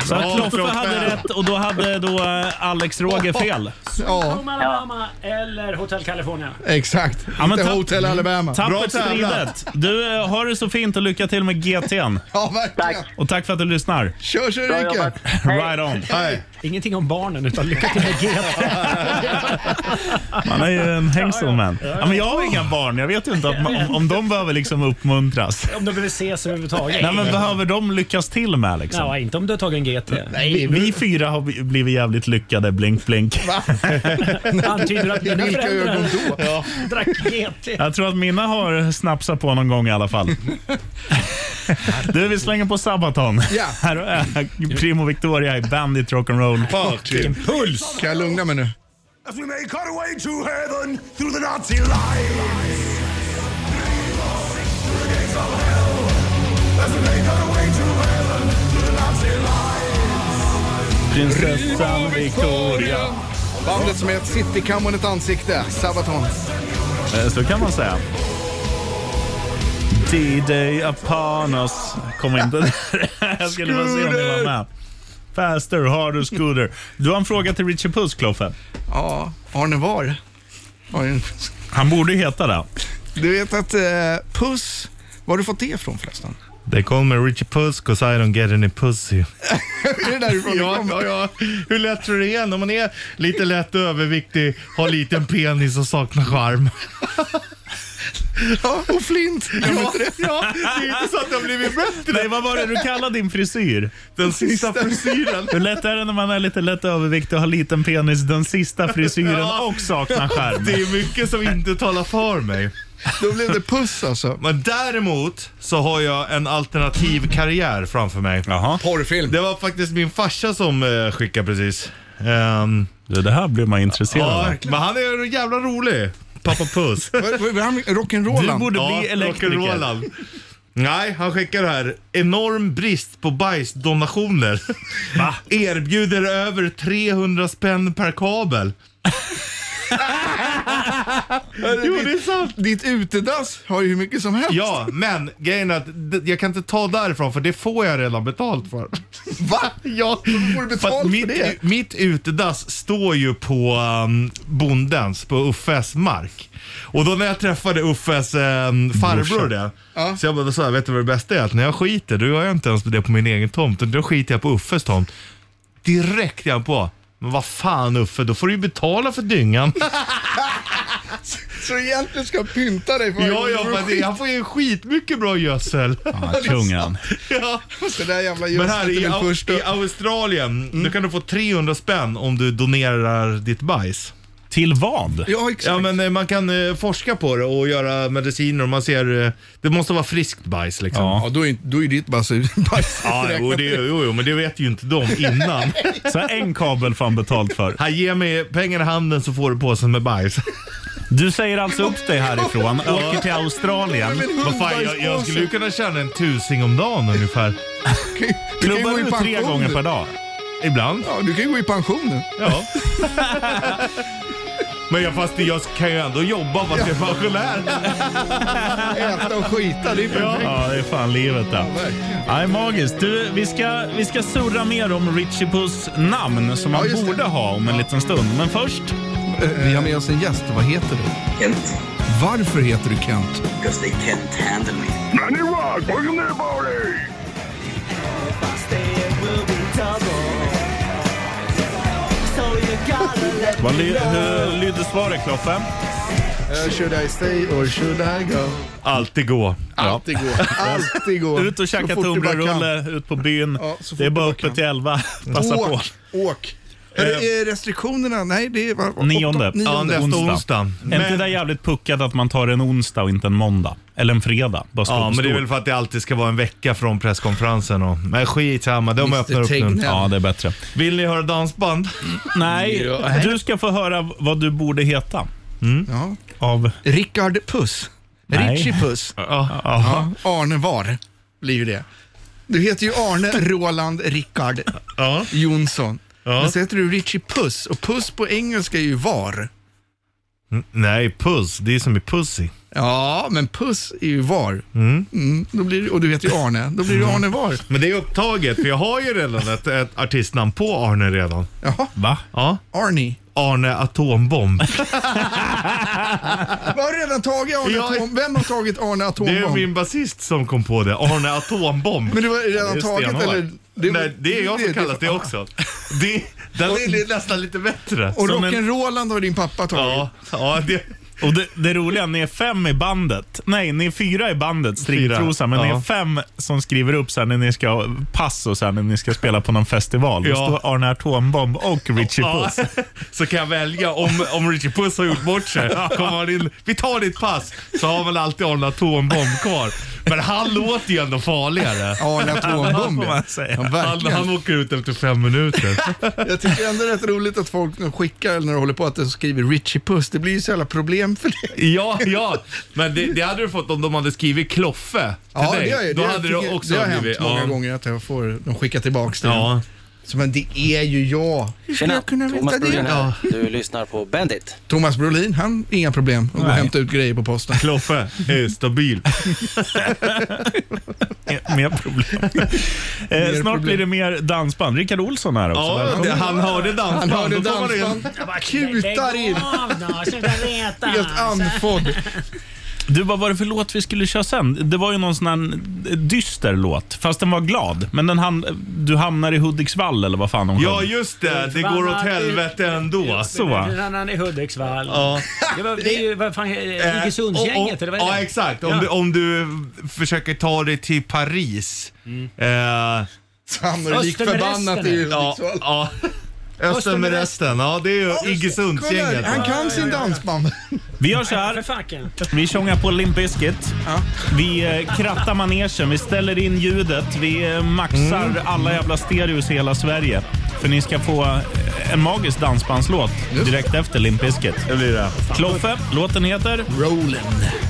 [SPEAKER 2] Så att Kloffe hade rätt och då hade då eh, Alex Roger fel.
[SPEAKER 11] Home Alabama eller Hotel California.
[SPEAKER 3] Exakt. Inte
[SPEAKER 2] tapp-
[SPEAKER 3] Hotel Alabama. Bra
[SPEAKER 2] Tappert
[SPEAKER 3] tävlat.
[SPEAKER 2] stridet. Du, eh, har det så fint och lycka till med GT'n.
[SPEAKER 3] Ja, verkligen. Tack.
[SPEAKER 2] Och tack för att du lyssnar.
[SPEAKER 3] Kör, kör, Bra Rickard. jobbat.
[SPEAKER 2] Right on.
[SPEAKER 11] Ingenting om barnen utan lycka till med GT.
[SPEAKER 2] Man är ju en hängsel man. Ja, men jag har inga barn. Jag vet ju inte att man, om, om de behöver liksom uppmuntras.
[SPEAKER 11] Om de behöver ses överhuvudtaget.
[SPEAKER 2] Nej, men behöver de lyckas till med liksom?
[SPEAKER 11] Ja, inte om du har tagit en GT.
[SPEAKER 2] vi, vi fyra har bl- blivit jävligt lyckade, blink blink.
[SPEAKER 11] Antyder att mina
[SPEAKER 3] Vilka
[SPEAKER 11] föräldrar
[SPEAKER 3] ögon då?
[SPEAKER 11] drack GT.
[SPEAKER 2] Jag tror att mina har snapsat på någon gång i alla fall. Du, vi slänger på Sabaton.
[SPEAKER 3] Ja.
[SPEAKER 2] Här är eh, Primo Victoria i Bandit Rock'n'Roll
[SPEAKER 3] Party.
[SPEAKER 2] Puls.
[SPEAKER 3] Kan jag lugna mig nu?
[SPEAKER 7] As we make our way to heaven through the Nazi lines. Through the gates of hell. As we make our way to heaven through the Nazi lines.
[SPEAKER 2] Prinsessan Victoria.
[SPEAKER 3] Bandet som är ett citycam och ett ansikte. Sabaton.
[SPEAKER 2] Eh, Så kan man säga. D-Day upon us. Kom inte där. Jag skulle bara se om ni var med. Faster, harder, scooter. Du har en fråga till Richard Puss, Kloffe.
[SPEAKER 3] Ja, Arne Var.
[SPEAKER 2] Han borde heta det.
[SPEAKER 3] Du vet att eh, Puss, var har du fått det ifrån förresten?
[SPEAKER 4] They call me Richie Puss 'cause I don't get any pussy.
[SPEAKER 3] är det därifrån det
[SPEAKER 4] ja, ja, ja. Hur lätt tror du det är när man är lite lätt överviktig, har liten penis och saknar charm?
[SPEAKER 3] Ja, och flint.
[SPEAKER 4] Ja, ja, det är inte så att det har blivit bättre.
[SPEAKER 2] Nej, vad var det du kallade din frisyr?
[SPEAKER 4] Den sista frisyren.
[SPEAKER 2] Hur lätt är det när man är lite lätt överviktig och har liten penis, den sista frisyren
[SPEAKER 4] Ja.
[SPEAKER 2] och saknar skärm?
[SPEAKER 4] Det är mycket som inte talar för mig.
[SPEAKER 3] Då blev det puss alltså.
[SPEAKER 4] Men däremot så har jag en alternativ karriär framför mig.
[SPEAKER 3] Porrfilm.
[SPEAKER 4] Det var faktiskt min farsa som eh, skickade precis. Ehm,
[SPEAKER 2] Det här blir man intresserad
[SPEAKER 4] ja,
[SPEAKER 2] av.
[SPEAKER 4] men han är jävla rolig. Pappa Puss.
[SPEAKER 3] Rock'n'rollan.
[SPEAKER 2] Du borde bli elektriker.
[SPEAKER 4] rock'n'rollan. Nej, han skickar det här. Enorm brist på bajsdonationer. Erbjuder över 300 spänn per kabel.
[SPEAKER 3] Jo, det är sant. Ditt utedass har ju hur mycket som helst.
[SPEAKER 4] Ja, men grejen är att d- jag kan inte ta därifrån för det får jag redan betalt för.
[SPEAKER 3] Va? Ja, då får du
[SPEAKER 4] För att
[SPEAKER 3] betalt för
[SPEAKER 4] mitt,
[SPEAKER 3] det.
[SPEAKER 4] mitt utedass står ju på um, bondens, på Uffes mark. Och då när jag träffade Uffes um, farbror
[SPEAKER 10] Brorsa.
[SPEAKER 4] det, så jag bara så här, vet du vad det bästa är? Att när jag skiter, då gör jag inte ens det på min egen tomt, utan då skiter jag på Uffes tomt. Direkt är han på. Men vad fan Uffe, då får du ju betala för dyngan.
[SPEAKER 3] Så egentligen ska jag pynta dig för
[SPEAKER 4] ja, ja, men det- han får ju skitmycket bra gödsel.
[SPEAKER 2] Ja, Kungen.
[SPEAKER 4] Ja.
[SPEAKER 3] Så där jävla
[SPEAKER 4] Men här
[SPEAKER 3] gödset
[SPEAKER 4] i,
[SPEAKER 3] är
[SPEAKER 4] Au-
[SPEAKER 3] den första.
[SPEAKER 4] i Australien, då kan du få 300 spänn om du donerar ditt bajs.
[SPEAKER 2] Till vad?
[SPEAKER 3] Ja, exakt.
[SPEAKER 4] Ja, men eh, man kan eh, forska på det och göra mediciner och man ser, eh, det måste vara friskt bajs liksom.
[SPEAKER 3] Ja, då är, då är ditt bajs bajs
[SPEAKER 4] Ja, jo, det, jo, jo, men det vet ju inte de innan.
[SPEAKER 2] Så en kabel får han betalt för.
[SPEAKER 4] Han ger mig pengar i handen så får du påsen med bajs.
[SPEAKER 2] Du säger alltså upp dig härifrån,
[SPEAKER 4] Ja.
[SPEAKER 2] åker till Australien.
[SPEAKER 4] Vad fan, jag, jag skulle ju kunna tjäna en tusing om dagen ungefär.
[SPEAKER 2] Klubbar du tre gånger per dag?
[SPEAKER 4] Ibland.
[SPEAKER 3] Ja, du kan ju gå i pension nu.
[SPEAKER 4] Ja. Men jag, fast jag kan ju ändå jobba fast jag är pensionär.
[SPEAKER 3] Äta och skita, det är perfekt.
[SPEAKER 2] Ja, det är fan livet det. Ja, det är magiskt. Du, vi ska, vi ska surra mer om Richie Puss namn som han borde ha om en liten stund. Men först...
[SPEAKER 3] Eh, Vi har med oss en gäst. Vad heter du? Kent. Varför heter du Kent?
[SPEAKER 7] Because they can't handle me. Nanny Rock, welcome to the party!
[SPEAKER 2] Vad ly, hur lyder svaret, Kloffe?
[SPEAKER 3] Eh, should I stay or should I go?
[SPEAKER 4] Alltid gå.
[SPEAKER 3] Alltid gå. Alltid gå.
[SPEAKER 2] Ut och käka
[SPEAKER 3] Så fort du bara kan.
[SPEAKER 2] tunnbrödsrulle, ut på byn.
[SPEAKER 3] Ja, så fort
[SPEAKER 2] det är
[SPEAKER 3] du
[SPEAKER 2] bara
[SPEAKER 3] bara
[SPEAKER 2] öppet
[SPEAKER 3] kan.
[SPEAKER 2] till elva. Passa
[SPEAKER 3] åk,
[SPEAKER 2] på.
[SPEAKER 3] Åk. Är det- är restriktionerna? Nej, det är... Var, var,
[SPEAKER 2] Nionde.
[SPEAKER 4] Ja, nästa onsdag.
[SPEAKER 2] Är inte det
[SPEAKER 4] Men-
[SPEAKER 2] där jävligt puckat att man tar en onsdag och inte en måndag? Eller en fredag? Bara stå
[SPEAKER 4] Ja,
[SPEAKER 2] på
[SPEAKER 4] men det är
[SPEAKER 2] stol.
[SPEAKER 4] väl för att det alltid ska vara en vecka från presskonferensen. Och, men skitsamma, de öppnar upp nu.
[SPEAKER 2] Ja, det är bättre.
[SPEAKER 4] Vill ni höra dansband?
[SPEAKER 2] Nej,
[SPEAKER 4] Ja.
[SPEAKER 2] du ska få höra vad du borde heta.
[SPEAKER 3] Ja.
[SPEAKER 2] Av...
[SPEAKER 3] Rickard Puss.
[SPEAKER 2] Nej.
[SPEAKER 3] Richie Puss. Ja. Arne Var blir ju det. Du heter ju Arne Roland Rickard Jonsson. Men så heter du Richie Puss och Puss på engelska är ju Var.
[SPEAKER 4] N- Nej, puss. Det är som i pussy.
[SPEAKER 3] Ja, men Puss är ju Var. Mm, då blir, det- och du heter ju Arne. Då blir du
[SPEAKER 2] Mm.
[SPEAKER 3] Arne Var.
[SPEAKER 4] Men det är upptaget, för jag har ju redan ett, ett artistnamn på Arne redan.
[SPEAKER 3] Jaha,
[SPEAKER 2] Va?
[SPEAKER 4] Ja.
[SPEAKER 3] Arnie.
[SPEAKER 4] Arne Atombomb.
[SPEAKER 3] Jag har redan tagit Arne
[SPEAKER 4] Ja.
[SPEAKER 3] Atom... Vem har tagit Arne
[SPEAKER 4] Det är
[SPEAKER 3] Atombomb?
[SPEAKER 4] min basist som kom på det. Arne Atombomb.
[SPEAKER 3] Men det var redan
[SPEAKER 4] Det är
[SPEAKER 3] taget
[SPEAKER 4] stenhårt.
[SPEAKER 3] eller? var-
[SPEAKER 4] Nej, det är jag som kallat det också. Det, den är nästan lite bättre.
[SPEAKER 3] Och
[SPEAKER 2] Som en-
[SPEAKER 3] Rock'n'Roland har din pappa tagit.
[SPEAKER 4] Ja, ja det,
[SPEAKER 2] Och det, det roliga, ni är fem i bandet. Nej, ni är fyra i bandet, stripptrosa, men ni är
[SPEAKER 4] ja.
[SPEAKER 2] fem som skriver upp sen när ni ska ha pass och sen när ni ska spela på någon festival. Då
[SPEAKER 4] Ja.
[SPEAKER 2] står Arne Atombomb och Richie Puss.
[SPEAKER 4] Ja, så kan jag välja om, om Richie Puss har gjort bort sig. Kommer han in, vi tar ditt pass, så har väl alltid Arne Atombomb kvar. Men han låter ju ändå farligare.
[SPEAKER 3] Arne Atombomb.
[SPEAKER 2] Får man säga.
[SPEAKER 3] Ja,
[SPEAKER 4] Han,
[SPEAKER 3] verkligen.
[SPEAKER 4] han åker ut efter fem minuter.
[SPEAKER 3] Jag tycker ändå det är rätt roligt att folk nu skickar, eller när de håller på, att de skriver Richie Puss. Det blir ju så jävla problem för dig.
[SPEAKER 4] Ja, ja. Men det, det hade du fått om de hade skrivit Kloffe till
[SPEAKER 3] Ja,
[SPEAKER 4] dig.
[SPEAKER 3] det, har jag-
[SPEAKER 4] Då
[SPEAKER 3] det,
[SPEAKER 4] hade
[SPEAKER 3] tycker-
[SPEAKER 4] du också
[SPEAKER 3] det har hänt
[SPEAKER 4] blivit-
[SPEAKER 3] många
[SPEAKER 4] ja.
[SPEAKER 3] gånger att jag får, de skickar tillbaka det.
[SPEAKER 4] Ja.
[SPEAKER 3] Så, men det är ju jag. Hur skulle jag kunna veta det? Ja.
[SPEAKER 13] Du lyssnar på Bandit.
[SPEAKER 3] Thomas Brolin, han, inga problem att gå och hämta ut grejer på posten.
[SPEAKER 4] Kloffe är stabil.
[SPEAKER 2] Mer problem. Eh,
[SPEAKER 4] Mer
[SPEAKER 2] snart
[SPEAKER 4] problem.
[SPEAKER 2] blir det mer dansband. Rickard Olsson här också.
[SPEAKER 4] Ja,
[SPEAKER 2] Välkommen.
[SPEAKER 4] det- han hörde dansband.
[SPEAKER 2] Han hörde
[SPEAKER 4] Då får man
[SPEAKER 2] dansband.
[SPEAKER 4] en-
[SPEAKER 3] Kutar in. Helt andfådd.
[SPEAKER 2] Du, vad var det för låt vi skulle köra sen? Det var ju någon sån här eh, dyster låt, fast den var glad. Men den han, eh, du hamnar i Hudiksvall eller vad fan de
[SPEAKER 4] Ja,
[SPEAKER 2] sjöng.
[SPEAKER 4] just det. Det går åt helvete ändå.
[SPEAKER 2] Så. va?
[SPEAKER 11] En annan i Hudiksvall.
[SPEAKER 4] Ja.
[SPEAKER 11] Det, var, det är ju vad fan, eh,
[SPEAKER 4] Eh,
[SPEAKER 11] Iggesundsgänget
[SPEAKER 4] och-
[SPEAKER 11] eller
[SPEAKER 4] och-
[SPEAKER 11] vad är det?
[SPEAKER 4] Ja, exakt. Om,
[SPEAKER 11] Ja.
[SPEAKER 4] Du, om du försöker ta dig till Paris.
[SPEAKER 11] Mm.
[SPEAKER 4] Eh,
[SPEAKER 3] Så hamnar du lik Öster med förbannat resten, i eller?
[SPEAKER 4] Ja,
[SPEAKER 3] Hudiksvall.
[SPEAKER 4] ja. Öster med resten. Ja, det är ju Iggesundsgänget.
[SPEAKER 3] Kolla, Han kan sin dansband.
[SPEAKER 2] Vi gör så
[SPEAKER 11] För
[SPEAKER 2] här.
[SPEAKER 11] facken.
[SPEAKER 2] Vi tjongar på Limp Bizkit. Vi eh, krattar manegen, vi ställer in ljudet, vi eh, maxar alla jävla stereos i hela Sverige. För ni ska få eh, en magisk dansbandslåt direkt efter Limp Bizkit. Det blir det. Kloffe, låten heter? Rollin'.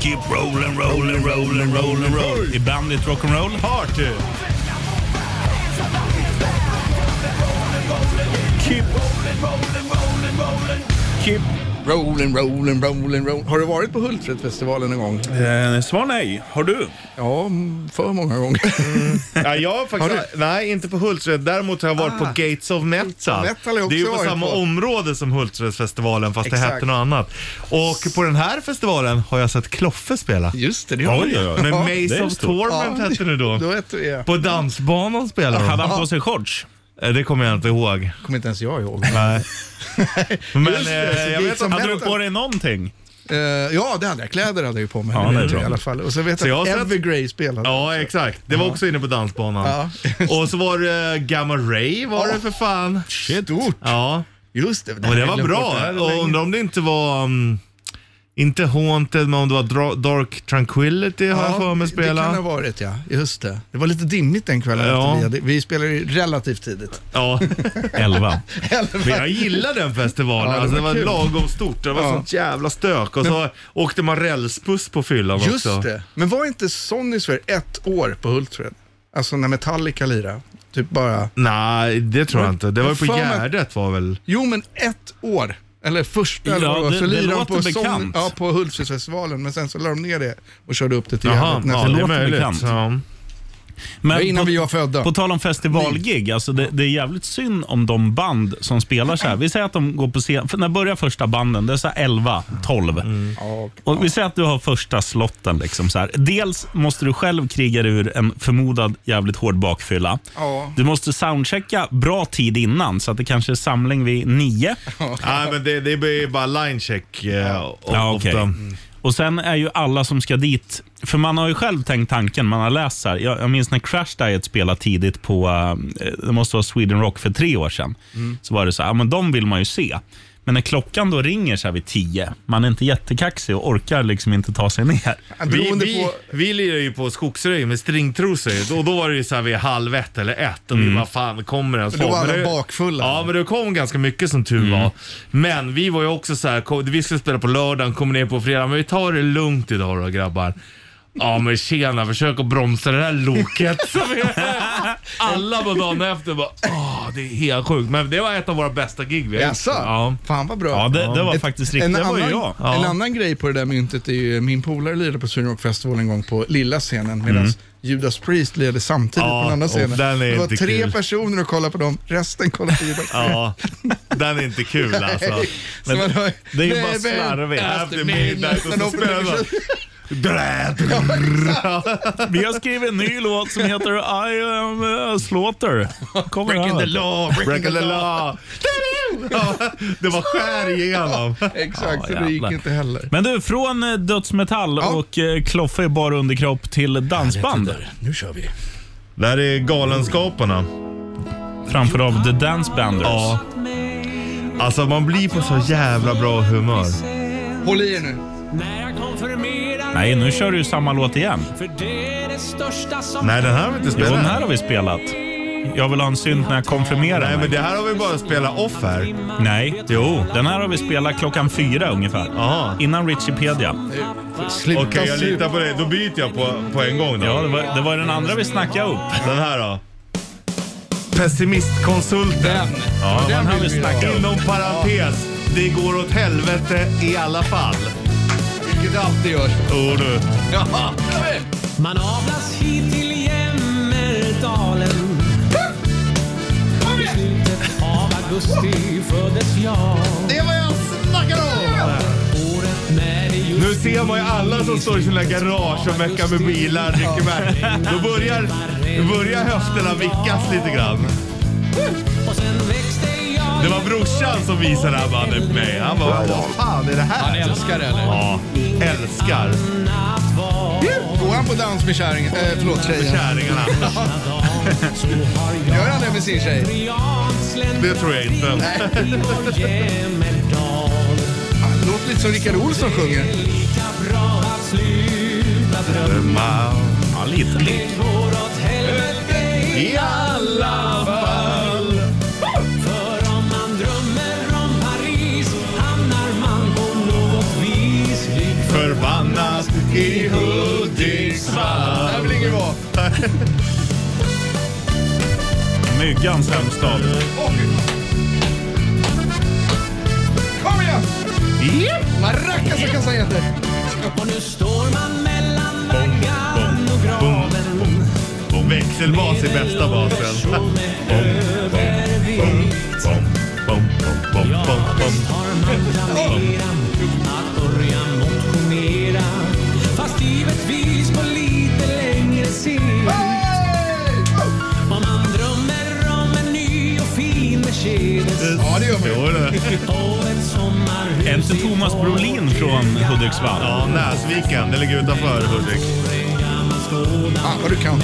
[SPEAKER 2] Keep rollin', rollin', rollin', rollin', roll. I Bandit Rock'n'Roll. Party! Keep Keep
[SPEAKER 3] rolling, rolling, rolling, rolling. Har du varit på Hultsfredsfestivalen en gång?
[SPEAKER 2] Eh, svar nej. Har du?
[SPEAKER 3] Ja, mm, för många gånger.
[SPEAKER 4] Ja, jag har faktiskt,
[SPEAKER 3] Har
[SPEAKER 4] nej, inte på Hultsfred. Däremot har jag varit på
[SPEAKER 3] Ah.
[SPEAKER 4] Gates of Metal.
[SPEAKER 3] Metal har jag
[SPEAKER 4] det är ju
[SPEAKER 3] också
[SPEAKER 4] på
[SPEAKER 3] varit
[SPEAKER 4] samma
[SPEAKER 3] på.
[SPEAKER 4] område som Hultsfredsfestivalen fast det
[SPEAKER 3] Exakt.
[SPEAKER 4] hette något annat. Och på den här festivalen har jag sett Kloffe spela.
[SPEAKER 3] Just det, det
[SPEAKER 4] har
[SPEAKER 3] har jag.
[SPEAKER 4] jag. Med
[SPEAKER 3] Ja, det
[SPEAKER 4] Maze
[SPEAKER 3] är
[SPEAKER 4] of
[SPEAKER 3] stort.
[SPEAKER 4] Torment
[SPEAKER 3] Ja.
[SPEAKER 4] hette det då.
[SPEAKER 3] Då hette det.
[SPEAKER 4] På dansbanan spelade
[SPEAKER 2] Hade han på sig shorts?
[SPEAKER 4] Eh, Det kommer jag inte ihåg.
[SPEAKER 3] kommer inte ens jag ihåg.
[SPEAKER 4] Nej. Men eh, jag vet
[SPEAKER 2] Hade
[SPEAKER 4] inte.
[SPEAKER 2] du på dig någonting?
[SPEAKER 3] Eh, ja, det hade jag. Kläder hade jag ju på mig.
[SPEAKER 2] Ja, det är bra.
[SPEAKER 3] i alla fall. Och så vet
[SPEAKER 4] Så jag
[SPEAKER 3] jag
[SPEAKER 4] har
[SPEAKER 3] att
[SPEAKER 4] sett-
[SPEAKER 3] Evergrey spelade.
[SPEAKER 4] Ja, exakt. Det var också inne på dansbanan. Och så var det eh, Gamma Ray var det för fan.
[SPEAKER 3] Shit. Stort.
[SPEAKER 4] Ja.
[SPEAKER 3] Just det.
[SPEAKER 4] Och det var
[SPEAKER 3] Jag glömde bort det
[SPEAKER 4] bra.
[SPEAKER 3] här
[SPEAKER 4] Och
[SPEAKER 3] länge.
[SPEAKER 4] undrar om det inte var, um, inte Haunted, men om det var Dra- Dark Tranquility har jag för mig spela.
[SPEAKER 3] Det kan ha varit ja, just det. Det var lite dimmigt den kvällen.
[SPEAKER 4] Ja.
[SPEAKER 3] efter Vi, hade, vi spelade ju relativt tidigt.
[SPEAKER 4] Ja, elva. Men jag gillar den festivalen.
[SPEAKER 3] Ja, det
[SPEAKER 4] det alltså, det
[SPEAKER 3] var
[SPEAKER 4] var
[SPEAKER 3] kul.
[SPEAKER 4] lagom stort. Det var
[SPEAKER 3] Ja.
[SPEAKER 4] sånt jävla stök. Och så åkte man rälsbuss på fyllan
[SPEAKER 3] Just
[SPEAKER 4] också.
[SPEAKER 3] det. Men var inte Sonny Sverige ett år på Hultsfred? Alltså när Metallica lirade. Typ bara...
[SPEAKER 4] Nej, det tror jag inte. Det var ju på
[SPEAKER 3] Fan, men-
[SPEAKER 4] Gärdet var väl?
[SPEAKER 3] Jo, men ett år. Eller första
[SPEAKER 4] Ja,
[SPEAKER 3] eller vad var,
[SPEAKER 4] det-
[SPEAKER 3] så
[SPEAKER 4] det
[SPEAKER 3] lirade de
[SPEAKER 4] låter
[SPEAKER 3] på,
[SPEAKER 4] bekant.
[SPEAKER 3] ja, på Hultsfredsfestivalen. Men sen så la de ner det och körde upp det till
[SPEAKER 2] Jaha,
[SPEAKER 3] Gärdet
[SPEAKER 2] ja,
[SPEAKER 3] nästa
[SPEAKER 2] det
[SPEAKER 3] år.
[SPEAKER 2] låter Det låter bekant. bekant.
[SPEAKER 3] Det var innan vi var födda.
[SPEAKER 2] På tal om festivalgig, alltså det, det är jävligt synd om de band som spelar så här. Vi säger att de går på scen, för när börjar första banden? Det är så här 11, 12. Och vi säger att du har första slotten. Liksom så här. Dels måste du själv kriga dig ur en förmodad jävligt hård bakfylla.
[SPEAKER 3] Ja.
[SPEAKER 2] Du måste soundchecka bra tid innan, så att det kanske är samling vid nio.
[SPEAKER 4] Nej, men det, det blir bara linecheck eh, o-
[SPEAKER 2] Ja, okej.
[SPEAKER 4] ofta. Mm.
[SPEAKER 2] Och sen är ju alla som ska dit, för man har ju själv tänkt tanken, man har läst så här. Jag, jag minns när Crash Diet spelade tidigt på, eh, det måste vara Sweden Rock för tre år sedan.
[SPEAKER 4] Mm.
[SPEAKER 2] Så var det så här, ja, men de vill man ju se. Men när klockan då ringer så här vid tio, man är inte jättekaxig och orkar liksom inte ta sig ner.
[SPEAKER 4] Vi, vi, vi lirade ju på Skogsröj med stringtrosor och då var det ju såhär vid halv ett eller ett och vi
[SPEAKER 2] Mm.
[SPEAKER 4] bara fan kommer ens
[SPEAKER 3] Då var
[SPEAKER 4] Men
[SPEAKER 3] alla
[SPEAKER 4] det-
[SPEAKER 3] bakfulla.
[SPEAKER 4] Ja men det kom ganska mycket som tur var. Men vi var ju också så här, kom, vi skulle spela på lördagen, kommer ner på fredag men vi tar det lugnt idag då grabbar. Ja men tjena, försök att bromsa det här loket. som är här. Alla på dagen efter bara, åh det är helt sjukt. Men det var ett av våra bästa gig vi har gjort.
[SPEAKER 3] Jaså? Fan vad bra.
[SPEAKER 2] Ja, det, det var
[SPEAKER 3] Ett-
[SPEAKER 2] faktiskt riktigt,
[SPEAKER 3] en
[SPEAKER 2] det var ju
[SPEAKER 3] annan,
[SPEAKER 2] jag.
[SPEAKER 3] En annan grej på det där myntet är ju, min polare lirade på Sweden Rock Festival en gång på lilla scenen medan
[SPEAKER 4] Mm.
[SPEAKER 3] Judas Priest lirade samtidigt
[SPEAKER 4] Ja,
[SPEAKER 3] på den andra
[SPEAKER 4] och
[SPEAKER 3] scenen.
[SPEAKER 4] den är
[SPEAKER 3] det var
[SPEAKER 4] inte
[SPEAKER 3] tre
[SPEAKER 4] kul.
[SPEAKER 3] personer och kollade på dem, resten kollade på Judas
[SPEAKER 4] Ja, den är inte kul alltså.
[SPEAKER 3] Nej, så man hör-
[SPEAKER 4] det är ju bara
[SPEAKER 3] Baby,
[SPEAKER 4] slarvigt.
[SPEAKER 3] after midnight,
[SPEAKER 4] och så
[SPEAKER 3] open
[SPEAKER 4] spelar man.
[SPEAKER 2] Vi har skrivit en ny låt som heter I am a slaughter. Kommer
[SPEAKER 4] Breaking
[SPEAKER 2] här.
[SPEAKER 4] the law, breaking the law. Ja, det var skär igenom.
[SPEAKER 3] Exakt, så
[SPEAKER 2] Ja,
[SPEAKER 3] det gick
[SPEAKER 2] jävlar.
[SPEAKER 3] inte heller.
[SPEAKER 2] Men du, från eh, dödsmetall och eh, kloffa i bara underkropp till dansband.
[SPEAKER 3] Nu kör vi.
[SPEAKER 4] Där är Galenskaparna.
[SPEAKER 2] Framför av The Dance Banders.
[SPEAKER 4] Ja. Alltså man blir på så jävla bra humör.
[SPEAKER 3] Håll i er nu.
[SPEAKER 2] Nej, nu kör du ju samma låt igen.
[SPEAKER 4] Nej, den här har vi inte spelat.
[SPEAKER 2] Jo, den här har vi spelat. Jag vill ha en synt när jag konfirmerar
[SPEAKER 4] Nej
[SPEAKER 2] mig.
[SPEAKER 4] men det här har vi bara spelat off här.
[SPEAKER 2] Nej.
[SPEAKER 4] Jo.
[SPEAKER 2] Den här har vi spelat klockan fyra ungefär. Innan Richipedia.
[SPEAKER 4] Okej, jag litar på dig. Då byter jag på, på en gång då.
[SPEAKER 2] Ja, det var, det var den andra vi snackade upp.
[SPEAKER 4] Den här då? Pessimistkonsulten. Den. Ja,
[SPEAKER 2] den vill vi ha.
[SPEAKER 4] Inom parentes, det går åt helvete i alla fall.
[SPEAKER 3] Vilket det alltid gör.
[SPEAKER 4] Jo du.
[SPEAKER 3] Ja.
[SPEAKER 7] Man avlas hit till Jämmerdalen föddes jag.
[SPEAKER 3] Det var jag snackar om!
[SPEAKER 4] Nu ser man ju alla som står i sina garage och meckar med bilar, dricker bärs. Då börjar, då börjar höfterna vickas lite grann.
[SPEAKER 7] Och sen växte jag
[SPEAKER 4] Det var brorsan som visade det här bandet för mig. Han bara, vad fan är det här?
[SPEAKER 3] Han älskar det, eller?
[SPEAKER 4] Ja, älskar.
[SPEAKER 3] Går han på dans med kärringen? Eh, förlåt, tjejen.
[SPEAKER 4] Kärringarna.
[SPEAKER 3] Gör han det med sin tjej?
[SPEAKER 4] Det tror jag inte.
[SPEAKER 3] Han låter lite som Rickard Olsson sjunger.
[SPEAKER 4] Ja, lite.
[SPEAKER 7] I alla fall. För om man drömmer om Paris hamnar man på något vis lyckligt
[SPEAKER 4] Förbannat
[SPEAKER 7] i Hudiksvall.
[SPEAKER 3] Det här vill ingen vara.
[SPEAKER 2] Myggans hemstad.
[SPEAKER 3] Kom igen! Maracasacassan heter
[SPEAKER 7] Och nu står man mellan vaggan och graven.
[SPEAKER 4] Växelbas är bästa basen. Bom, bom, bom, bom, bom, bom,
[SPEAKER 7] Har
[SPEAKER 4] bom.
[SPEAKER 7] man planerat att börja motionera. Fast givetvis på lite längre sikt. Om man drömmer om en ny och fin Mercedes.
[SPEAKER 3] Ja, det gör man
[SPEAKER 4] Jo, det.
[SPEAKER 7] Och ett sommarhus
[SPEAKER 2] Är inte Thomas Brolin från Hudiksvall?
[SPEAKER 4] Ja, Näsviken. Det ligger utanför Hudik.
[SPEAKER 3] Fan vad du kan.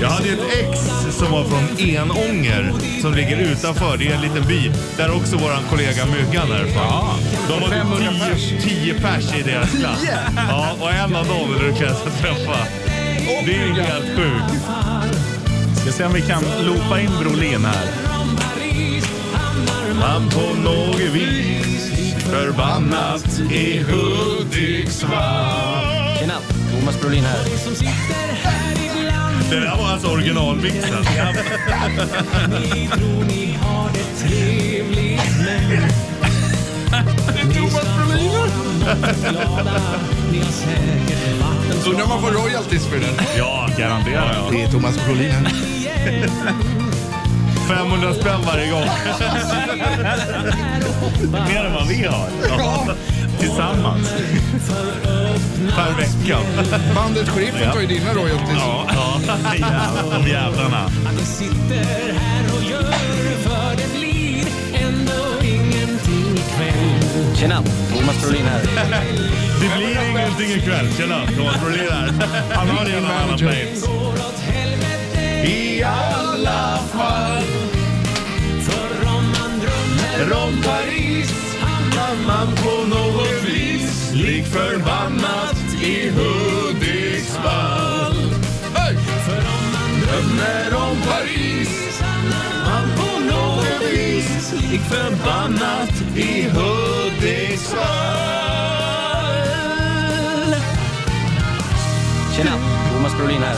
[SPEAKER 4] Jag hade ju ett ex som var från Enånger som ligger utanför. Det är en liten by. Där också våran kollega Myggan är från. De var
[SPEAKER 5] 500
[SPEAKER 4] 10, 10 pers i deras klass. Ja, och en av dem lyckades jag träffa. Det är ju helt sjukt.
[SPEAKER 2] Ska se om vi kan loopa in Brolin här.
[SPEAKER 4] Man på något vis förbannat i Hudiksvall.
[SPEAKER 13] Tjena, Thomas Brolin här.
[SPEAKER 7] som sitter här ibland.
[SPEAKER 4] Det där var alltså originalmixen.
[SPEAKER 7] Ni tror ni har det trevligt men ni ska vara något glada. Ni har säkert vatten
[SPEAKER 3] Undrar om man får royalties för den.
[SPEAKER 4] Ja, garanterar jag.
[SPEAKER 3] Det är Thomas Brolin.
[SPEAKER 4] 500 spänn varje gång.
[SPEAKER 2] Mer än vad vi har.
[SPEAKER 3] Ja.
[SPEAKER 2] Tillsammans.
[SPEAKER 4] Per vecka.
[SPEAKER 3] Bandet Sheriffen tar ju dina royalties.
[SPEAKER 2] Ja, jävlar, de jävlarna.
[SPEAKER 7] att ni sitter här och gör för det blir ändå ingenting ikväll.
[SPEAKER 13] Tjena, Thomas Brolin här.
[SPEAKER 4] Det blir ingenting ikväll. Tjena, Thomas Brolin här. Han har redan alla play.
[SPEAKER 7] Går åt helvete
[SPEAKER 4] I alla fall
[SPEAKER 7] för om man drömmer
[SPEAKER 4] om
[SPEAKER 7] Paris hamnar man
[SPEAKER 4] på något vis lik förbannat i Hudiksvall.
[SPEAKER 3] Hej!
[SPEAKER 7] För om man
[SPEAKER 4] Drömmer om
[SPEAKER 7] Paris hamnar man på något vis lik förbannat
[SPEAKER 4] i Hudiksvall.
[SPEAKER 13] Tjena, Thomas Brolin här.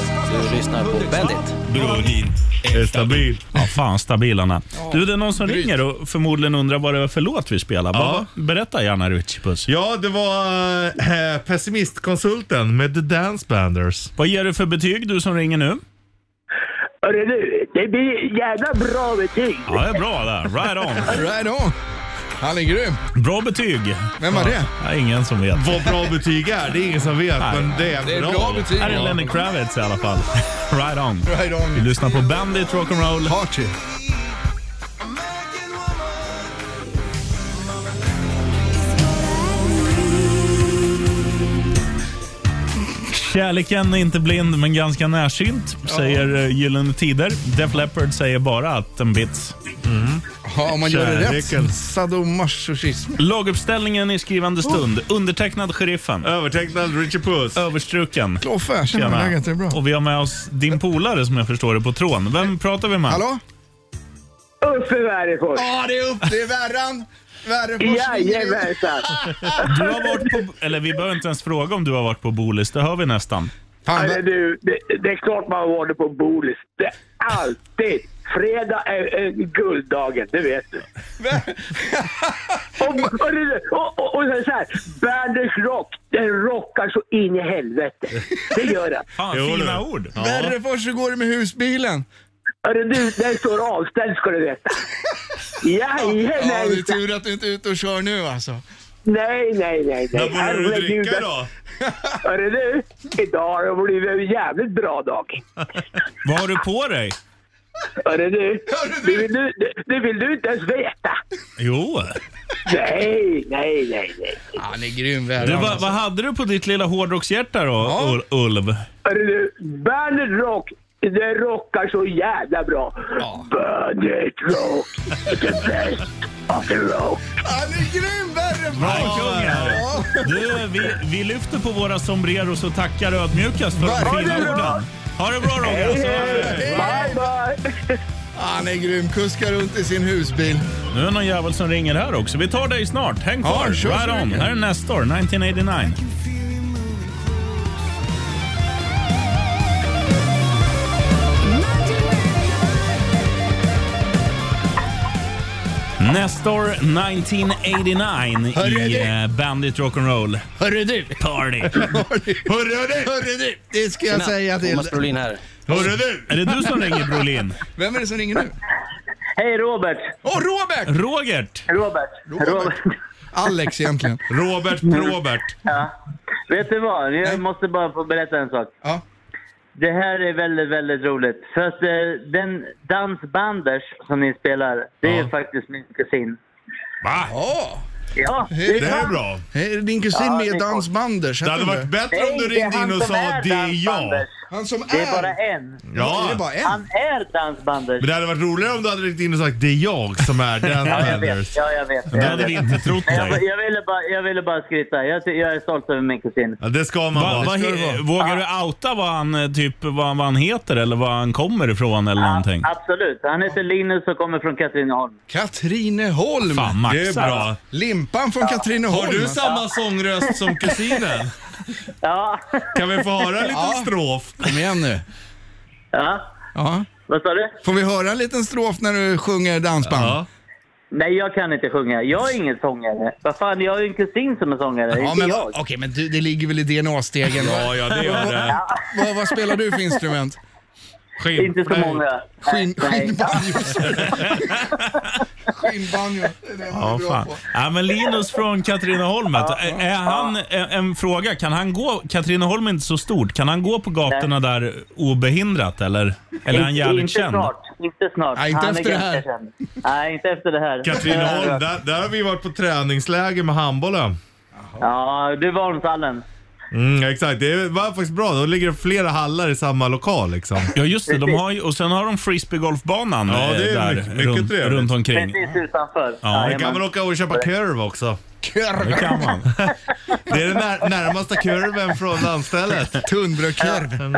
[SPEAKER 13] Du lyssnar på Bandit.
[SPEAKER 4] Brolin är stabil.
[SPEAKER 2] Ja, fan stabilarna. Du, det är någon som ringer och förmodligen undrar vad det var för låt vi spelar. Bara- Berätta gärna Richie Puss.
[SPEAKER 4] Ja, det var eh, pessimistkonsulten med The Dance Banders.
[SPEAKER 2] Vad ger du för betyg du som ringer nu?
[SPEAKER 8] Hörru du, det blir jävla bra betyg.
[SPEAKER 2] Ja, det är bra där. Right on.
[SPEAKER 3] Right on. Han är grym.
[SPEAKER 2] Bra betyg.
[SPEAKER 3] Vem var det?
[SPEAKER 2] Ja, ingen som vet.
[SPEAKER 4] Vad bra betyg är, det är ingen som vet,
[SPEAKER 2] Nej.
[SPEAKER 4] men det är,
[SPEAKER 3] Det är bra betyg.
[SPEAKER 2] Här är Lenny Kravitz i alla fall. Right on.
[SPEAKER 3] Right
[SPEAKER 2] Vi
[SPEAKER 3] on.
[SPEAKER 2] lyssnar på Bandit Rock'n'Roll.
[SPEAKER 3] Party.
[SPEAKER 2] Kärleken är inte blind men ganska närsynt, säger eh, Gyllene Tider. Def Leppard säger bara att den bits.
[SPEAKER 3] Ja, om man gör det
[SPEAKER 4] Kärleken.
[SPEAKER 3] rätt. Sadomasochism.
[SPEAKER 2] Laguppställningen i skrivande
[SPEAKER 3] Oh.
[SPEAKER 2] stund. Undertecknad Sheriffen.
[SPEAKER 4] Övertecknad Richie Puss.
[SPEAKER 2] Överstruken.
[SPEAKER 3] Kloffe, känner du
[SPEAKER 2] Tjena.
[SPEAKER 3] läget? Det är bra.
[SPEAKER 2] Och vi har med oss din polare som jag förstår det på tråden. Vem pratar vi med?
[SPEAKER 3] Hallå?
[SPEAKER 8] Uffe Värrefors.
[SPEAKER 3] Ja, det är upp. Det är Värran. Värrefors.
[SPEAKER 8] Jajamensan.
[SPEAKER 2] Du har varit på, eller vi behöver inte ens fråga om du har varit på Bolis, det hör vi nästan.
[SPEAKER 3] Fan,
[SPEAKER 8] Hörru
[SPEAKER 3] vad-
[SPEAKER 8] du, det, det är klart man har varit på Bolis. Det är alltid. Fredag är, är gulddagen, det vet du. Och, och, och, och, och så här, Banders rock, den rockar så in i helvete. Det gör den.
[SPEAKER 2] Fan,
[SPEAKER 4] Jo,
[SPEAKER 2] fina
[SPEAKER 4] du.
[SPEAKER 2] ord.
[SPEAKER 3] Värrefors, hur går det med husbilen?
[SPEAKER 8] Hörru du, den står avställd ska du veta. Jajamensan.
[SPEAKER 3] Ja, det är tur att du inte är ute och kör nu alltså.
[SPEAKER 8] Nej, nej, nej. nej.
[SPEAKER 3] När började du
[SPEAKER 8] Herregud.
[SPEAKER 3] dricka då?
[SPEAKER 8] Hörru du, idag har det blivit en jävligt bra dag.
[SPEAKER 2] Vad har du på dig?
[SPEAKER 8] Hörru du, det vill du, det, det vill du inte ens veta.
[SPEAKER 2] Jo.
[SPEAKER 8] Nej, nej, nej, nej.
[SPEAKER 3] Han är grym
[SPEAKER 2] Du, vad, vad hade du på ditt lilla hårdrockshjärta då, Ul- Ulv?
[SPEAKER 8] Hörru du, Bandit Rock, det rockar så jävla bra. Bandit Rock, the best of the rock.
[SPEAKER 3] Han är grym värre
[SPEAKER 2] Bra kungar! Du, vi, vi lyfter på våra sombreros och tackar ödmjukast för de
[SPEAKER 3] Verkligen.
[SPEAKER 2] fina
[SPEAKER 3] Ha det bra.
[SPEAKER 2] orden. Ha det bra Roger!
[SPEAKER 3] Hej,
[SPEAKER 2] Så
[SPEAKER 3] hej.
[SPEAKER 2] hörs vi.
[SPEAKER 8] Alltså,
[SPEAKER 3] bye. Han är grym. Kuskar runt i sin husbil.
[SPEAKER 2] Nu är det någon jävel som ringer här också. Vi tar dig snart. Häng
[SPEAKER 3] Ja,
[SPEAKER 2] kvar.
[SPEAKER 3] kör så
[SPEAKER 2] right on.
[SPEAKER 3] länge.
[SPEAKER 2] Här är Nestor, 1989. Nestor 1989 i eh, Bandit Rock'n'Roll.
[SPEAKER 3] Hörru du!
[SPEAKER 2] Party.
[SPEAKER 3] Hörru du! Hörru du! Det ska jag
[SPEAKER 2] Tjena,
[SPEAKER 3] säga till
[SPEAKER 2] Thomas Brolin
[SPEAKER 13] här.
[SPEAKER 2] Hörru du! Är det du som ringer, Brolin?
[SPEAKER 3] Vem är det som ringer nu?
[SPEAKER 12] Hej Robert!
[SPEAKER 3] Åh, Robert!
[SPEAKER 2] Robert!
[SPEAKER 12] Robert!
[SPEAKER 3] Robert. Alex egentligen.
[SPEAKER 4] Robert
[SPEAKER 12] Mm.
[SPEAKER 4] Robert.
[SPEAKER 12] Ja. Vet du vad? Jag måste bara få berätta en sak.
[SPEAKER 3] Ja.
[SPEAKER 12] Det här är väldigt, väldigt roligt. För att eh, den dansbanders som ni spelar, det är faktiskt min kusin.
[SPEAKER 2] Va?
[SPEAKER 3] Ja!
[SPEAKER 12] Ja, det är, sant.
[SPEAKER 3] Hej, Din kusin
[SPEAKER 12] Ja, det
[SPEAKER 3] med
[SPEAKER 12] är
[SPEAKER 3] dansbanders.
[SPEAKER 12] Det
[SPEAKER 3] hette
[SPEAKER 12] hade
[SPEAKER 3] hon
[SPEAKER 12] varit bättre om du Nej, det är ringde han in och som sa, är "Det är jag." dansbanders.
[SPEAKER 3] Han som är.
[SPEAKER 12] Det är bara en.
[SPEAKER 4] Ja. Är det bara en?
[SPEAKER 12] Han är dansbanders.
[SPEAKER 4] Men det hade varit roligare om du hade ringt in och sagt det är jag som är den
[SPEAKER 12] Ja, jag
[SPEAKER 4] Anders."
[SPEAKER 12] vet. Ja, jag vet.
[SPEAKER 4] Men det
[SPEAKER 12] Jag
[SPEAKER 4] hade
[SPEAKER 12] vet.
[SPEAKER 4] vi inte trott
[SPEAKER 12] Men jag,
[SPEAKER 4] dig.
[SPEAKER 12] jag, ville bara, jag ville bara skryta. Jag, ty- jag är stolt över min kusin.
[SPEAKER 4] Ja, det ska man
[SPEAKER 2] Va,
[SPEAKER 4] vara.
[SPEAKER 2] vad
[SPEAKER 4] Det ska
[SPEAKER 2] he-
[SPEAKER 4] det vara.
[SPEAKER 2] vågar du outa vad han, eh, typ, vad, han- vad han heter eller var han kommer ifrån eller någonting?
[SPEAKER 12] Absolut. Han heter Linus och kommer från Katrineholm.
[SPEAKER 3] Katrineholm.
[SPEAKER 2] Fan, Max,
[SPEAKER 3] Det är bra.
[SPEAKER 2] alltså.
[SPEAKER 3] Limpan från Katrineholm.
[SPEAKER 4] Har du samma sångröst som kusinen?
[SPEAKER 12] Ja.
[SPEAKER 4] Kan vi få höra en liten
[SPEAKER 3] Ja.
[SPEAKER 4] strof?
[SPEAKER 3] Kom igen nu.
[SPEAKER 12] Ja.
[SPEAKER 3] Ja.
[SPEAKER 12] Vad sa du?
[SPEAKER 3] Får vi höra en liten strof när du sjunger dansband? Ja.
[SPEAKER 12] Nej, jag kan inte sjunga. Jag är ingen sångare. Vad fan, jag har ju en kusin som är sångare. Det är
[SPEAKER 3] Ja,
[SPEAKER 12] inte
[SPEAKER 3] men,
[SPEAKER 12] jag.
[SPEAKER 3] okej, men du, det ligger väl i DNA-stegen?
[SPEAKER 4] Ja, ja, det gör det.
[SPEAKER 3] Vad- Vad, vad spelar du för instrument?
[SPEAKER 4] Skinn.
[SPEAKER 12] Inte så många.
[SPEAKER 3] Skinn,
[SPEAKER 12] Nej.
[SPEAKER 3] skinnbanjo. skinnbanjo. Det är han
[SPEAKER 2] Ja,
[SPEAKER 3] bra
[SPEAKER 2] fan.
[SPEAKER 3] på.
[SPEAKER 2] Ja, men Linus från Katrineholm. vet du. Är är han, en, en fråga, kan han gå, Katrineholm är inte så stort, kan han gå på gatorna där obehindrat eller, eller är han
[SPEAKER 12] Inte-
[SPEAKER 2] jävligt
[SPEAKER 12] inte
[SPEAKER 2] känd?
[SPEAKER 12] Snart. Inte snart.
[SPEAKER 4] Nej, inte
[SPEAKER 12] Han är
[SPEAKER 4] efter det
[SPEAKER 12] ganska
[SPEAKER 4] här.
[SPEAKER 12] känd. Nej, inte efter det här.
[SPEAKER 4] Katrineholm, där, där har vi varit på träningsläger med handbollen.
[SPEAKER 12] Ja, du var Holmshallen.
[SPEAKER 4] Mm, exakt, det var faktiskt bra. Då ligger det flera hallar i samma lokal liksom.
[SPEAKER 2] Ja just det, de har ju, och sen har de frisbeegolfbanan
[SPEAKER 4] Ja, det är
[SPEAKER 2] eh, där
[SPEAKER 4] mycket- mycket
[SPEAKER 2] runt,
[SPEAKER 4] trevligt.
[SPEAKER 2] runt omkring.
[SPEAKER 12] Precis utanför.
[SPEAKER 2] Ja,
[SPEAKER 4] Vi kan väl åka och köpa kurv också.
[SPEAKER 3] Kurv.
[SPEAKER 2] Det kan man.
[SPEAKER 4] Det är den när, närmaste kurven från landstället.
[SPEAKER 3] Tunnbrödskurv.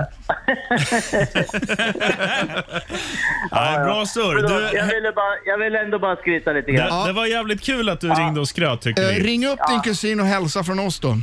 [SPEAKER 2] Nej, bra surr.
[SPEAKER 12] Förlåt,
[SPEAKER 2] Du,
[SPEAKER 12] Jag, ville bara, jag ville ändå bara skryta lite
[SPEAKER 2] det,
[SPEAKER 12] grann.
[SPEAKER 2] det var jävligt kul att du ringde och skröt tycker
[SPEAKER 3] Eh,
[SPEAKER 2] vi.
[SPEAKER 3] ring upp din kusin och hälsa från oss då.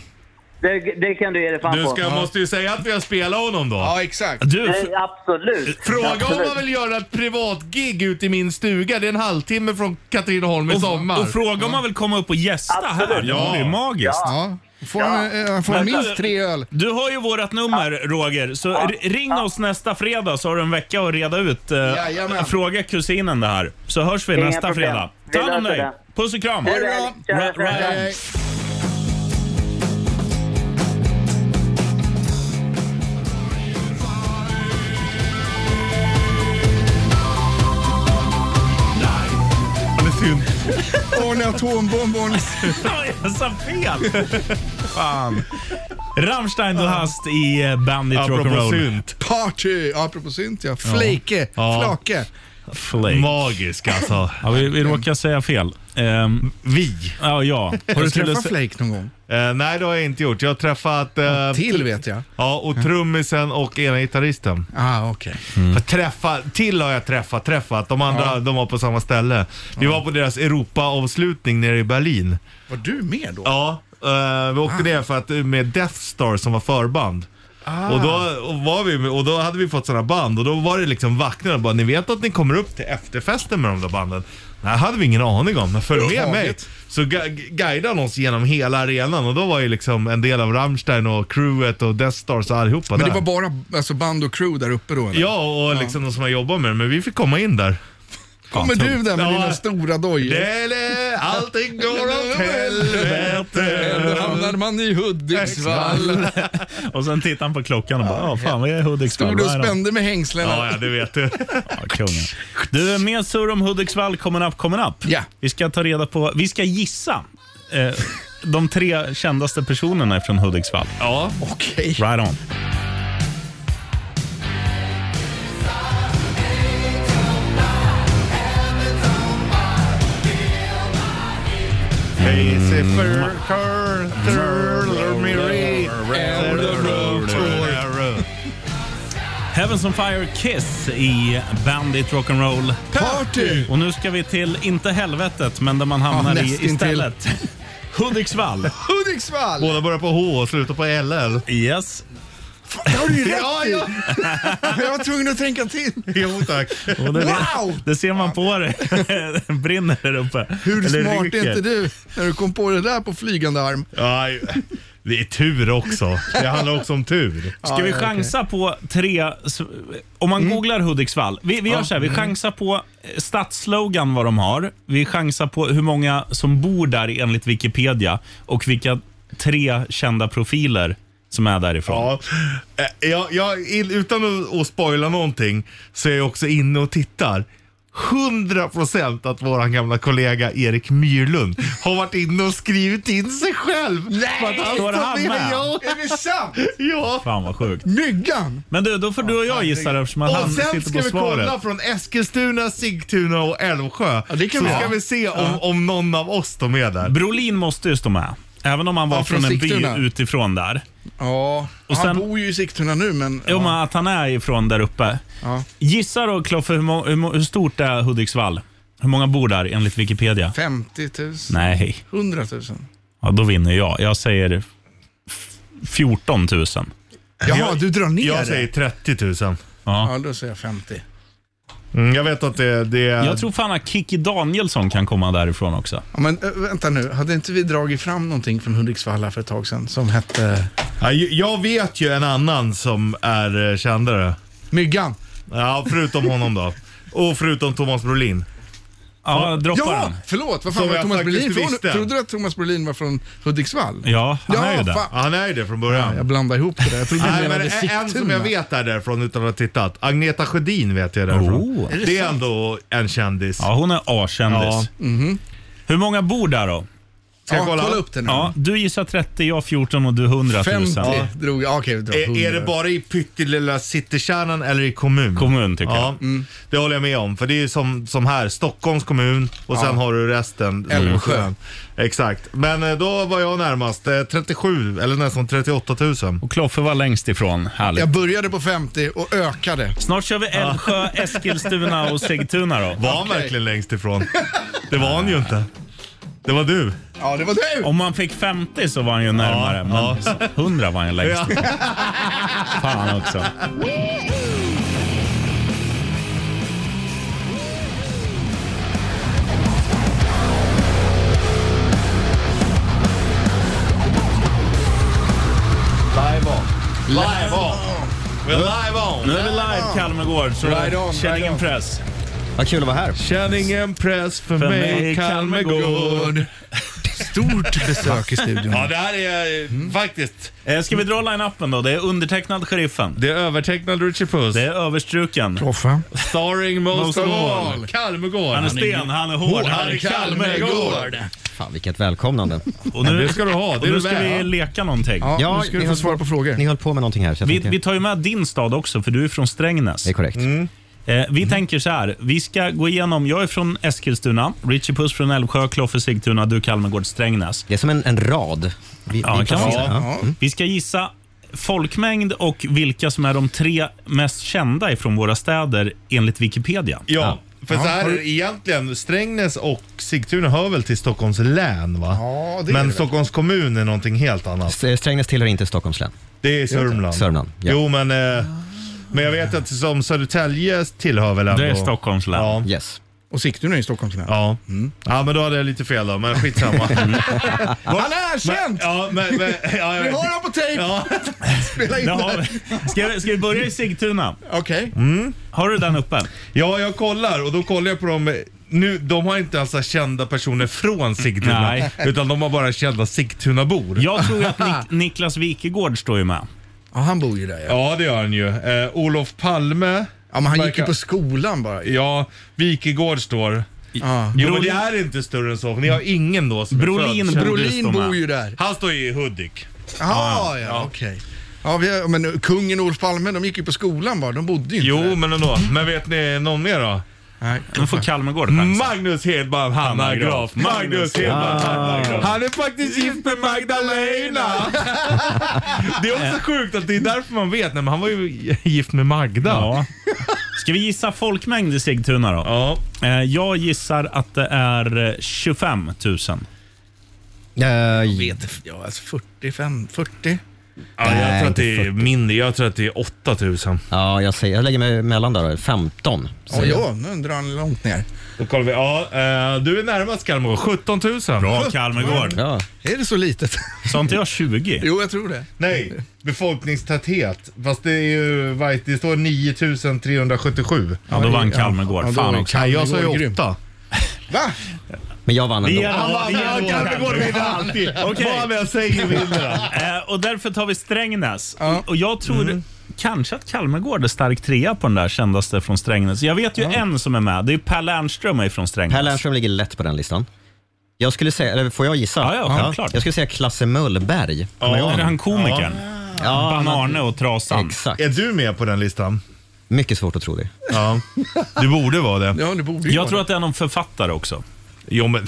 [SPEAKER 12] Det, det kan du ge dig fan
[SPEAKER 4] Du
[SPEAKER 12] på.
[SPEAKER 4] ska, måste ju säga att vi har spelat honom då.
[SPEAKER 3] Ja, exakt.
[SPEAKER 2] Du,
[SPEAKER 12] Nej, absolut.
[SPEAKER 4] Fråga om
[SPEAKER 12] absolut.
[SPEAKER 4] man vill göra ett privatgig ute i min stuga. Det är en halvtimme från Katrineholm i sommar.
[SPEAKER 2] och, och fråga om man vill komma upp och gästa här.
[SPEAKER 4] Ja.
[SPEAKER 2] Ja. Det är magiskt.
[SPEAKER 3] Ja. Får han, eh, han får
[SPEAKER 2] Men-
[SPEAKER 3] minst tre öl.
[SPEAKER 2] Du har ju vårat nummer, Roger, så r- ring oss nästa fredag så har du en vecka att reda ut. eh,
[SPEAKER 3] Jajamän.
[SPEAKER 2] fråga kusinen det här, så hörs vi
[SPEAKER 12] Inga
[SPEAKER 2] nästa
[SPEAKER 12] problem.
[SPEAKER 2] fredag.
[SPEAKER 12] Vi
[SPEAKER 2] Ta hand om
[SPEAKER 12] löser
[SPEAKER 2] dig.
[SPEAKER 12] det.
[SPEAKER 2] Puss och kram.
[SPEAKER 12] Det är väl. Tja,
[SPEAKER 2] Ra-
[SPEAKER 12] tja.
[SPEAKER 2] ra-
[SPEAKER 3] Hej.
[SPEAKER 4] Han är synd.
[SPEAKER 3] Arne Atombomb, Arne...
[SPEAKER 2] Jag sa fel! Fan. Rammstein du hast i eh, Bandit
[SPEAKER 4] Apropå
[SPEAKER 2] Rock'n'Roll.
[SPEAKER 4] synt.
[SPEAKER 3] Party! Apropå synt ja. Flake.
[SPEAKER 4] Ja.
[SPEAKER 3] Flake.
[SPEAKER 2] Flake.
[SPEAKER 4] Magisk alltså.
[SPEAKER 2] Ja, vi, vi råkar säga fel. Ehm,
[SPEAKER 4] Vi.
[SPEAKER 2] ja, ja.
[SPEAKER 3] Har du
[SPEAKER 2] Jag skulle
[SPEAKER 3] träffat
[SPEAKER 2] sä-
[SPEAKER 3] Flake någon gång?
[SPEAKER 4] Eh, nej, det har jag inte gjort. Jag har träffat... eh,
[SPEAKER 3] Till vet jag.
[SPEAKER 4] Ja, och trummisen och ena gitarristen.
[SPEAKER 3] Ah, okej.
[SPEAKER 4] Jag Träffa, till har jag träffat, träffat. De andra de var på samma ställe. Vi var på deras Europa-avslutning nere i Berlin.
[SPEAKER 3] Var du med då?
[SPEAKER 4] Ja, eh, vi åkte
[SPEAKER 3] Ah.
[SPEAKER 4] ner för att, med Death Star som var förband. Och, då
[SPEAKER 3] Ah.
[SPEAKER 4] var vi, och då hade vi fått sådana band och då var det liksom vakterna bara, ni vet att ni kommer upp till efterfesten med de där banden? Nej, hade vi ingen aning om, men följ med mig.
[SPEAKER 3] Överhuvudtaget.
[SPEAKER 4] Så gu- guidade han oss genom hela arenan och då var ju liksom en del av Rammstein och crewet och Death Stars och allihopa
[SPEAKER 3] Men det
[SPEAKER 4] där.
[SPEAKER 3] var bara alltså, band och crew där uppe då? Eller?
[SPEAKER 4] Ja, och liksom de som har jobbat med det, men vi fick komma in där.
[SPEAKER 3] Kommer du där med dina stora dojor?
[SPEAKER 4] Dele, allting går åt
[SPEAKER 3] helvete. hamnar man i Hudiksvall.
[SPEAKER 2] och sen tittar han på klockan och bara, ja fan vad är Hudiksvall?
[SPEAKER 3] Stod du och
[SPEAKER 2] Vad är de?"
[SPEAKER 3] spände med hängslena.
[SPEAKER 2] Ja, ja, det vet du. Ja, kungen. Du, mer sur om Hudiksvall coming up, coming up.
[SPEAKER 3] Ja.
[SPEAKER 2] Vi ska ta reda på, vi ska gissa eh, de tre kändaste personerna från Hudiksvall.
[SPEAKER 4] Ja,
[SPEAKER 3] okej.
[SPEAKER 2] Right on.
[SPEAKER 4] Hey, Zipper, Carl, Turl, Miri, and the road to
[SPEAKER 2] Heavens on Fire Kiss i Bandit Rock'n'Roll Party! Och nu ska vi till, inte helvetet, men där man hamnar i
[SPEAKER 4] nästintill.
[SPEAKER 2] istället. Hudiksvall.
[SPEAKER 3] Hudiksvall!
[SPEAKER 4] Båda börjar på H och slutar på LL.
[SPEAKER 2] Yes.
[SPEAKER 3] Det har du ju rätt
[SPEAKER 4] Ja,
[SPEAKER 3] i.
[SPEAKER 4] ja.
[SPEAKER 3] Jag var tvungen att tänka till.
[SPEAKER 4] Jo tack.
[SPEAKER 2] Och det,
[SPEAKER 3] Wow!
[SPEAKER 2] det ser man på dig. Den brinner där uppe.
[SPEAKER 3] Hur
[SPEAKER 2] Eller
[SPEAKER 3] smart
[SPEAKER 2] ryker.
[SPEAKER 3] är inte du när du kom på det där på flygande arm?
[SPEAKER 4] Aj, det är tur också. Det handlar också om tur.
[SPEAKER 2] Ska vi chansa på tre... s- Om man
[SPEAKER 4] Mm.
[SPEAKER 2] googlar Hudiksvall. Vi, vi gör så här, vi chansar på eh, stadsslogan vad de har. Vi chansar på hur många som bor där enligt Wikipedia och vilka tre kända profiler som är därifrån.
[SPEAKER 4] Ja. Eh, Jag, jag, in- utan att, att spoila någonting så är jag också inne och tittar. 100% att vår gamla kollega Erik Myrlund har varit inne och skrivit in sig själv. För att han
[SPEAKER 2] Står
[SPEAKER 4] sa
[SPEAKER 2] han
[SPEAKER 4] det
[SPEAKER 2] med?
[SPEAKER 4] jag.
[SPEAKER 3] Är det sant?
[SPEAKER 4] Ja.
[SPEAKER 2] Fan vad sjukt.
[SPEAKER 3] Myggan!
[SPEAKER 2] Men du, då får du och jag gissa eftersom att
[SPEAKER 4] Och
[SPEAKER 2] han
[SPEAKER 4] sen
[SPEAKER 2] sitter
[SPEAKER 4] ska
[SPEAKER 2] på
[SPEAKER 4] vi
[SPEAKER 2] svaret.
[SPEAKER 4] kolla från Eskilstuna, Sigtuna och Älvsjö.
[SPEAKER 3] det
[SPEAKER 4] så
[SPEAKER 3] kan vi
[SPEAKER 4] ska
[SPEAKER 3] göra.
[SPEAKER 4] vi se om, om någon av oss de är där.
[SPEAKER 2] Brolin måste ju stå med. Även om han var
[SPEAKER 3] Ja,
[SPEAKER 2] från,
[SPEAKER 3] från
[SPEAKER 2] en by
[SPEAKER 3] Sigtuna.
[SPEAKER 2] utifrån där.
[SPEAKER 3] Ja,
[SPEAKER 2] Och sen-
[SPEAKER 3] han bor ju i Sigtuna nu men...
[SPEAKER 2] Jo, men att han är ifrån där uppe.
[SPEAKER 3] Ja.
[SPEAKER 2] Gissa då Kloffe, hur, må- hur, må- hur stort är Hudiksvall? Hur många bor där enligt Wikipedia?
[SPEAKER 3] 50 000?
[SPEAKER 2] Nej.
[SPEAKER 3] 100 000?
[SPEAKER 2] Ja, då vinner jag. Jag säger f- 14 000.
[SPEAKER 3] Jaha, du drar ner
[SPEAKER 4] Jag
[SPEAKER 3] det?
[SPEAKER 4] säger 30 000.
[SPEAKER 2] Ja.
[SPEAKER 3] Ja, då säger jag 50.
[SPEAKER 4] Mm, jag vet att det, det är...
[SPEAKER 2] Jag tror fan att Kiki Danielsson kan komma därifrån också.
[SPEAKER 3] Ja, men äh, vänta nu, hade inte vi dragit fram någonting från Hudiksvall här för ett tag sedan som hette...
[SPEAKER 4] Ja, ju- Jag vet ju en annan som är eh, kändare.
[SPEAKER 3] Myggan.
[SPEAKER 4] Ja, förutom honom då. Och förutom Thomas Brolin.
[SPEAKER 2] Ja,
[SPEAKER 3] ja, förlåt! Vad fan
[SPEAKER 4] Som
[SPEAKER 3] var
[SPEAKER 4] jag
[SPEAKER 3] Thomas
[SPEAKER 4] faktiskt
[SPEAKER 3] Brolin från?
[SPEAKER 4] visste.
[SPEAKER 3] Trodde du att Thomas Brolin var från Hudiksvall?
[SPEAKER 2] Ja, han
[SPEAKER 3] Ja,
[SPEAKER 2] är ju där.
[SPEAKER 3] fan.
[SPEAKER 4] Han är ju det från början.
[SPEAKER 3] Jag blandade ihop det där. Jag trodde du
[SPEAKER 4] Nej, men
[SPEAKER 3] menade
[SPEAKER 4] en- en som jag
[SPEAKER 3] Sigtuna.
[SPEAKER 4] vet är därifrån utan att ha tittat. Agneta Sjödin vet jag därifrån.
[SPEAKER 2] Oh.
[SPEAKER 4] det, är ändå en kändis.
[SPEAKER 2] Ja, hon är A-kändis.
[SPEAKER 4] Ja.
[SPEAKER 2] Hur många bor där då?
[SPEAKER 4] Ska jag
[SPEAKER 3] Ja,
[SPEAKER 4] kolla?
[SPEAKER 3] kolla upp den här.
[SPEAKER 2] Ja, du gissar 30, jag 14 och du 100 000.
[SPEAKER 3] 50
[SPEAKER 2] Ja.
[SPEAKER 3] drog jag. Okej, vi drar
[SPEAKER 4] Är,
[SPEAKER 3] 100.
[SPEAKER 4] Eh, är det bara i pyttelilla citykärnan eller i kommun?
[SPEAKER 2] Kommun tycker
[SPEAKER 4] Ja, det håller jag med om. För det är ju som, som här, Stockholms kommun och sen har du resten.
[SPEAKER 3] Älvsjö.
[SPEAKER 4] Mm. Exakt. Men eh, då var jag närmast. eh, 37 eller nästan 38 000.
[SPEAKER 2] jag. Och Kloffe var längst ifrån. Härligt.
[SPEAKER 3] Jag började på 50 och ökade.
[SPEAKER 2] Snart kör vi Älvsjö, Eskilstuna och Sigtuna då.
[SPEAKER 4] Var han verkligen längst ifrån? Det var han ju inte. Det var du.
[SPEAKER 3] Ja, det var du!
[SPEAKER 2] Om man fick 50 så var han ju närmare, men 100 var han ju längst. Fan också.
[SPEAKER 4] Live on. Live on. We're live on.
[SPEAKER 2] Nu är vi live Kalmegård, så
[SPEAKER 3] Right on,
[SPEAKER 2] känn
[SPEAKER 3] right
[SPEAKER 2] ingen
[SPEAKER 3] on.
[SPEAKER 2] press.
[SPEAKER 13] Vad kul att vara här.
[SPEAKER 4] Känn ingen press för,
[SPEAKER 2] För mig,
[SPEAKER 4] mig Kalmegård.
[SPEAKER 3] Stort besök i studion.
[SPEAKER 4] Ja, det här är eh, faktiskt...
[SPEAKER 2] Eh, Ska vi dra line-upen då? Det är undertecknad Sheriffen.
[SPEAKER 4] Det är övertecknad Richie Puss.
[SPEAKER 2] Det är överstruken.
[SPEAKER 3] Kloffe.
[SPEAKER 4] Starring most,
[SPEAKER 2] Most
[SPEAKER 4] of
[SPEAKER 2] of
[SPEAKER 4] all.
[SPEAKER 2] all.
[SPEAKER 4] Kalmegård.
[SPEAKER 2] Han är sten, han är hård, han är Kalmegård.
[SPEAKER 13] Fan, vilket välkomnande.
[SPEAKER 2] Och nu,
[SPEAKER 4] Det ska du ha, det
[SPEAKER 2] och
[SPEAKER 4] är
[SPEAKER 2] nu
[SPEAKER 4] du
[SPEAKER 2] ska vi
[SPEAKER 4] väl.
[SPEAKER 2] leka någonting.
[SPEAKER 3] Ja,
[SPEAKER 13] Ja,
[SPEAKER 3] nu ska
[SPEAKER 13] ni
[SPEAKER 3] du få
[SPEAKER 13] höll
[SPEAKER 3] svara på frågor.
[SPEAKER 13] Ni höll på med någonting här, så jag
[SPEAKER 2] Vi,
[SPEAKER 13] tänker-
[SPEAKER 2] vi tar ju med din stad också, för du är från Strängnäs.
[SPEAKER 13] Det är korrekt.
[SPEAKER 3] Mm.
[SPEAKER 2] Eh,
[SPEAKER 4] Mm.
[SPEAKER 2] vi tänker så här, vi ska gå igenom, jag är från Eskilstuna, Richie Puss från Älvsjö, Kloffe Sigtuna, du Kalmegård, Strängnäs.
[SPEAKER 13] Det är som en, en rad. Vi,
[SPEAKER 2] Ja, det kan man
[SPEAKER 13] placerar-
[SPEAKER 2] säga. Vi ska gissa folkmängd och vilka som är de tre mest kända ifrån våra städer enligt Wikipedia.
[SPEAKER 4] Ja, för så här är
[SPEAKER 3] har du-
[SPEAKER 4] det egentligen. Strängnäs och Sigtuna hör väl till Stockholms län va?
[SPEAKER 3] Ja, det är
[SPEAKER 4] Men
[SPEAKER 3] det.
[SPEAKER 4] Stockholms kommun är någonting helt annat.
[SPEAKER 13] S- Strängnäs tillhör inte Stockholms län.
[SPEAKER 4] Det är Sörmland.
[SPEAKER 13] Sörmland, ja.
[SPEAKER 4] Jo, men, eh, men jag vet att som Södertälje tillhör väl ändå...
[SPEAKER 2] Det är Stockholms län.
[SPEAKER 4] Ja.
[SPEAKER 13] Yes.
[SPEAKER 3] Och Sigtuna är i Stockholms län.
[SPEAKER 4] Ja. ja, men då hade jag lite fel då, men skitsamma.
[SPEAKER 3] Han är erkänt!
[SPEAKER 4] Ja, men, men, ja, jag
[SPEAKER 3] Vi
[SPEAKER 4] vet.
[SPEAKER 3] har honom på tejp!
[SPEAKER 4] Ja.
[SPEAKER 3] Spela in
[SPEAKER 2] Det
[SPEAKER 3] det.
[SPEAKER 2] har vi. Ska, vi- ska vi börja i Sigtuna?
[SPEAKER 3] Okej.
[SPEAKER 2] Har du den uppe?
[SPEAKER 4] Ja, jag kollar och då kollar jag på dem. Nu, de har inte alltså kända personer från Sigtuna,
[SPEAKER 2] Nej.
[SPEAKER 4] utan de har bara kända Sigtunabor.
[SPEAKER 2] Jag tror att Nik- Niklas Wikegård står ju med.
[SPEAKER 3] Ja, han bor ju där ja.
[SPEAKER 4] Ja, det gör han ju. Eh, Olof Palme.
[SPEAKER 3] Ja, men han gick ju
[SPEAKER 4] verkar-
[SPEAKER 3] på skolan bara.
[SPEAKER 4] Ja, Wikegård står. Jo, men det
[SPEAKER 2] Brolin-
[SPEAKER 4] är inte större än så, för ni har ingen då som
[SPEAKER 2] Brolin
[SPEAKER 4] är född.
[SPEAKER 2] borde Brolin stå med. bor ju
[SPEAKER 3] där.
[SPEAKER 4] Han står ju i Hudik.
[SPEAKER 3] Jaha, ja, okej. Ja, vi har, men kungen och Olof Palme, de gick ju på skolan bara. De bodde ju inte
[SPEAKER 4] Jo,
[SPEAKER 3] där.
[SPEAKER 4] men ändå. Men vet ni någon mer då?
[SPEAKER 3] Nej.
[SPEAKER 2] Nu får Kalmargård chansen.
[SPEAKER 4] Magnus Hedman, Hanna Graf. Magnus Hedman, Hanna Graf. Han är faktiskt gift med Magdalena. Det är också sjukt att det är därför man vet. Nej, men han var ju gift med Magda.
[SPEAKER 2] Ja. Ska vi gissa folkmängd i Sigtuna då? Eh,
[SPEAKER 4] Ja.
[SPEAKER 2] Jag gissar att det är eh, 25 000.
[SPEAKER 3] Jag vet inte, ja, alltså 45, 40.
[SPEAKER 4] Ja, jag
[SPEAKER 14] Nej,
[SPEAKER 4] tror att det
[SPEAKER 14] inte
[SPEAKER 4] är mindre. Jag tror att det är 8000.
[SPEAKER 14] Ja, jag, säger, jag lägger mig mellan där. då. 15.
[SPEAKER 3] Ja,
[SPEAKER 14] säger jag.
[SPEAKER 3] ja, nu drar han långt ner.
[SPEAKER 4] Då kollar vi. Ja, eh, du är närmast Kalmar. 17 000. Bra
[SPEAKER 2] Kalmargård.
[SPEAKER 14] Ja.
[SPEAKER 3] Är det så litet?
[SPEAKER 2] Sa inte jag 20?
[SPEAKER 3] Jo, jag tror det.
[SPEAKER 4] Nej, befolkningstäthet. Fast det är ju, vad heter det, det står 9377.
[SPEAKER 2] Ja, då vann Kalmargård.
[SPEAKER 4] Ja, då
[SPEAKER 2] Fan
[SPEAKER 4] är
[SPEAKER 2] också.
[SPEAKER 4] Kalmar- Jag sa ju
[SPEAKER 3] grym.
[SPEAKER 4] åtta.
[SPEAKER 3] Va?
[SPEAKER 14] Men jag vann
[SPEAKER 2] Det
[SPEAKER 14] ändå.
[SPEAKER 2] ger det
[SPEAKER 4] Han
[SPEAKER 2] ger
[SPEAKER 4] vann.
[SPEAKER 2] vår
[SPEAKER 4] Kalmargård
[SPEAKER 2] Kalmar.
[SPEAKER 4] vinner alltid.
[SPEAKER 2] Okej.
[SPEAKER 4] Vad jag säger vinner han.
[SPEAKER 2] Eh, Och därför tar vi Strängnäs. Och jag tror kanske att Kalmargård är stark trea på den där kändaste från Strängnäs. Jag vet ju en som är med. Det är Per Lernström är från Strängnäs.
[SPEAKER 14] Per Lernström ligger lätt på den listan. Jag skulle säga, eller får jag gissa?
[SPEAKER 2] Ja, ja, självklart.
[SPEAKER 14] Jag skulle säga Klasse Möllberg. Kommer jag
[SPEAKER 2] Ja,
[SPEAKER 14] ihåg
[SPEAKER 2] är det han komikern?
[SPEAKER 14] Ja, han hade-
[SPEAKER 2] Banarne och Trasan.
[SPEAKER 14] Exakt.
[SPEAKER 4] Är du med på den listan?
[SPEAKER 14] Mycket svårt att tro det.
[SPEAKER 4] Ja, du borde vara det.
[SPEAKER 3] Ja, det borde ju
[SPEAKER 2] Jag
[SPEAKER 3] vara
[SPEAKER 2] tror att det är någon författare också.
[SPEAKER 4] Jo, men,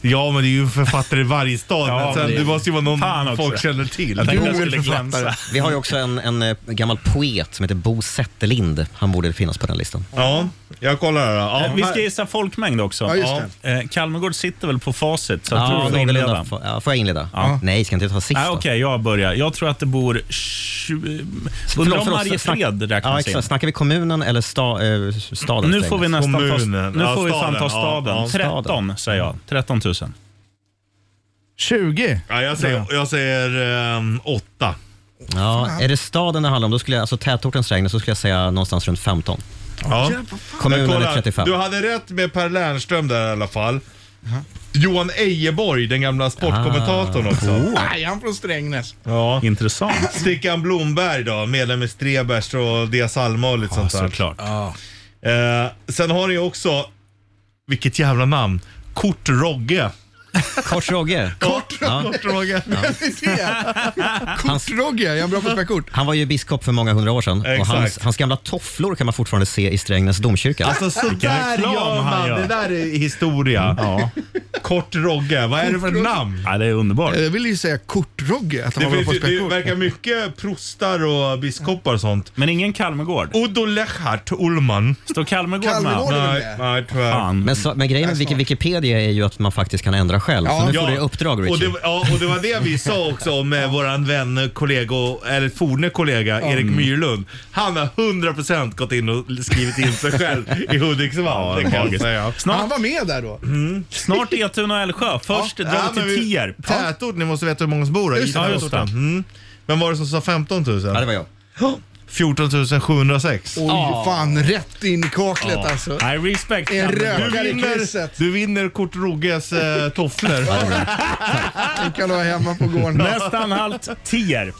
[SPEAKER 4] ja, men det är ju författare i varje stad.
[SPEAKER 2] Ja,
[SPEAKER 4] men sen,
[SPEAKER 2] men det-
[SPEAKER 4] det måste ju vara
[SPEAKER 2] Fan
[SPEAKER 4] någon
[SPEAKER 2] också.
[SPEAKER 4] folk känner till.
[SPEAKER 2] Jag tänkte
[SPEAKER 4] Jo,
[SPEAKER 2] jag skulle
[SPEAKER 4] en författare.
[SPEAKER 2] glänsa.
[SPEAKER 14] Vi har ju också en, en eh, gammal poet som heter Bo Zetterlind. Han borde finnas på den listan.
[SPEAKER 4] Ja, jag kollar här. då.
[SPEAKER 2] Eh,
[SPEAKER 4] Ja,
[SPEAKER 2] Vi ska gissa folkmängd också.
[SPEAKER 3] Ja, just
[SPEAKER 2] Eh, Kalmargård sitter väl på facit, så jag tror
[SPEAKER 14] Ja,
[SPEAKER 2] du får inleda.
[SPEAKER 14] någorlunda. Får- ja, får jag inleda? Nej, ska inte jag ta sist
[SPEAKER 2] Nej,
[SPEAKER 14] då?
[SPEAKER 2] Okej, jag börjar. Jag tror att det bor... 20... Undrar
[SPEAKER 14] Förlåt,
[SPEAKER 2] om
[SPEAKER 14] förlåt,
[SPEAKER 2] Mariefred
[SPEAKER 14] snack- ja,
[SPEAKER 2] räknas in.
[SPEAKER 14] exakt. Snackar vi kommunen eller sta, eh, staden?
[SPEAKER 2] Nu får vi nästan
[SPEAKER 4] Kommunen.
[SPEAKER 2] ta, nu
[SPEAKER 4] Ja,
[SPEAKER 2] får vi fan
[SPEAKER 4] staden.
[SPEAKER 2] ta
[SPEAKER 4] Ja,
[SPEAKER 2] staden. Mm. 13
[SPEAKER 4] ja, staden.
[SPEAKER 2] säger jag. 13 000.
[SPEAKER 3] 20.
[SPEAKER 4] ja, jag säger, jag säger ehm, åtta.
[SPEAKER 14] Ja, är det staden det handlar om, då skulle jag, alltså tätorten Strängnäs, så skulle jag säga någonstans runt 15.
[SPEAKER 4] Ja.
[SPEAKER 14] Kommunen
[SPEAKER 4] Men
[SPEAKER 14] är 35.
[SPEAKER 4] Du hade rätt med Per Lernström där i alla fall. Johan Ejeborg, den gamla sportkommentatorn också.
[SPEAKER 3] Nej, han är från Strängnäs.
[SPEAKER 4] Ja.
[SPEAKER 2] Intressant.
[SPEAKER 4] Stickan Blomberg då, medlem i Strebers och Dia Salma och lite
[SPEAKER 2] Ja,
[SPEAKER 4] sånt där.
[SPEAKER 2] såklart.
[SPEAKER 4] Eh, sen har ni också, vilket jävla namn, Kort Rogge.
[SPEAKER 14] Kort Roger.
[SPEAKER 4] Kort,
[SPEAKER 14] Ja.
[SPEAKER 4] Kort Rogge.
[SPEAKER 3] Kortrogge, jag är bra på att spela kort.
[SPEAKER 14] Han var ju biskop för många hundra år sedan och
[SPEAKER 4] Exakt.
[SPEAKER 14] hans, hans gamla tofflor kan man fortfarande se i Strängnäs domkyrka.
[SPEAKER 4] Alltså sådär
[SPEAKER 2] reklam
[SPEAKER 4] gör
[SPEAKER 2] han
[SPEAKER 4] man.
[SPEAKER 2] gör.
[SPEAKER 4] Det där är historia.
[SPEAKER 2] Ja.
[SPEAKER 4] Kort Rogge, vad är det för
[SPEAKER 3] Kort Rogge.
[SPEAKER 4] namn?
[SPEAKER 2] ja, det är underbart.
[SPEAKER 4] Eh.
[SPEAKER 3] Jag ville ju säga Kortrogge, att han
[SPEAKER 4] Det,
[SPEAKER 3] var bra på att
[SPEAKER 4] finns, ju-
[SPEAKER 3] spela
[SPEAKER 4] det
[SPEAKER 3] kort.
[SPEAKER 4] verkar mycket prostar och biskopar och sånt.
[SPEAKER 2] Men ingen Kalmargård.
[SPEAKER 4] Oddo Lechart Ullman.
[SPEAKER 2] Står Kalmargård
[SPEAKER 3] Kalmargård.
[SPEAKER 2] med?
[SPEAKER 3] Håller du
[SPEAKER 4] Nej,
[SPEAKER 3] med?
[SPEAKER 4] nej tyvärr.
[SPEAKER 2] Fan.
[SPEAKER 14] Men, så, men grejen med Wiki- Wikipedia är ju att man faktiskt kan ändra själv.
[SPEAKER 3] Ja.
[SPEAKER 14] så nu
[SPEAKER 4] Ja.
[SPEAKER 14] får du i uppdrag
[SPEAKER 4] Och
[SPEAKER 14] Richie.
[SPEAKER 4] det, ja, och det var det vi sa också med våran vän, kollega, eller forne kollega, Erik Myrlund. Han har 100% gått in och skrivit in sig själv i Hudiksvall. det kan jag
[SPEAKER 2] magiskt.
[SPEAKER 4] säga.
[SPEAKER 3] Han var med där då.
[SPEAKER 2] Snart Etuna och Älvsjö. Först drar
[SPEAKER 4] Ja,
[SPEAKER 2] vi
[SPEAKER 4] men
[SPEAKER 2] till
[SPEAKER 4] vi-
[SPEAKER 2] Tierp.
[SPEAKER 4] Tätort, ni måste veta hur många som bor där. i
[SPEAKER 3] Just det,
[SPEAKER 2] just det.
[SPEAKER 4] tätorten. Mm. Vem var det som sa 15 000?
[SPEAKER 14] Ja, det var jag.
[SPEAKER 4] 14 706.
[SPEAKER 3] Oj, fan rätt in i kaklet alltså.
[SPEAKER 2] Nej, respect.
[SPEAKER 3] En
[SPEAKER 2] Kalmargård.
[SPEAKER 3] rökare i krysset.
[SPEAKER 4] Du vinner Kurt Rogges eh, tofflor.
[SPEAKER 3] Den kan du ha hemma på gården.
[SPEAKER 2] Nästan halt Tierp.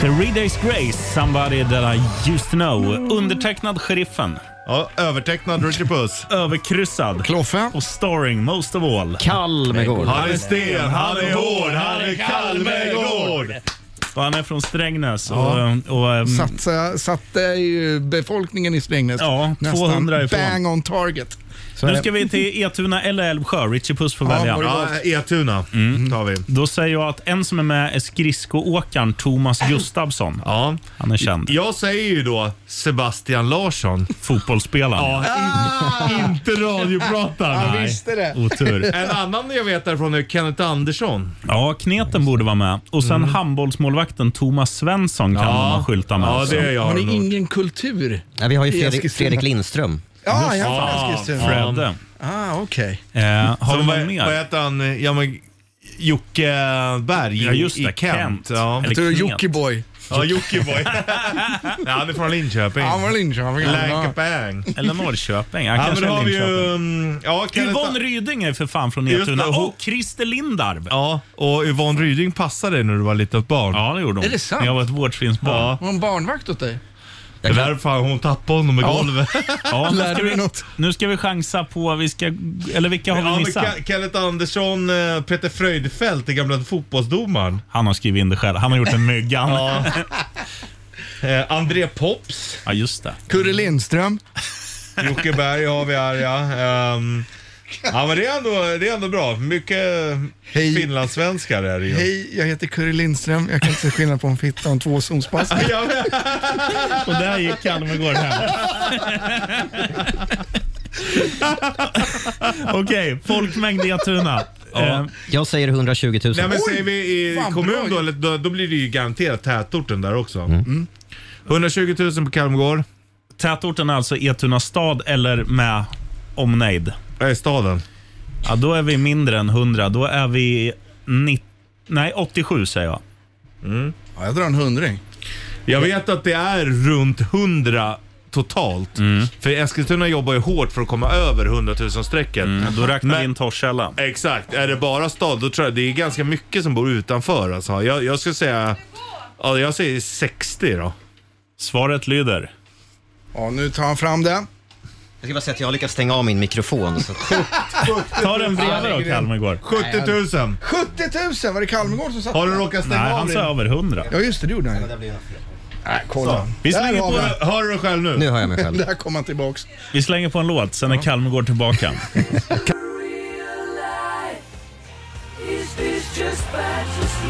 [SPEAKER 2] Three Days Grace, Somebody That I Used To Know. Undertecknad Sheriffen.
[SPEAKER 4] ja, övertecknad Richie Puss.
[SPEAKER 2] Överkryssad.
[SPEAKER 3] Kloffe.
[SPEAKER 2] Och starring most of all.
[SPEAKER 14] Kalmegård.
[SPEAKER 4] Han är sten, han är hård, han är Kalmegård.
[SPEAKER 2] Och han är från Strängnäs. Och, och, ehm,
[SPEAKER 3] eh, Satte, satte ju befolkningen i Strängnäs
[SPEAKER 2] Ja,
[SPEAKER 3] nästan
[SPEAKER 2] 200 ifrån.
[SPEAKER 3] bang on target.
[SPEAKER 14] Så är
[SPEAKER 2] nu
[SPEAKER 14] det.
[SPEAKER 2] ska vi till Etuna eller Älvsjö. Richie Puss får välja.
[SPEAKER 4] Etuna
[SPEAKER 2] Mm.
[SPEAKER 4] tar vi.
[SPEAKER 2] Då säger jag att en som är med är skridskoåkaren Thomas Gustafsson.
[SPEAKER 4] Ja.
[SPEAKER 2] Han är känd.
[SPEAKER 4] Jag säger ju då Sebastian Larsson.
[SPEAKER 2] Fotbollsspelaren.
[SPEAKER 4] Ja, in, inte radioprataren.
[SPEAKER 2] Han Nej, visste det. otur.
[SPEAKER 4] En annan jag vet därifrån är Kenneth Andersson.
[SPEAKER 2] Ja, kneten borde vara med. Och sen handbollsmålvakten Thomas Svensson kan
[SPEAKER 4] Mm. Ja.
[SPEAKER 2] man skylta med. också.
[SPEAKER 3] Har ni ingen kultur?
[SPEAKER 14] Nej, vi har ju
[SPEAKER 3] i
[SPEAKER 14] Fredrik,
[SPEAKER 3] Eskilstuna?
[SPEAKER 14] Fredrik Lindström.
[SPEAKER 3] Ja, jag har
[SPEAKER 2] Ah,
[SPEAKER 3] från Eskilstuna.
[SPEAKER 2] Fredde.
[SPEAKER 3] Ah, okej.
[SPEAKER 2] har
[SPEAKER 4] Som
[SPEAKER 2] vi någon
[SPEAKER 4] vad-
[SPEAKER 2] mer?
[SPEAKER 4] Vad heter han? Ja, men, Jocke Berg
[SPEAKER 2] Ja, just det,
[SPEAKER 4] i Kent.
[SPEAKER 2] Kent.
[SPEAKER 4] Ja.
[SPEAKER 2] Eller Jag tror det är Knet.
[SPEAKER 3] Jockiboi.
[SPEAKER 4] Ja, Jockiboi. Nej, han är från Linköping.
[SPEAKER 3] Han var Linköping.
[SPEAKER 4] Länkepang.
[SPEAKER 2] Eller Norrköping. Ja,
[SPEAKER 4] Ja, men
[SPEAKER 2] kanske
[SPEAKER 4] då har vi ju, mm,
[SPEAKER 2] Linköping.
[SPEAKER 4] ja, Kenneth-
[SPEAKER 2] Yvonne Ryding är för fan från
[SPEAKER 4] Just
[SPEAKER 2] Etuna.
[SPEAKER 4] det, hon-
[SPEAKER 2] Och Christer Lindarw.
[SPEAKER 4] Ja, och Yvonne Ryding passade dig när du var litet barn.
[SPEAKER 2] Ja, det gjorde hon.
[SPEAKER 3] Är det sant?
[SPEAKER 2] När jag var ett vårdsvinsbarn.
[SPEAKER 4] Ja.
[SPEAKER 3] Var hon barnvakt åt dig?
[SPEAKER 4] Det är därför hon tappade honom i golvet.
[SPEAKER 2] Ja, nu,
[SPEAKER 4] Lärde
[SPEAKER 2] ska
[SPEAKER 4] du
[SPEAKER 2] vi, nu ska vi chansa på, vi ska, eller vilka har vi
[SPEAKER 4] Ja, men
[SPEAKER 2] missat?
[SPEAKER 4] Ke- Kenneth Andersson, eh, Peter Fröjdfält, den gamla fotbollsdomaren.
[SPEAKER 2] Han har skrivit in det själv. Han har gjort en myggan.
[SPEAKER 4] Ja. Eh, André Pops.
[SPEAKER 2] Ja, just det.
[SPEAKER 3] Kurre Lindström.
[SPEAKER 4] Jocke Berg har vi här ja. Ehm, ja men det är ändå, det är ändå bra. Mycket finlandssvenskar är det ju.
[SPEAKER 3] Hej, jag heter Kurre Lindström. Jag kan inte se skillnad på en fitta och en tvåzonspassning.
[SPEAKER 4] Ja, men-
[SPEAKER 2] Och där gick han med gården hem. Okej, folkmängd i Etuna. Eh,
[SPEAKER 14] Ja. Jag säger 120 000.
[SPEAKER 4] Nej men säger vi i
[SPEAKER 14] fan,
[SPEAKER 4] kommun då, eller då, då blir det ju garanterat tätorten där också. Mm. 120 000 på Kalmgård.
[SPEAKER 2] Tätorten är alltså Etuna stad eller med omnejd?
[SPEAKER 4] Nej, staden.
[SPEAKER 2] Ja, då är vi mindre än 100. Då är vi 90, nej, 87 säger jag.
[SPEAKER 3] Ja, jag drar en hundring.
[SPEAKER 4] Jag vet att det är runt 100 totalt. För Eskilstuna jobbar ju hårt för att komma över 100 000 strecket
[SPEAKER 2] Då räknar vi in Torshälla.
[SPEAKER 4] Exakt. Är det bara stad, då tror jag det är ganska mycket som bor utanför. Alltså. Jag, jag skulle säga... Ja, jag säger 60 då.
[SPEAKER 2] Svaret lyder...
[SPEAKER 3] Ja, nu tar han fram det.
[SPEAKER 14] Jag ska bara säga att jag har lyckats stänga av min mikrofon. Så.
[SPEAKER 2] Ta den bredvid då, Kalmegård.
[SPEAKER 4] 70 000.
[SPEAKER 3] 70 000! Var det Kalmegård som satt
[SPEAKER 4] Har du råkat stänga
[SPEAKER 2] Nej,
[SPEAKER 4] av
[SPEAKER 2] han
[SPEAKER 4] din-
[SPEAKER 2] sa över 100.
[SPEAKER 3] Ja, just det. Det gjorde han ju. Nej, kolla.
[SPEAKER 2] Vi
[SPEAKER 3] Där
[SPEAKER 2] slänger,
[SPEAKER 3] har
[SPEAKER 2] på,
[SPEAKER 3] vi den.
[SPEAKER 4] Hör du dig själv nu?
[SPEAKER 14] Nu hör jag mig själv.
[SPEAKER 3] Där kom han tillbaks.
[SPEAKER 2] vi slänger på en låt, sen är Kalmegård tillbaka.
[SPEAKER 7] Is this just fantasy?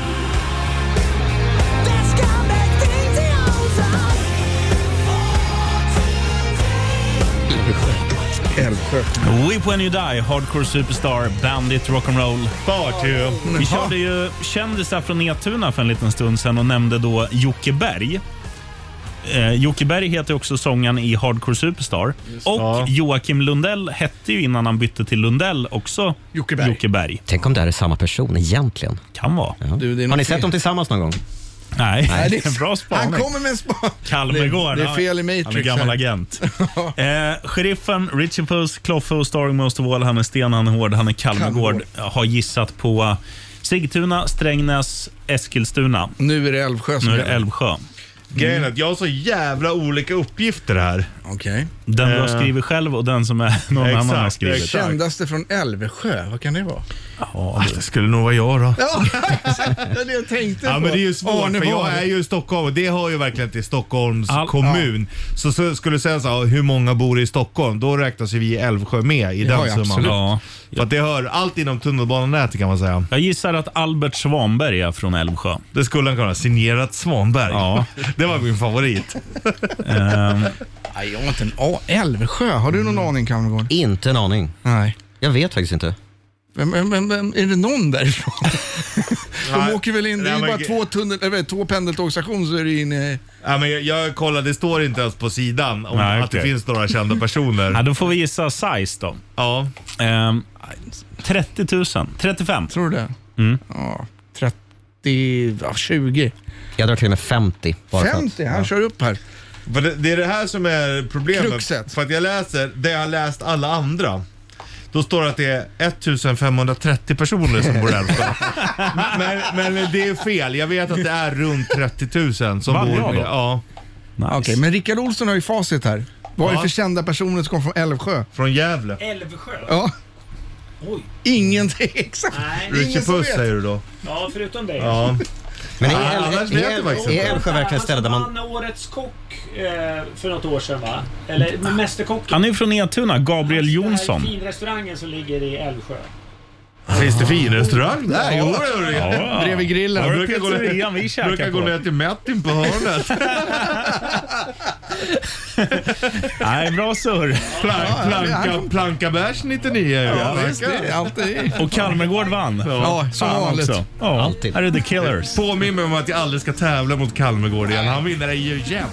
[SPEAKER 3] Älvsjö.
[SPEAKER 2] Weep When You Die, Hardcore Superstar, Bandit Rock'n'Roll.
[SPEAKER 4] Party.
[SPEAKER 2] Vi körde ju kändisar från Etuna för en liten stund sedan och nämnde då Jocke Berg. Eh, Jocke Berg heter också sångaren i Hardcore Superstar. och Joakim Lundell hette ju innan han bytte till Lundell också Jocke Berg.
[SPEAKER 14] Tänk om det här är samma person egentligen.
[SPEAKER 2] Kan vara.
[SPEAKER 3] Du, det är
[SPEAKER 14] Har ni sett
[SPEAKER 3] något fel.
[SPEAKER 14] dem tillsammans någon gång?
[SPEAKER 2] Nej,
[SPEAKER 3] Nej,
[SPEAKER 2] det är en bra spaning.
[SPEAKER 3] Han kommer med en spaning.
[SPEAKER 2] Kalmegård.
[SPEAKER 3] Det är
[SPEAKER 2] ja.
[SPEAKER 3] fel i Matrix
[SPEAKER 2] Han är gammal
[SPEAKER 3] här.
[SPEAKER 2] agent. eh, sheriffen, Richie Puss, Kloffe och Starring Most of All. Han är sten, han är hård, han är Kalmegård. Har gissat på Sigtuna, Strängnäs, Eskilstuna.
[SPEAKER 3] Nu är det Älvsjö som
[SPEAKER 2] Nu är det
[SPEAKER 3] gäller.
[SPEAKER 2] Älvsjö.
[SPEAKER 4] Grejen är att jag har så jävla olika uppgifter här.
[SPEAKER 3] Okej.
[SPEAKER 2] Den du har
[SPEAKER 4] Eh.
[SPEAKER 2] skrivit själv och den som är någon
[SPEAKER 4] Exakt,
[SPEAKER 2] annan har skrivit.
[SPEAKER 4] exakt.
[SPEAKER 3] Kändaste från Älvsjö, vad kan det vara?
[SPEAKER 2] Ja,
[SPEAKER 4] Det skulle nog vara jag då.
[SPEAKER 3] Ja, exakt. Det är det jag tänkte
[SPEAKER 4] Ja
[SPEAKER 3] på.
[SPEAKER 4] men det är ju svårt
[SPEAKER 3] Arne
[SPEAKER 4] för jag
[SPEAKER 3] Wahl.
[SPEAKER 4] är ju i Stockholm och det hör ju verkligen till Stockholms
[SPEAKER 2] All-
[SPEAKER 4] kommun. Så, så skulle du säga så här, hur många bor i Stockholm? Då räknas ju vi i Älvsjö med i den
[SPEAKER 3] ja,
[SPEAKER 4] summan.
[SPEAKER 3] absolut.
[SPEAKER 2] Ja.
[SPEAKER 4] För att det hör allt inom tunnelbanenätet kan man säga.
[SPEAKER 2] Jag gissar att Albert Svanberg är från Älvsjö.
[SPEAKER 4] Det skulle han kunna. Signerat Svanberg.
[SPEAKER 2] Ja.
[SPEAKER 4] Det var min favorit.
[SPEAKER 2] Ehm,
[SPEAKER 3] Nej, jag har inte en A. Älvsjö, har du
[SPEAKER 4] Mm.
[SPEAKER 3] någon aning Kammergård?
[SPEAKER 14] Inte en aning.
[SPEAKER 3] Nej.
[SPEAKER 14] Jag vet faktiskt inte.
[SPEAKER 3] Vem, vem, vem, vem, är det någon därifrån?
[SPEAKER 4] Nej.
[SPEAKER 3] De åker väl in, det
[SPEAKER 4] Nej,
[SPEAKER 3] är ju
[SPEAKER 4] men
[SPEAKER 3] bara
[SPEAKER 4] ge-
[SPEAKER 3] två, tunnel, eller, två pendeltågsstationer så är det inne i...
[SPEAKER 4] Ja, men jag, jag kollade, det står inte ens på sidan om
[SPEAKER 2] Nej,
[SPEAKER 4] att det
[SPEAKER 2] okej.
[SPEAKER 4] finns några kända personer.
[SPEAKER 2] ja, då får vi gissa size då.
[SPEAKER 4] Ja.
[SPEAKER 2] Ehm, 30 000. 35.
[SPEAKER 3] Tror du det?
[SPEAKER 4] Mm.
[SPEAKER 3] Ja, 30, ja, 20.
[SPEAKER 14] Jag drar till med 50. Bara för att-
[SPEAKER 3] 50, han kör upp här.
[SPEAKER 4] För det, det är det här som är problemet.
[SPEAKER 3] Kruxet.
[SPEAKER 4] För att jag läser, det jag har läst alla andra. Då står det att det är 1530 personer som bor i Älvsjö. men, men det är fel. Jag vet att det är runt 30 000 som
[SPEAKER 2] Vann
[SPEAKER 4] bor
[SPEAKER 2] jag då?
[SPEAKER 4] Ja,
[SPEAKER 2] Nice.
[SPEAKER 3] Ah, Okej, men Rickard Olsson har ju facit här. Vad är det
[SPEAKER 4] Ja.
[SPEAKER 3] för kända personer som kommer från Älvsjö?
[SPEAKER 4] från Gävle.
[SPEAKER 11] Älvsjö?
[SPEAKER 3] Ja.
[SPEAKER 11] Oj.
[SPEAKER 3] Ingenting, exakt.
[SPEAKER 11] Nej.
[SPEAKER 3] ingen
[SPEAKER 4] Richie
[SPEAKER 3] som
[SPEAKER 4] Puss
[SPEAKER 3] vet.
[SPEAKER 4] säger du då?
[SPEAKER 11] Ja, förutom dig.
[SPEAKER 4] Ja.
[SPEAKER 14] Men är,
[SPEAKER 11] Ja,
[SPEAKER 14] El-
[SPEAKER 11] annars
[SPEAKER 14] är,
[SPEAKER 11] lät det
[SPEAKER 14] El-
[SPEAKER 11] faktiskt
[SPEAKER 14] är
[SPEAKER 11] inte.
[SPEAKER 14] Älvsjö verkligen ett ställe där man...
[SPEAKER 11] Han alltså, årets kock eh, för något år sedan va? Eller med Mästerkocken.
[SPEAKER 2] Han är ju från Etuna, Gabriel
[SPEAKER 11] Det här är
[SPEAKER 2] Jonsson.
[SPEAKER 11] finrestaurangen som ligger i Älvsjö.
[SPEAKER 4] Finns det fin restaurang
[SPEAKER 11] Ja.
[SPEAKER 4] där? Jo, det gör det.
[SPEAKER 11] Ja. Bredvid
[SPEAKER 2] grillen.
[SPEAKER 4] Jag
[SPEAKER 2] Har du
[SPEAKER 4] brukar gå
[SPEAKER 2] pizzerian vi
[SPEAKER 4] ner,
[SPEAKER 2] käkar
[SPEAKER 4] brukar gå
[SPEAKER 2] på?
[SPEAKER 4] ner till Mättin på hörnet.
[SPEAKER 2] Nej, bra surr.
[SPEAKER 4] Plank, planka, planka bärs 99.
[SPEAKER 2] Ja,
[SPEAKER 4] Ja,
[SPEAKER 2] visst,
[SPEAKER 4] tackar.
[SPEAKER 2] det är alltid. Och Kalmegård vann. Ja, som
[SPEAKER 4] Fan
[SPEAKER 2] vanligt.
[SPEAKER 4] också.
[SPEAKER 2] Ja, Alltid. här är The Killers.
[SPEAKER 4] Påminn mig om att jag aldrig ska tävla mot Kalmegård igen. Han vinner ju jämt.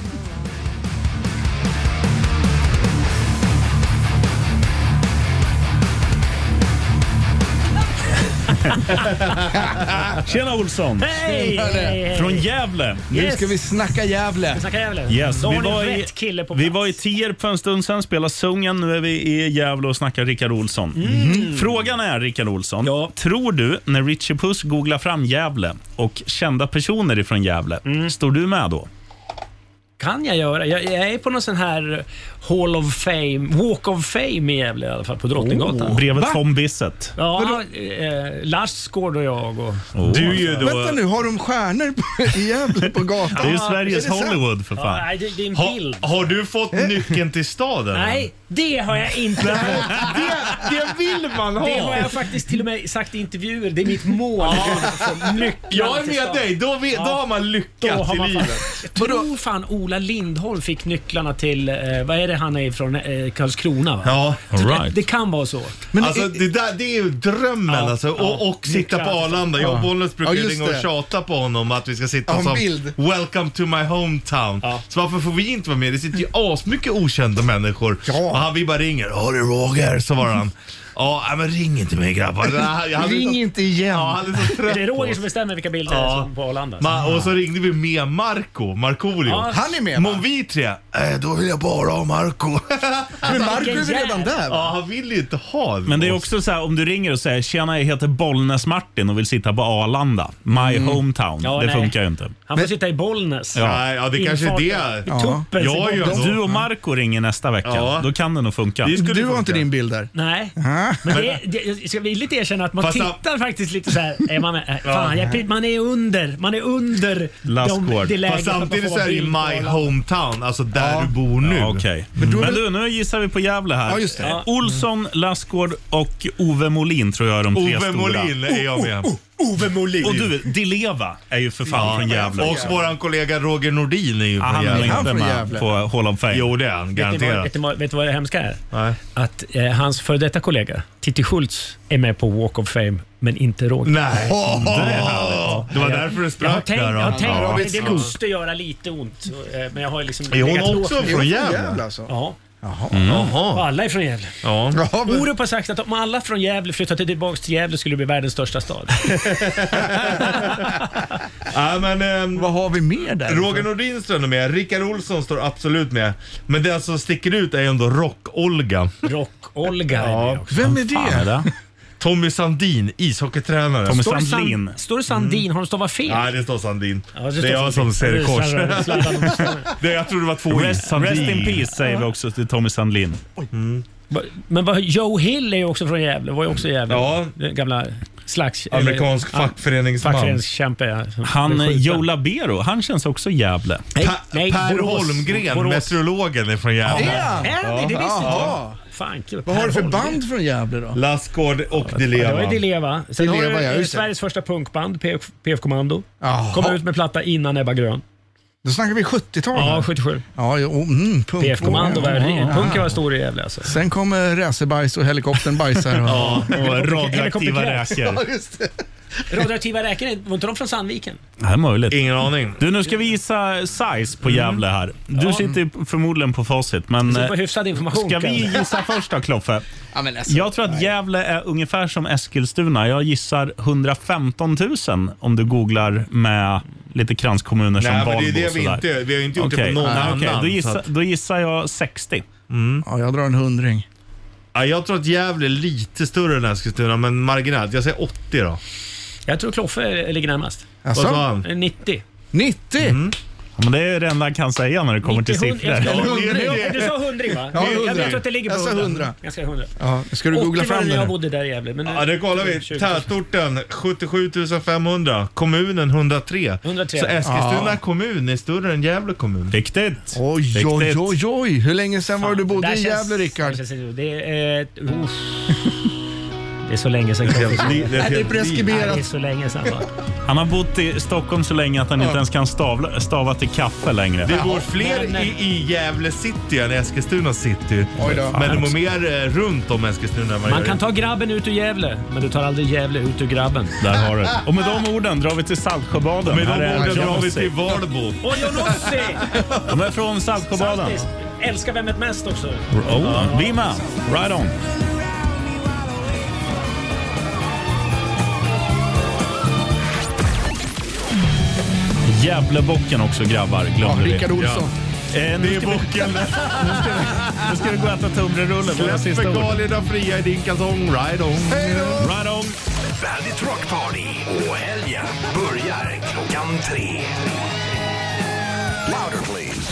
[SPEAKER 2] Tjena Olsson!
[SPEAKER 11] Hej, hej, hej.
[SPEAKER 2] Från Gävle.
[SPEAKER 11] Nu ska vi
[SPEAKER 3] snacka Gävle.
[SPEAKER 11] Snacka Gävle.
[SPEAKER 2] Yes,
[SPEAKER 11] Då
[SPEAKER 2] vi
[SPEAKER 11] har ni
[SPEAKER 2] var i-
[SPEAKER 11] rätt kille på
[SPEAKER 2] Vi
[SPEAKER 11] plats.
[SPEAKER 2] var i Tierp för en stund sedan, spelade sången. Nu är vi i Gävle och snackar Rickard Olsson. Mm-hmm. Frågan är, Rickard Olsson, tror du när Richie Puss googlar fram Gävle och kända personer ifrån Gävle, står du med då?
[SPEAKER 11] kan jag göra. Jag, jag är på någon sån här Hall of Fame, Walk of Fame i Gävle i alla fall, på Drottninggatan.
[SPEAKER 2] Oh, bredvid
[SPEAKER 11] Va?
[SPEAKER 2] Tom Bissett.
[SPEAKER 11] Ja, eh, Lassgård och jag. Och...
[SPEAKER 2] Du är ju då-
[SPEAKER 3] Vänta nu, har de stjärnor på, i Gävle på gatan?
[SPEAKER 11] Det är ju Sveriges
[SPEAKER 3] sant?
[SPEAKER 11] Hollywood, för fan. Ja, nej, det- det är en bild.
[SPEAKER 4] Ha, har du fått
[SPEAKER 11] Eh.
[SPEAKER 4] nyckeln till staden?
[SPEAKER 11] Nej, det har jag inte
[SPEAKER 4] Nej,
[SPEAKER 11] fått.
[SPEAKER 4] det- det vill man ha.
[SPEAKER 11] Det har jag faktiskt till och med sagt i intervjuer. Det är mitt mål. Alltså, nycklar
[SPEAKER 4] Jag är
[SPEAKER 11] till
[SPEAKER 4] med
[SPEAKER 11] stan.
[SPEAKER 4] dig. Då vi- då har man lyckats
[SPEAKER 11] Då har
[SPEAKER 4] i
[SPEAKER 11] man fan-
[SPEAKER 4] livet.
[SPEAKER 11] Jag tror fan Ola Lindholm fick nycklarna till, eh, vad är det han är ifrån, eh, Karlskrona va?
[SPEAKER 4] Ja,
[SPEAKER 11] Så
[SPEAKER 4] all
[SPEAKER 11] det-
[SPEAKER 4] right.
[SPEAKER 11] Det kan vara så. eh,
[SPEAKER 4] alltså, det, där, det är ju drömmen
[SPEAKER 11] Ja,
[SPEAKER 4] alltså.
[SPEAKER 11] ja.
[SPEAKER 4] Och, och sitta på
[SPEAKER 11] Nycklar.
[SPEAKER 4] Arlanda. Jag och
[SPEAKER 11] Ja.
[SPEAKER 4] Bollnäs brukar
[SPEAKER 11] Ja,
[SPEAKER 4] ju
[SPEAKER 11] just
[SPEAKER 4] ringa och
[SPEAKER 11] det.
[SPEAKER 4] tjata på honom att vi ska sitta
[SPEAKER 11] Ja, en
[SPEAKER 4] som
[SPEAKER 11] bild.
[SPEAKER 4] “Welcome to my hometown”. Så varför får vi inte vara med? Det sitter ju asmycket okända människor. Och han, vi bara ringer. “Ja det är Roger”, så var han. “Ja, nej, men ring inte mig grabbar”. Jag- jag hade-
[SPEAKER 3] inte igen.
[SPEAKER 4] Ja, han är så trött
[SPEAKER 11] det är
[SPEAKER 4] på
[SPEAKER 11] Roger
[SPEAKER 4] oss.
[SPEAKER 11] som bestämmer vilka bilder
[SPEAKER 4] Ja.
[SPEAKER 11] som på Arlanda.
[SPEAKER 4] Ma- och så ringde vi med Marco, Markoolio.
[SPEAKER 11] Ja. Han är med,
[SPEAKER 4] Men om vi tre, äh, då vill jag bara ha Marco.
[SPEAKER 11] Men Marco är väl redan där, va?
[SPEAKER 4] Ja, han vill ju inte ha det.
[SPEAKER 2] Men det är också så här, om du ringer och säger “Tjena, jag heter Bollnäs-Martin och vill sitta på Arlanda, my hometown”.
[SPEAKER 11] Ja,
[SPEAKER 2] det
[SPEAKER 11] nej.
[SPEAKER 2] funkar ju inte.
[SPEAKER 11] Han får sitta i Bollnäs.
[SPEAKER 2] Ja. Nej,
[SPEAKER 4] ja, det kanske är det.
[SPEAKER 11] I Tuppes i
[SPEAKER 2] Ja, ja,
[SPEAKER 11] Bollnäs.
[SPEAKER 2] du och Marco ringer nästa vecka.
[SPEAKER 4] Ja.
[SPEAKER 2] Då kan det nog funka.
[SPEAKER 3] Du har inte din bild där?
[SPEAKER 11] Nej, men det, det, jag ska villigt erkänna att man
[SPEAKER 2] Fast han-
[SPEAKER 11] tittar faktiskt lite så här. Är man, med, äh,
[SPEAKER 4] Ja.
[SPEAKER 11] fan, jag, man är under, man är under de,
[SPEAKER 4] Lastgård.
[SPEAKER 11] det läget
[SPEAKER 4] Fast
[SPEAKER 11] att man
[SPEAKER 4] samtidigt
[SPEAKER 11] får
[SPEAKER 4] så är det ju
[SPEAKER 11] vara bild på
[SPEAKER 4] my
[SPEAKER 11] alla.
[SPEAKER 4] hometown, alltså där du bor nu.
[SPEAKER 2] Ja, okej.
[SPEAKER 4] Men då är
[SPEAKER 2] Men
[SPEAKER 4] väl-
[SPEAKER 2] du, nu gissar vi på Gävle här.
[SPEAKER 4] Ja, just det.
[SPEAKER 2] Eh, Olsson, Lassgård och Ove Molin tror jag är de tre
[SPEAKER 4] Ove
[SPEAKER 2] stora.
[SPEAKER 4] Molin är jag med.
[SPEAKER 2] Ove Molin. Och du, Di Leva är ju för fan från Gävle.
[SPEAKER 4] Och
[SPEAKER 2] också.
[SPEAKER 4] våran kollega Roger Nordin är ju
[SPEAKER 2] Ah, han är
[SPEAKER 4] Gävle.
[SPEAKER 2] inte Han från med Gävle. på Hall of Fame.
[SPEAKER 4] Jo, det är han.
[SPEAKER 11] Vet ni, vad,
[SPEAKER 4] Garanterat.
[SPEAKER 11] vet, ni vad, vet ni vad det hemska är? Att eh, hans före detta kollega, Titti Schultz, är med på Walk of Fame, men inte Roger.
[SPEAKER 4] Nej.
[SPEAKER 11] Mm.
[SPEAKER 4] Det är
[SPEAKER 11] härligt.
[SPEAKER 4] Det var därför det sprack
[SPEAKER 11] jag har tänkt,
[SPEAKER 4] där,
[SPEAKER 11] Jag har
[SPEAKER 4] då.
[SPEAKER 11] tänkt
[SPEAKER 4] Ja.
[SPEAKER 11] att det måste göra lite ont, eh, men jag har ju liksom...
[SPEAKER 4] Är hon
[SPEAKER 11] legat
[SPEAKER 4] också
[SPEAKER 11] lågt med
[SPEAKER 4] från
[SPEAKER 11] det.
[SPEAKER 4] Gävle? Jävla alltså.
[SPEAKER 11] Ja. Jaha.
[SPEAKER 4] Mm.
[SPEAKER 11] Och alla är från Gävle.
[SPEAKER 4] Ja.
[SPEAKER 11] Orup har sagt att om alla från Gävle flyttade tillbaka till Gävle skulle det bli världens största stad.
[SPEAKER 4] Ja, men, ehm,
[SPEAKER 3] Vad har vi mer där?
[SPEAKER 4] Roger Nordin står ändå med. Rickard Olsson står absolut med. Men den som sticker ut är ju ändå Rock-Olga.
[SPEAKER 11] Rock-Olga
[SPEAKER 4] ja.
[SPEAKER 3] Vem är det?
[SPEAKER 4] Tommy Sandin, ishockeytränare.
[SPEAKER 11] Står det San- Står det Sandin? Har de stavat fel?
[SPEAKER 4] Nej, det står Sandin.
[SPEAKER 11] det
[SPEAKER 4] det,
[SPEAKER 11] står
[SPEAKER 4] är jag
[SPEAKER 11] Sandin.
[SPEAKER 4] som ser i kors.
[SPEAKER 11] Slarvar-
[SPEAKER 4] det, jag tror det var två
[SPEAKER 2] Rest, rest in peace säger vi också till Tommy Sandlin.
[SPEAKER 11] Men vad, Joe Hill är ju också från Gävle. Var ju också i Gävle.
[SPEAKER 4] Ja.
[SPEAKER 11] Den gamla slags...
[SPEAKER 4] Amerikansk
[SPEAKER 11] eller-
[SPEAKER 4] fackföreningsman.
[SPEAKER 11] Fackföreningskämpe, ja. som
[SPEAKER 2] Han
[SPEAKER 11] blev
[SPEAKER 2] eh,
[SPEAKER 11] skjuten.
[SPEAKER 2] Joe Labero, han känns också Gävle.
[SPEAKER 11] Nej, nej,
[SPEAKER 4] Per
[SPEAKER 11] Borås.
[SPEAKER 4] Holmgren,
[SPEAKER 11] Borås.
[SPEAKER 4] meteorologen, är från Gävle.
[SPEAKER 11] Är han det? Det visste inte jag.
[SPEAKER 3] Ja.
[SPEAKER 11] Fan, kul.
[SPEAKER 3] Vad har du för
[SPEAKER 11] Per Holmgren.
[SPEAKER 3] band från Gävle då?
[SPEAKER 4] Lassgård och Di
[SPEAKER 11] Ja, det
[SPEAKER 4] Leva.
[SPEAKER 11] var ju Di Leva. Sen
[SPEAKER 3] Di
[SPEAKER 11] har
[SPEAKER 3] Leva,
[SPEAKER 11] du
[SPEAKER 3] ja,
[SPEAKER 11] eh,
[SPEAKER 3] just det.
[SPEAKER 11] Sveriges första punkband, PF PF Kommando.
[SPEAKER 3] Jaha.
[SPEAKER 11] Kom ut med platta innan Ebba Grön.
[SPEAKER 3] Då snackar vi 70-tal.
[SPEAKER 11] Ja,
[SPEAKER 3] här.
[SPEAKER 11] 77.
[SPEAKER 3] Ja, jo, mm, punk.
[SPEAKER 11] PF Kommando var,
[SPEAKER 3] Ja, ja,
[SPEAKER 11] punken
[SPEAKER 3] ja.
[SPEAKER 11] var stor i Gävle alltså.
[SPEAKER 3] Sen kommer racerbajs och helikoptern bajsar. Och...
[SPEAKER 11] Ja, och radioaktiva räkor.
[SPEAKER 3] Ja, just det.
[SPEAKER 11] Radioaktiva räkor, var inte de från Sandviken?
[SPEAKER 2] Det här är möjligt.
[SPEAKER 4] Ingen aning.
[SPEAKER 2] Du, nu ska vi gissa size på Gävle här. Du sitter ju
[SPEAKER 3] Mm.
[SPEAKER 2] förmodligen på facit, men...
[SPEAKER 11] Så
[SPEAKER 2] eh,
[SPEAKER 11] på hyfsad information
[SPEAKER 2] Ska vi
[SPEAKER 11] kanske.
[SPEAKER 2] gissa först då, Kloffe?
[SPEAKER 3] Ja, men alltså,
[SPEAKER 2] Jag tror att Gävle är ungefär som Eskilstuna. Jag gissar 115 000 om du googlar eh, med lite kranskommuner som
[SPEAKER 4] Nej,
[SPEAKER 2] Valbo.
[SPEAKER 4] men det är det
[SPEAKER 2] och
[SPEAKER 4] vi
[SPEAKER 2] sådär.
[SPEAKER 4] inte- vi har ju inte gjort det
[SPEAKER 2] Okej,
[SPEAKER 4] på någon
[SPEAKER 2] nej,
[SPEAKER 4] annan,
[SPEAKER 2] okej. Då,
[SPEAKER 4] så
[SPEAKER 2] gissar,
[SPEAKER 4] att-
[SPEAKER 2] då gissar jag 60.
[SPEAKER 3] Ja, jag drar en hundring.
[SPEAKER 4] Ja, jag tror att Gävle är lite större än Eskilstuna, men marginellt. Jag säger 80 då.
[SPEAKER 11] Jag tror Kloffe ligger närmast.
[SPEAKER 4] Vad sa han?
[SPEAKER 11] 90.
[SPEAKER 3] 90?
[SPEAKER 2] Ja, men det är det enda han kan säga när det kommer till
[SPEAKER 11] 90, 100,
[SPEAKER 2] siffror.
[SPEAKER 11] jag skulle- Du sa hundring va?
[SPEAKER 2] Ja,
[SPEAKER 11] Jag
[SPEAKER 2] hundring.
[SPEAKER 11] tror att det ligger på
[SPEAKER 2] Jag sa
[SPEAKER 11] hundra.
[SPEAKER 2] hundra.
[SPEAKER 11] Jag sa hundra.
[SPEAKER 3] Ja,
[SPEAKER 4] ska du googla
[SPEAKER 11] 80 var
[SPEAKER 4] fram
[SPEAKER 11] det
[SPEAKER 4] det
[SPEAKER 11] när jag
[SPEAKER 4] nu?
[SPEAKER 11] bodde där i Gävle. men-
[SPEAKER 4] Ja, det kollar vi.
[SPEAKER 11] 20.
[SPEAKER 4] Tätorten 77 500, kommunen 103.
[SPEAKER 11] 103.
[SPEAKER 4] Så Eskilstuna
[SPEAKER 3] Ja.
[SPEAKER 4] kommun är större än Gävle kommun.
[SPEAKER 2] Viktigt.
[SPEAKER 3] Oj, oj, oj, oj. Hur länge sedan var det du
[SPEAKER 11] Det
[SPEAKER 3] bodde
[SPEAKER 11] där
[SPEAKER 3] i
[SPEAKER 11] känns-
[SPEAKER 3] Gävle, Rickard?
[SPEAKER 11] det känns inte- Det är... eh, uff. Det är så länge sedan. Nej, Det är så länge sedan. va?
[SPEAKER 2] Han har bott i Stockholm så länge att han inte ens kan stavla, stava till kaffe längre.
[SPEAKER 4] Det bor fler i, i Gävle city än i Eskilstuna city.
[SPEAKER 2] Oj då.
[SPEAKER 4] Men de bor mer eh, runt om Eskilstuna än vad
[SPEAKER 11] Man
[SPEAKER 4] gör i-
[SPEAKER 11] kan ta grabben ut ur Gävle, men du tar aldrig Gävle ut ur grabben.
[SPEAKER 2] Där har du. Och med de orden drar vi till Saltsjöbaden.
[SPEAKER 11] Med de
[SPEAKER 2] Här är
[SPEAKER 11] orden
[SPEAKER 2] John
[SPEAKER 11] drar vi
[SPEAKER 2] Ossie.
[SPEAKER 11] till Valbo. Och Johnossi!
[SPEAKER 2] De är från Saltsjöbaden.
[SPEAKER 11] Saltis. Älskar Vem vet mest också.
[SPEAKER 2] Oh, Lima, right on. Gävlebocken också grabbar, glömde
[SPEAKER 7] Ja,
[SPEAKER 2] vi.
[SPEAKER 7] Rickard Olsson.
[SPEAKER 2] Ja. Eh, nu ska vi- Nu ska vi- Nu ska vi gå och äta tunnbrödsrulle. Våra
[SPEAKER 4] Släpp
[SPEAKER 2] sista ord.
[SPEAKER 4] fekalierna fria i din kalsong. Ride on.
[SPEAKER 2] Right on.
[SPEAKER 15] Bandit Rock Party och helgen börjar klockan tre. Louder please.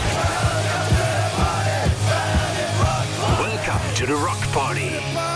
[SPEAKER 15] Welcome to the Rock Party.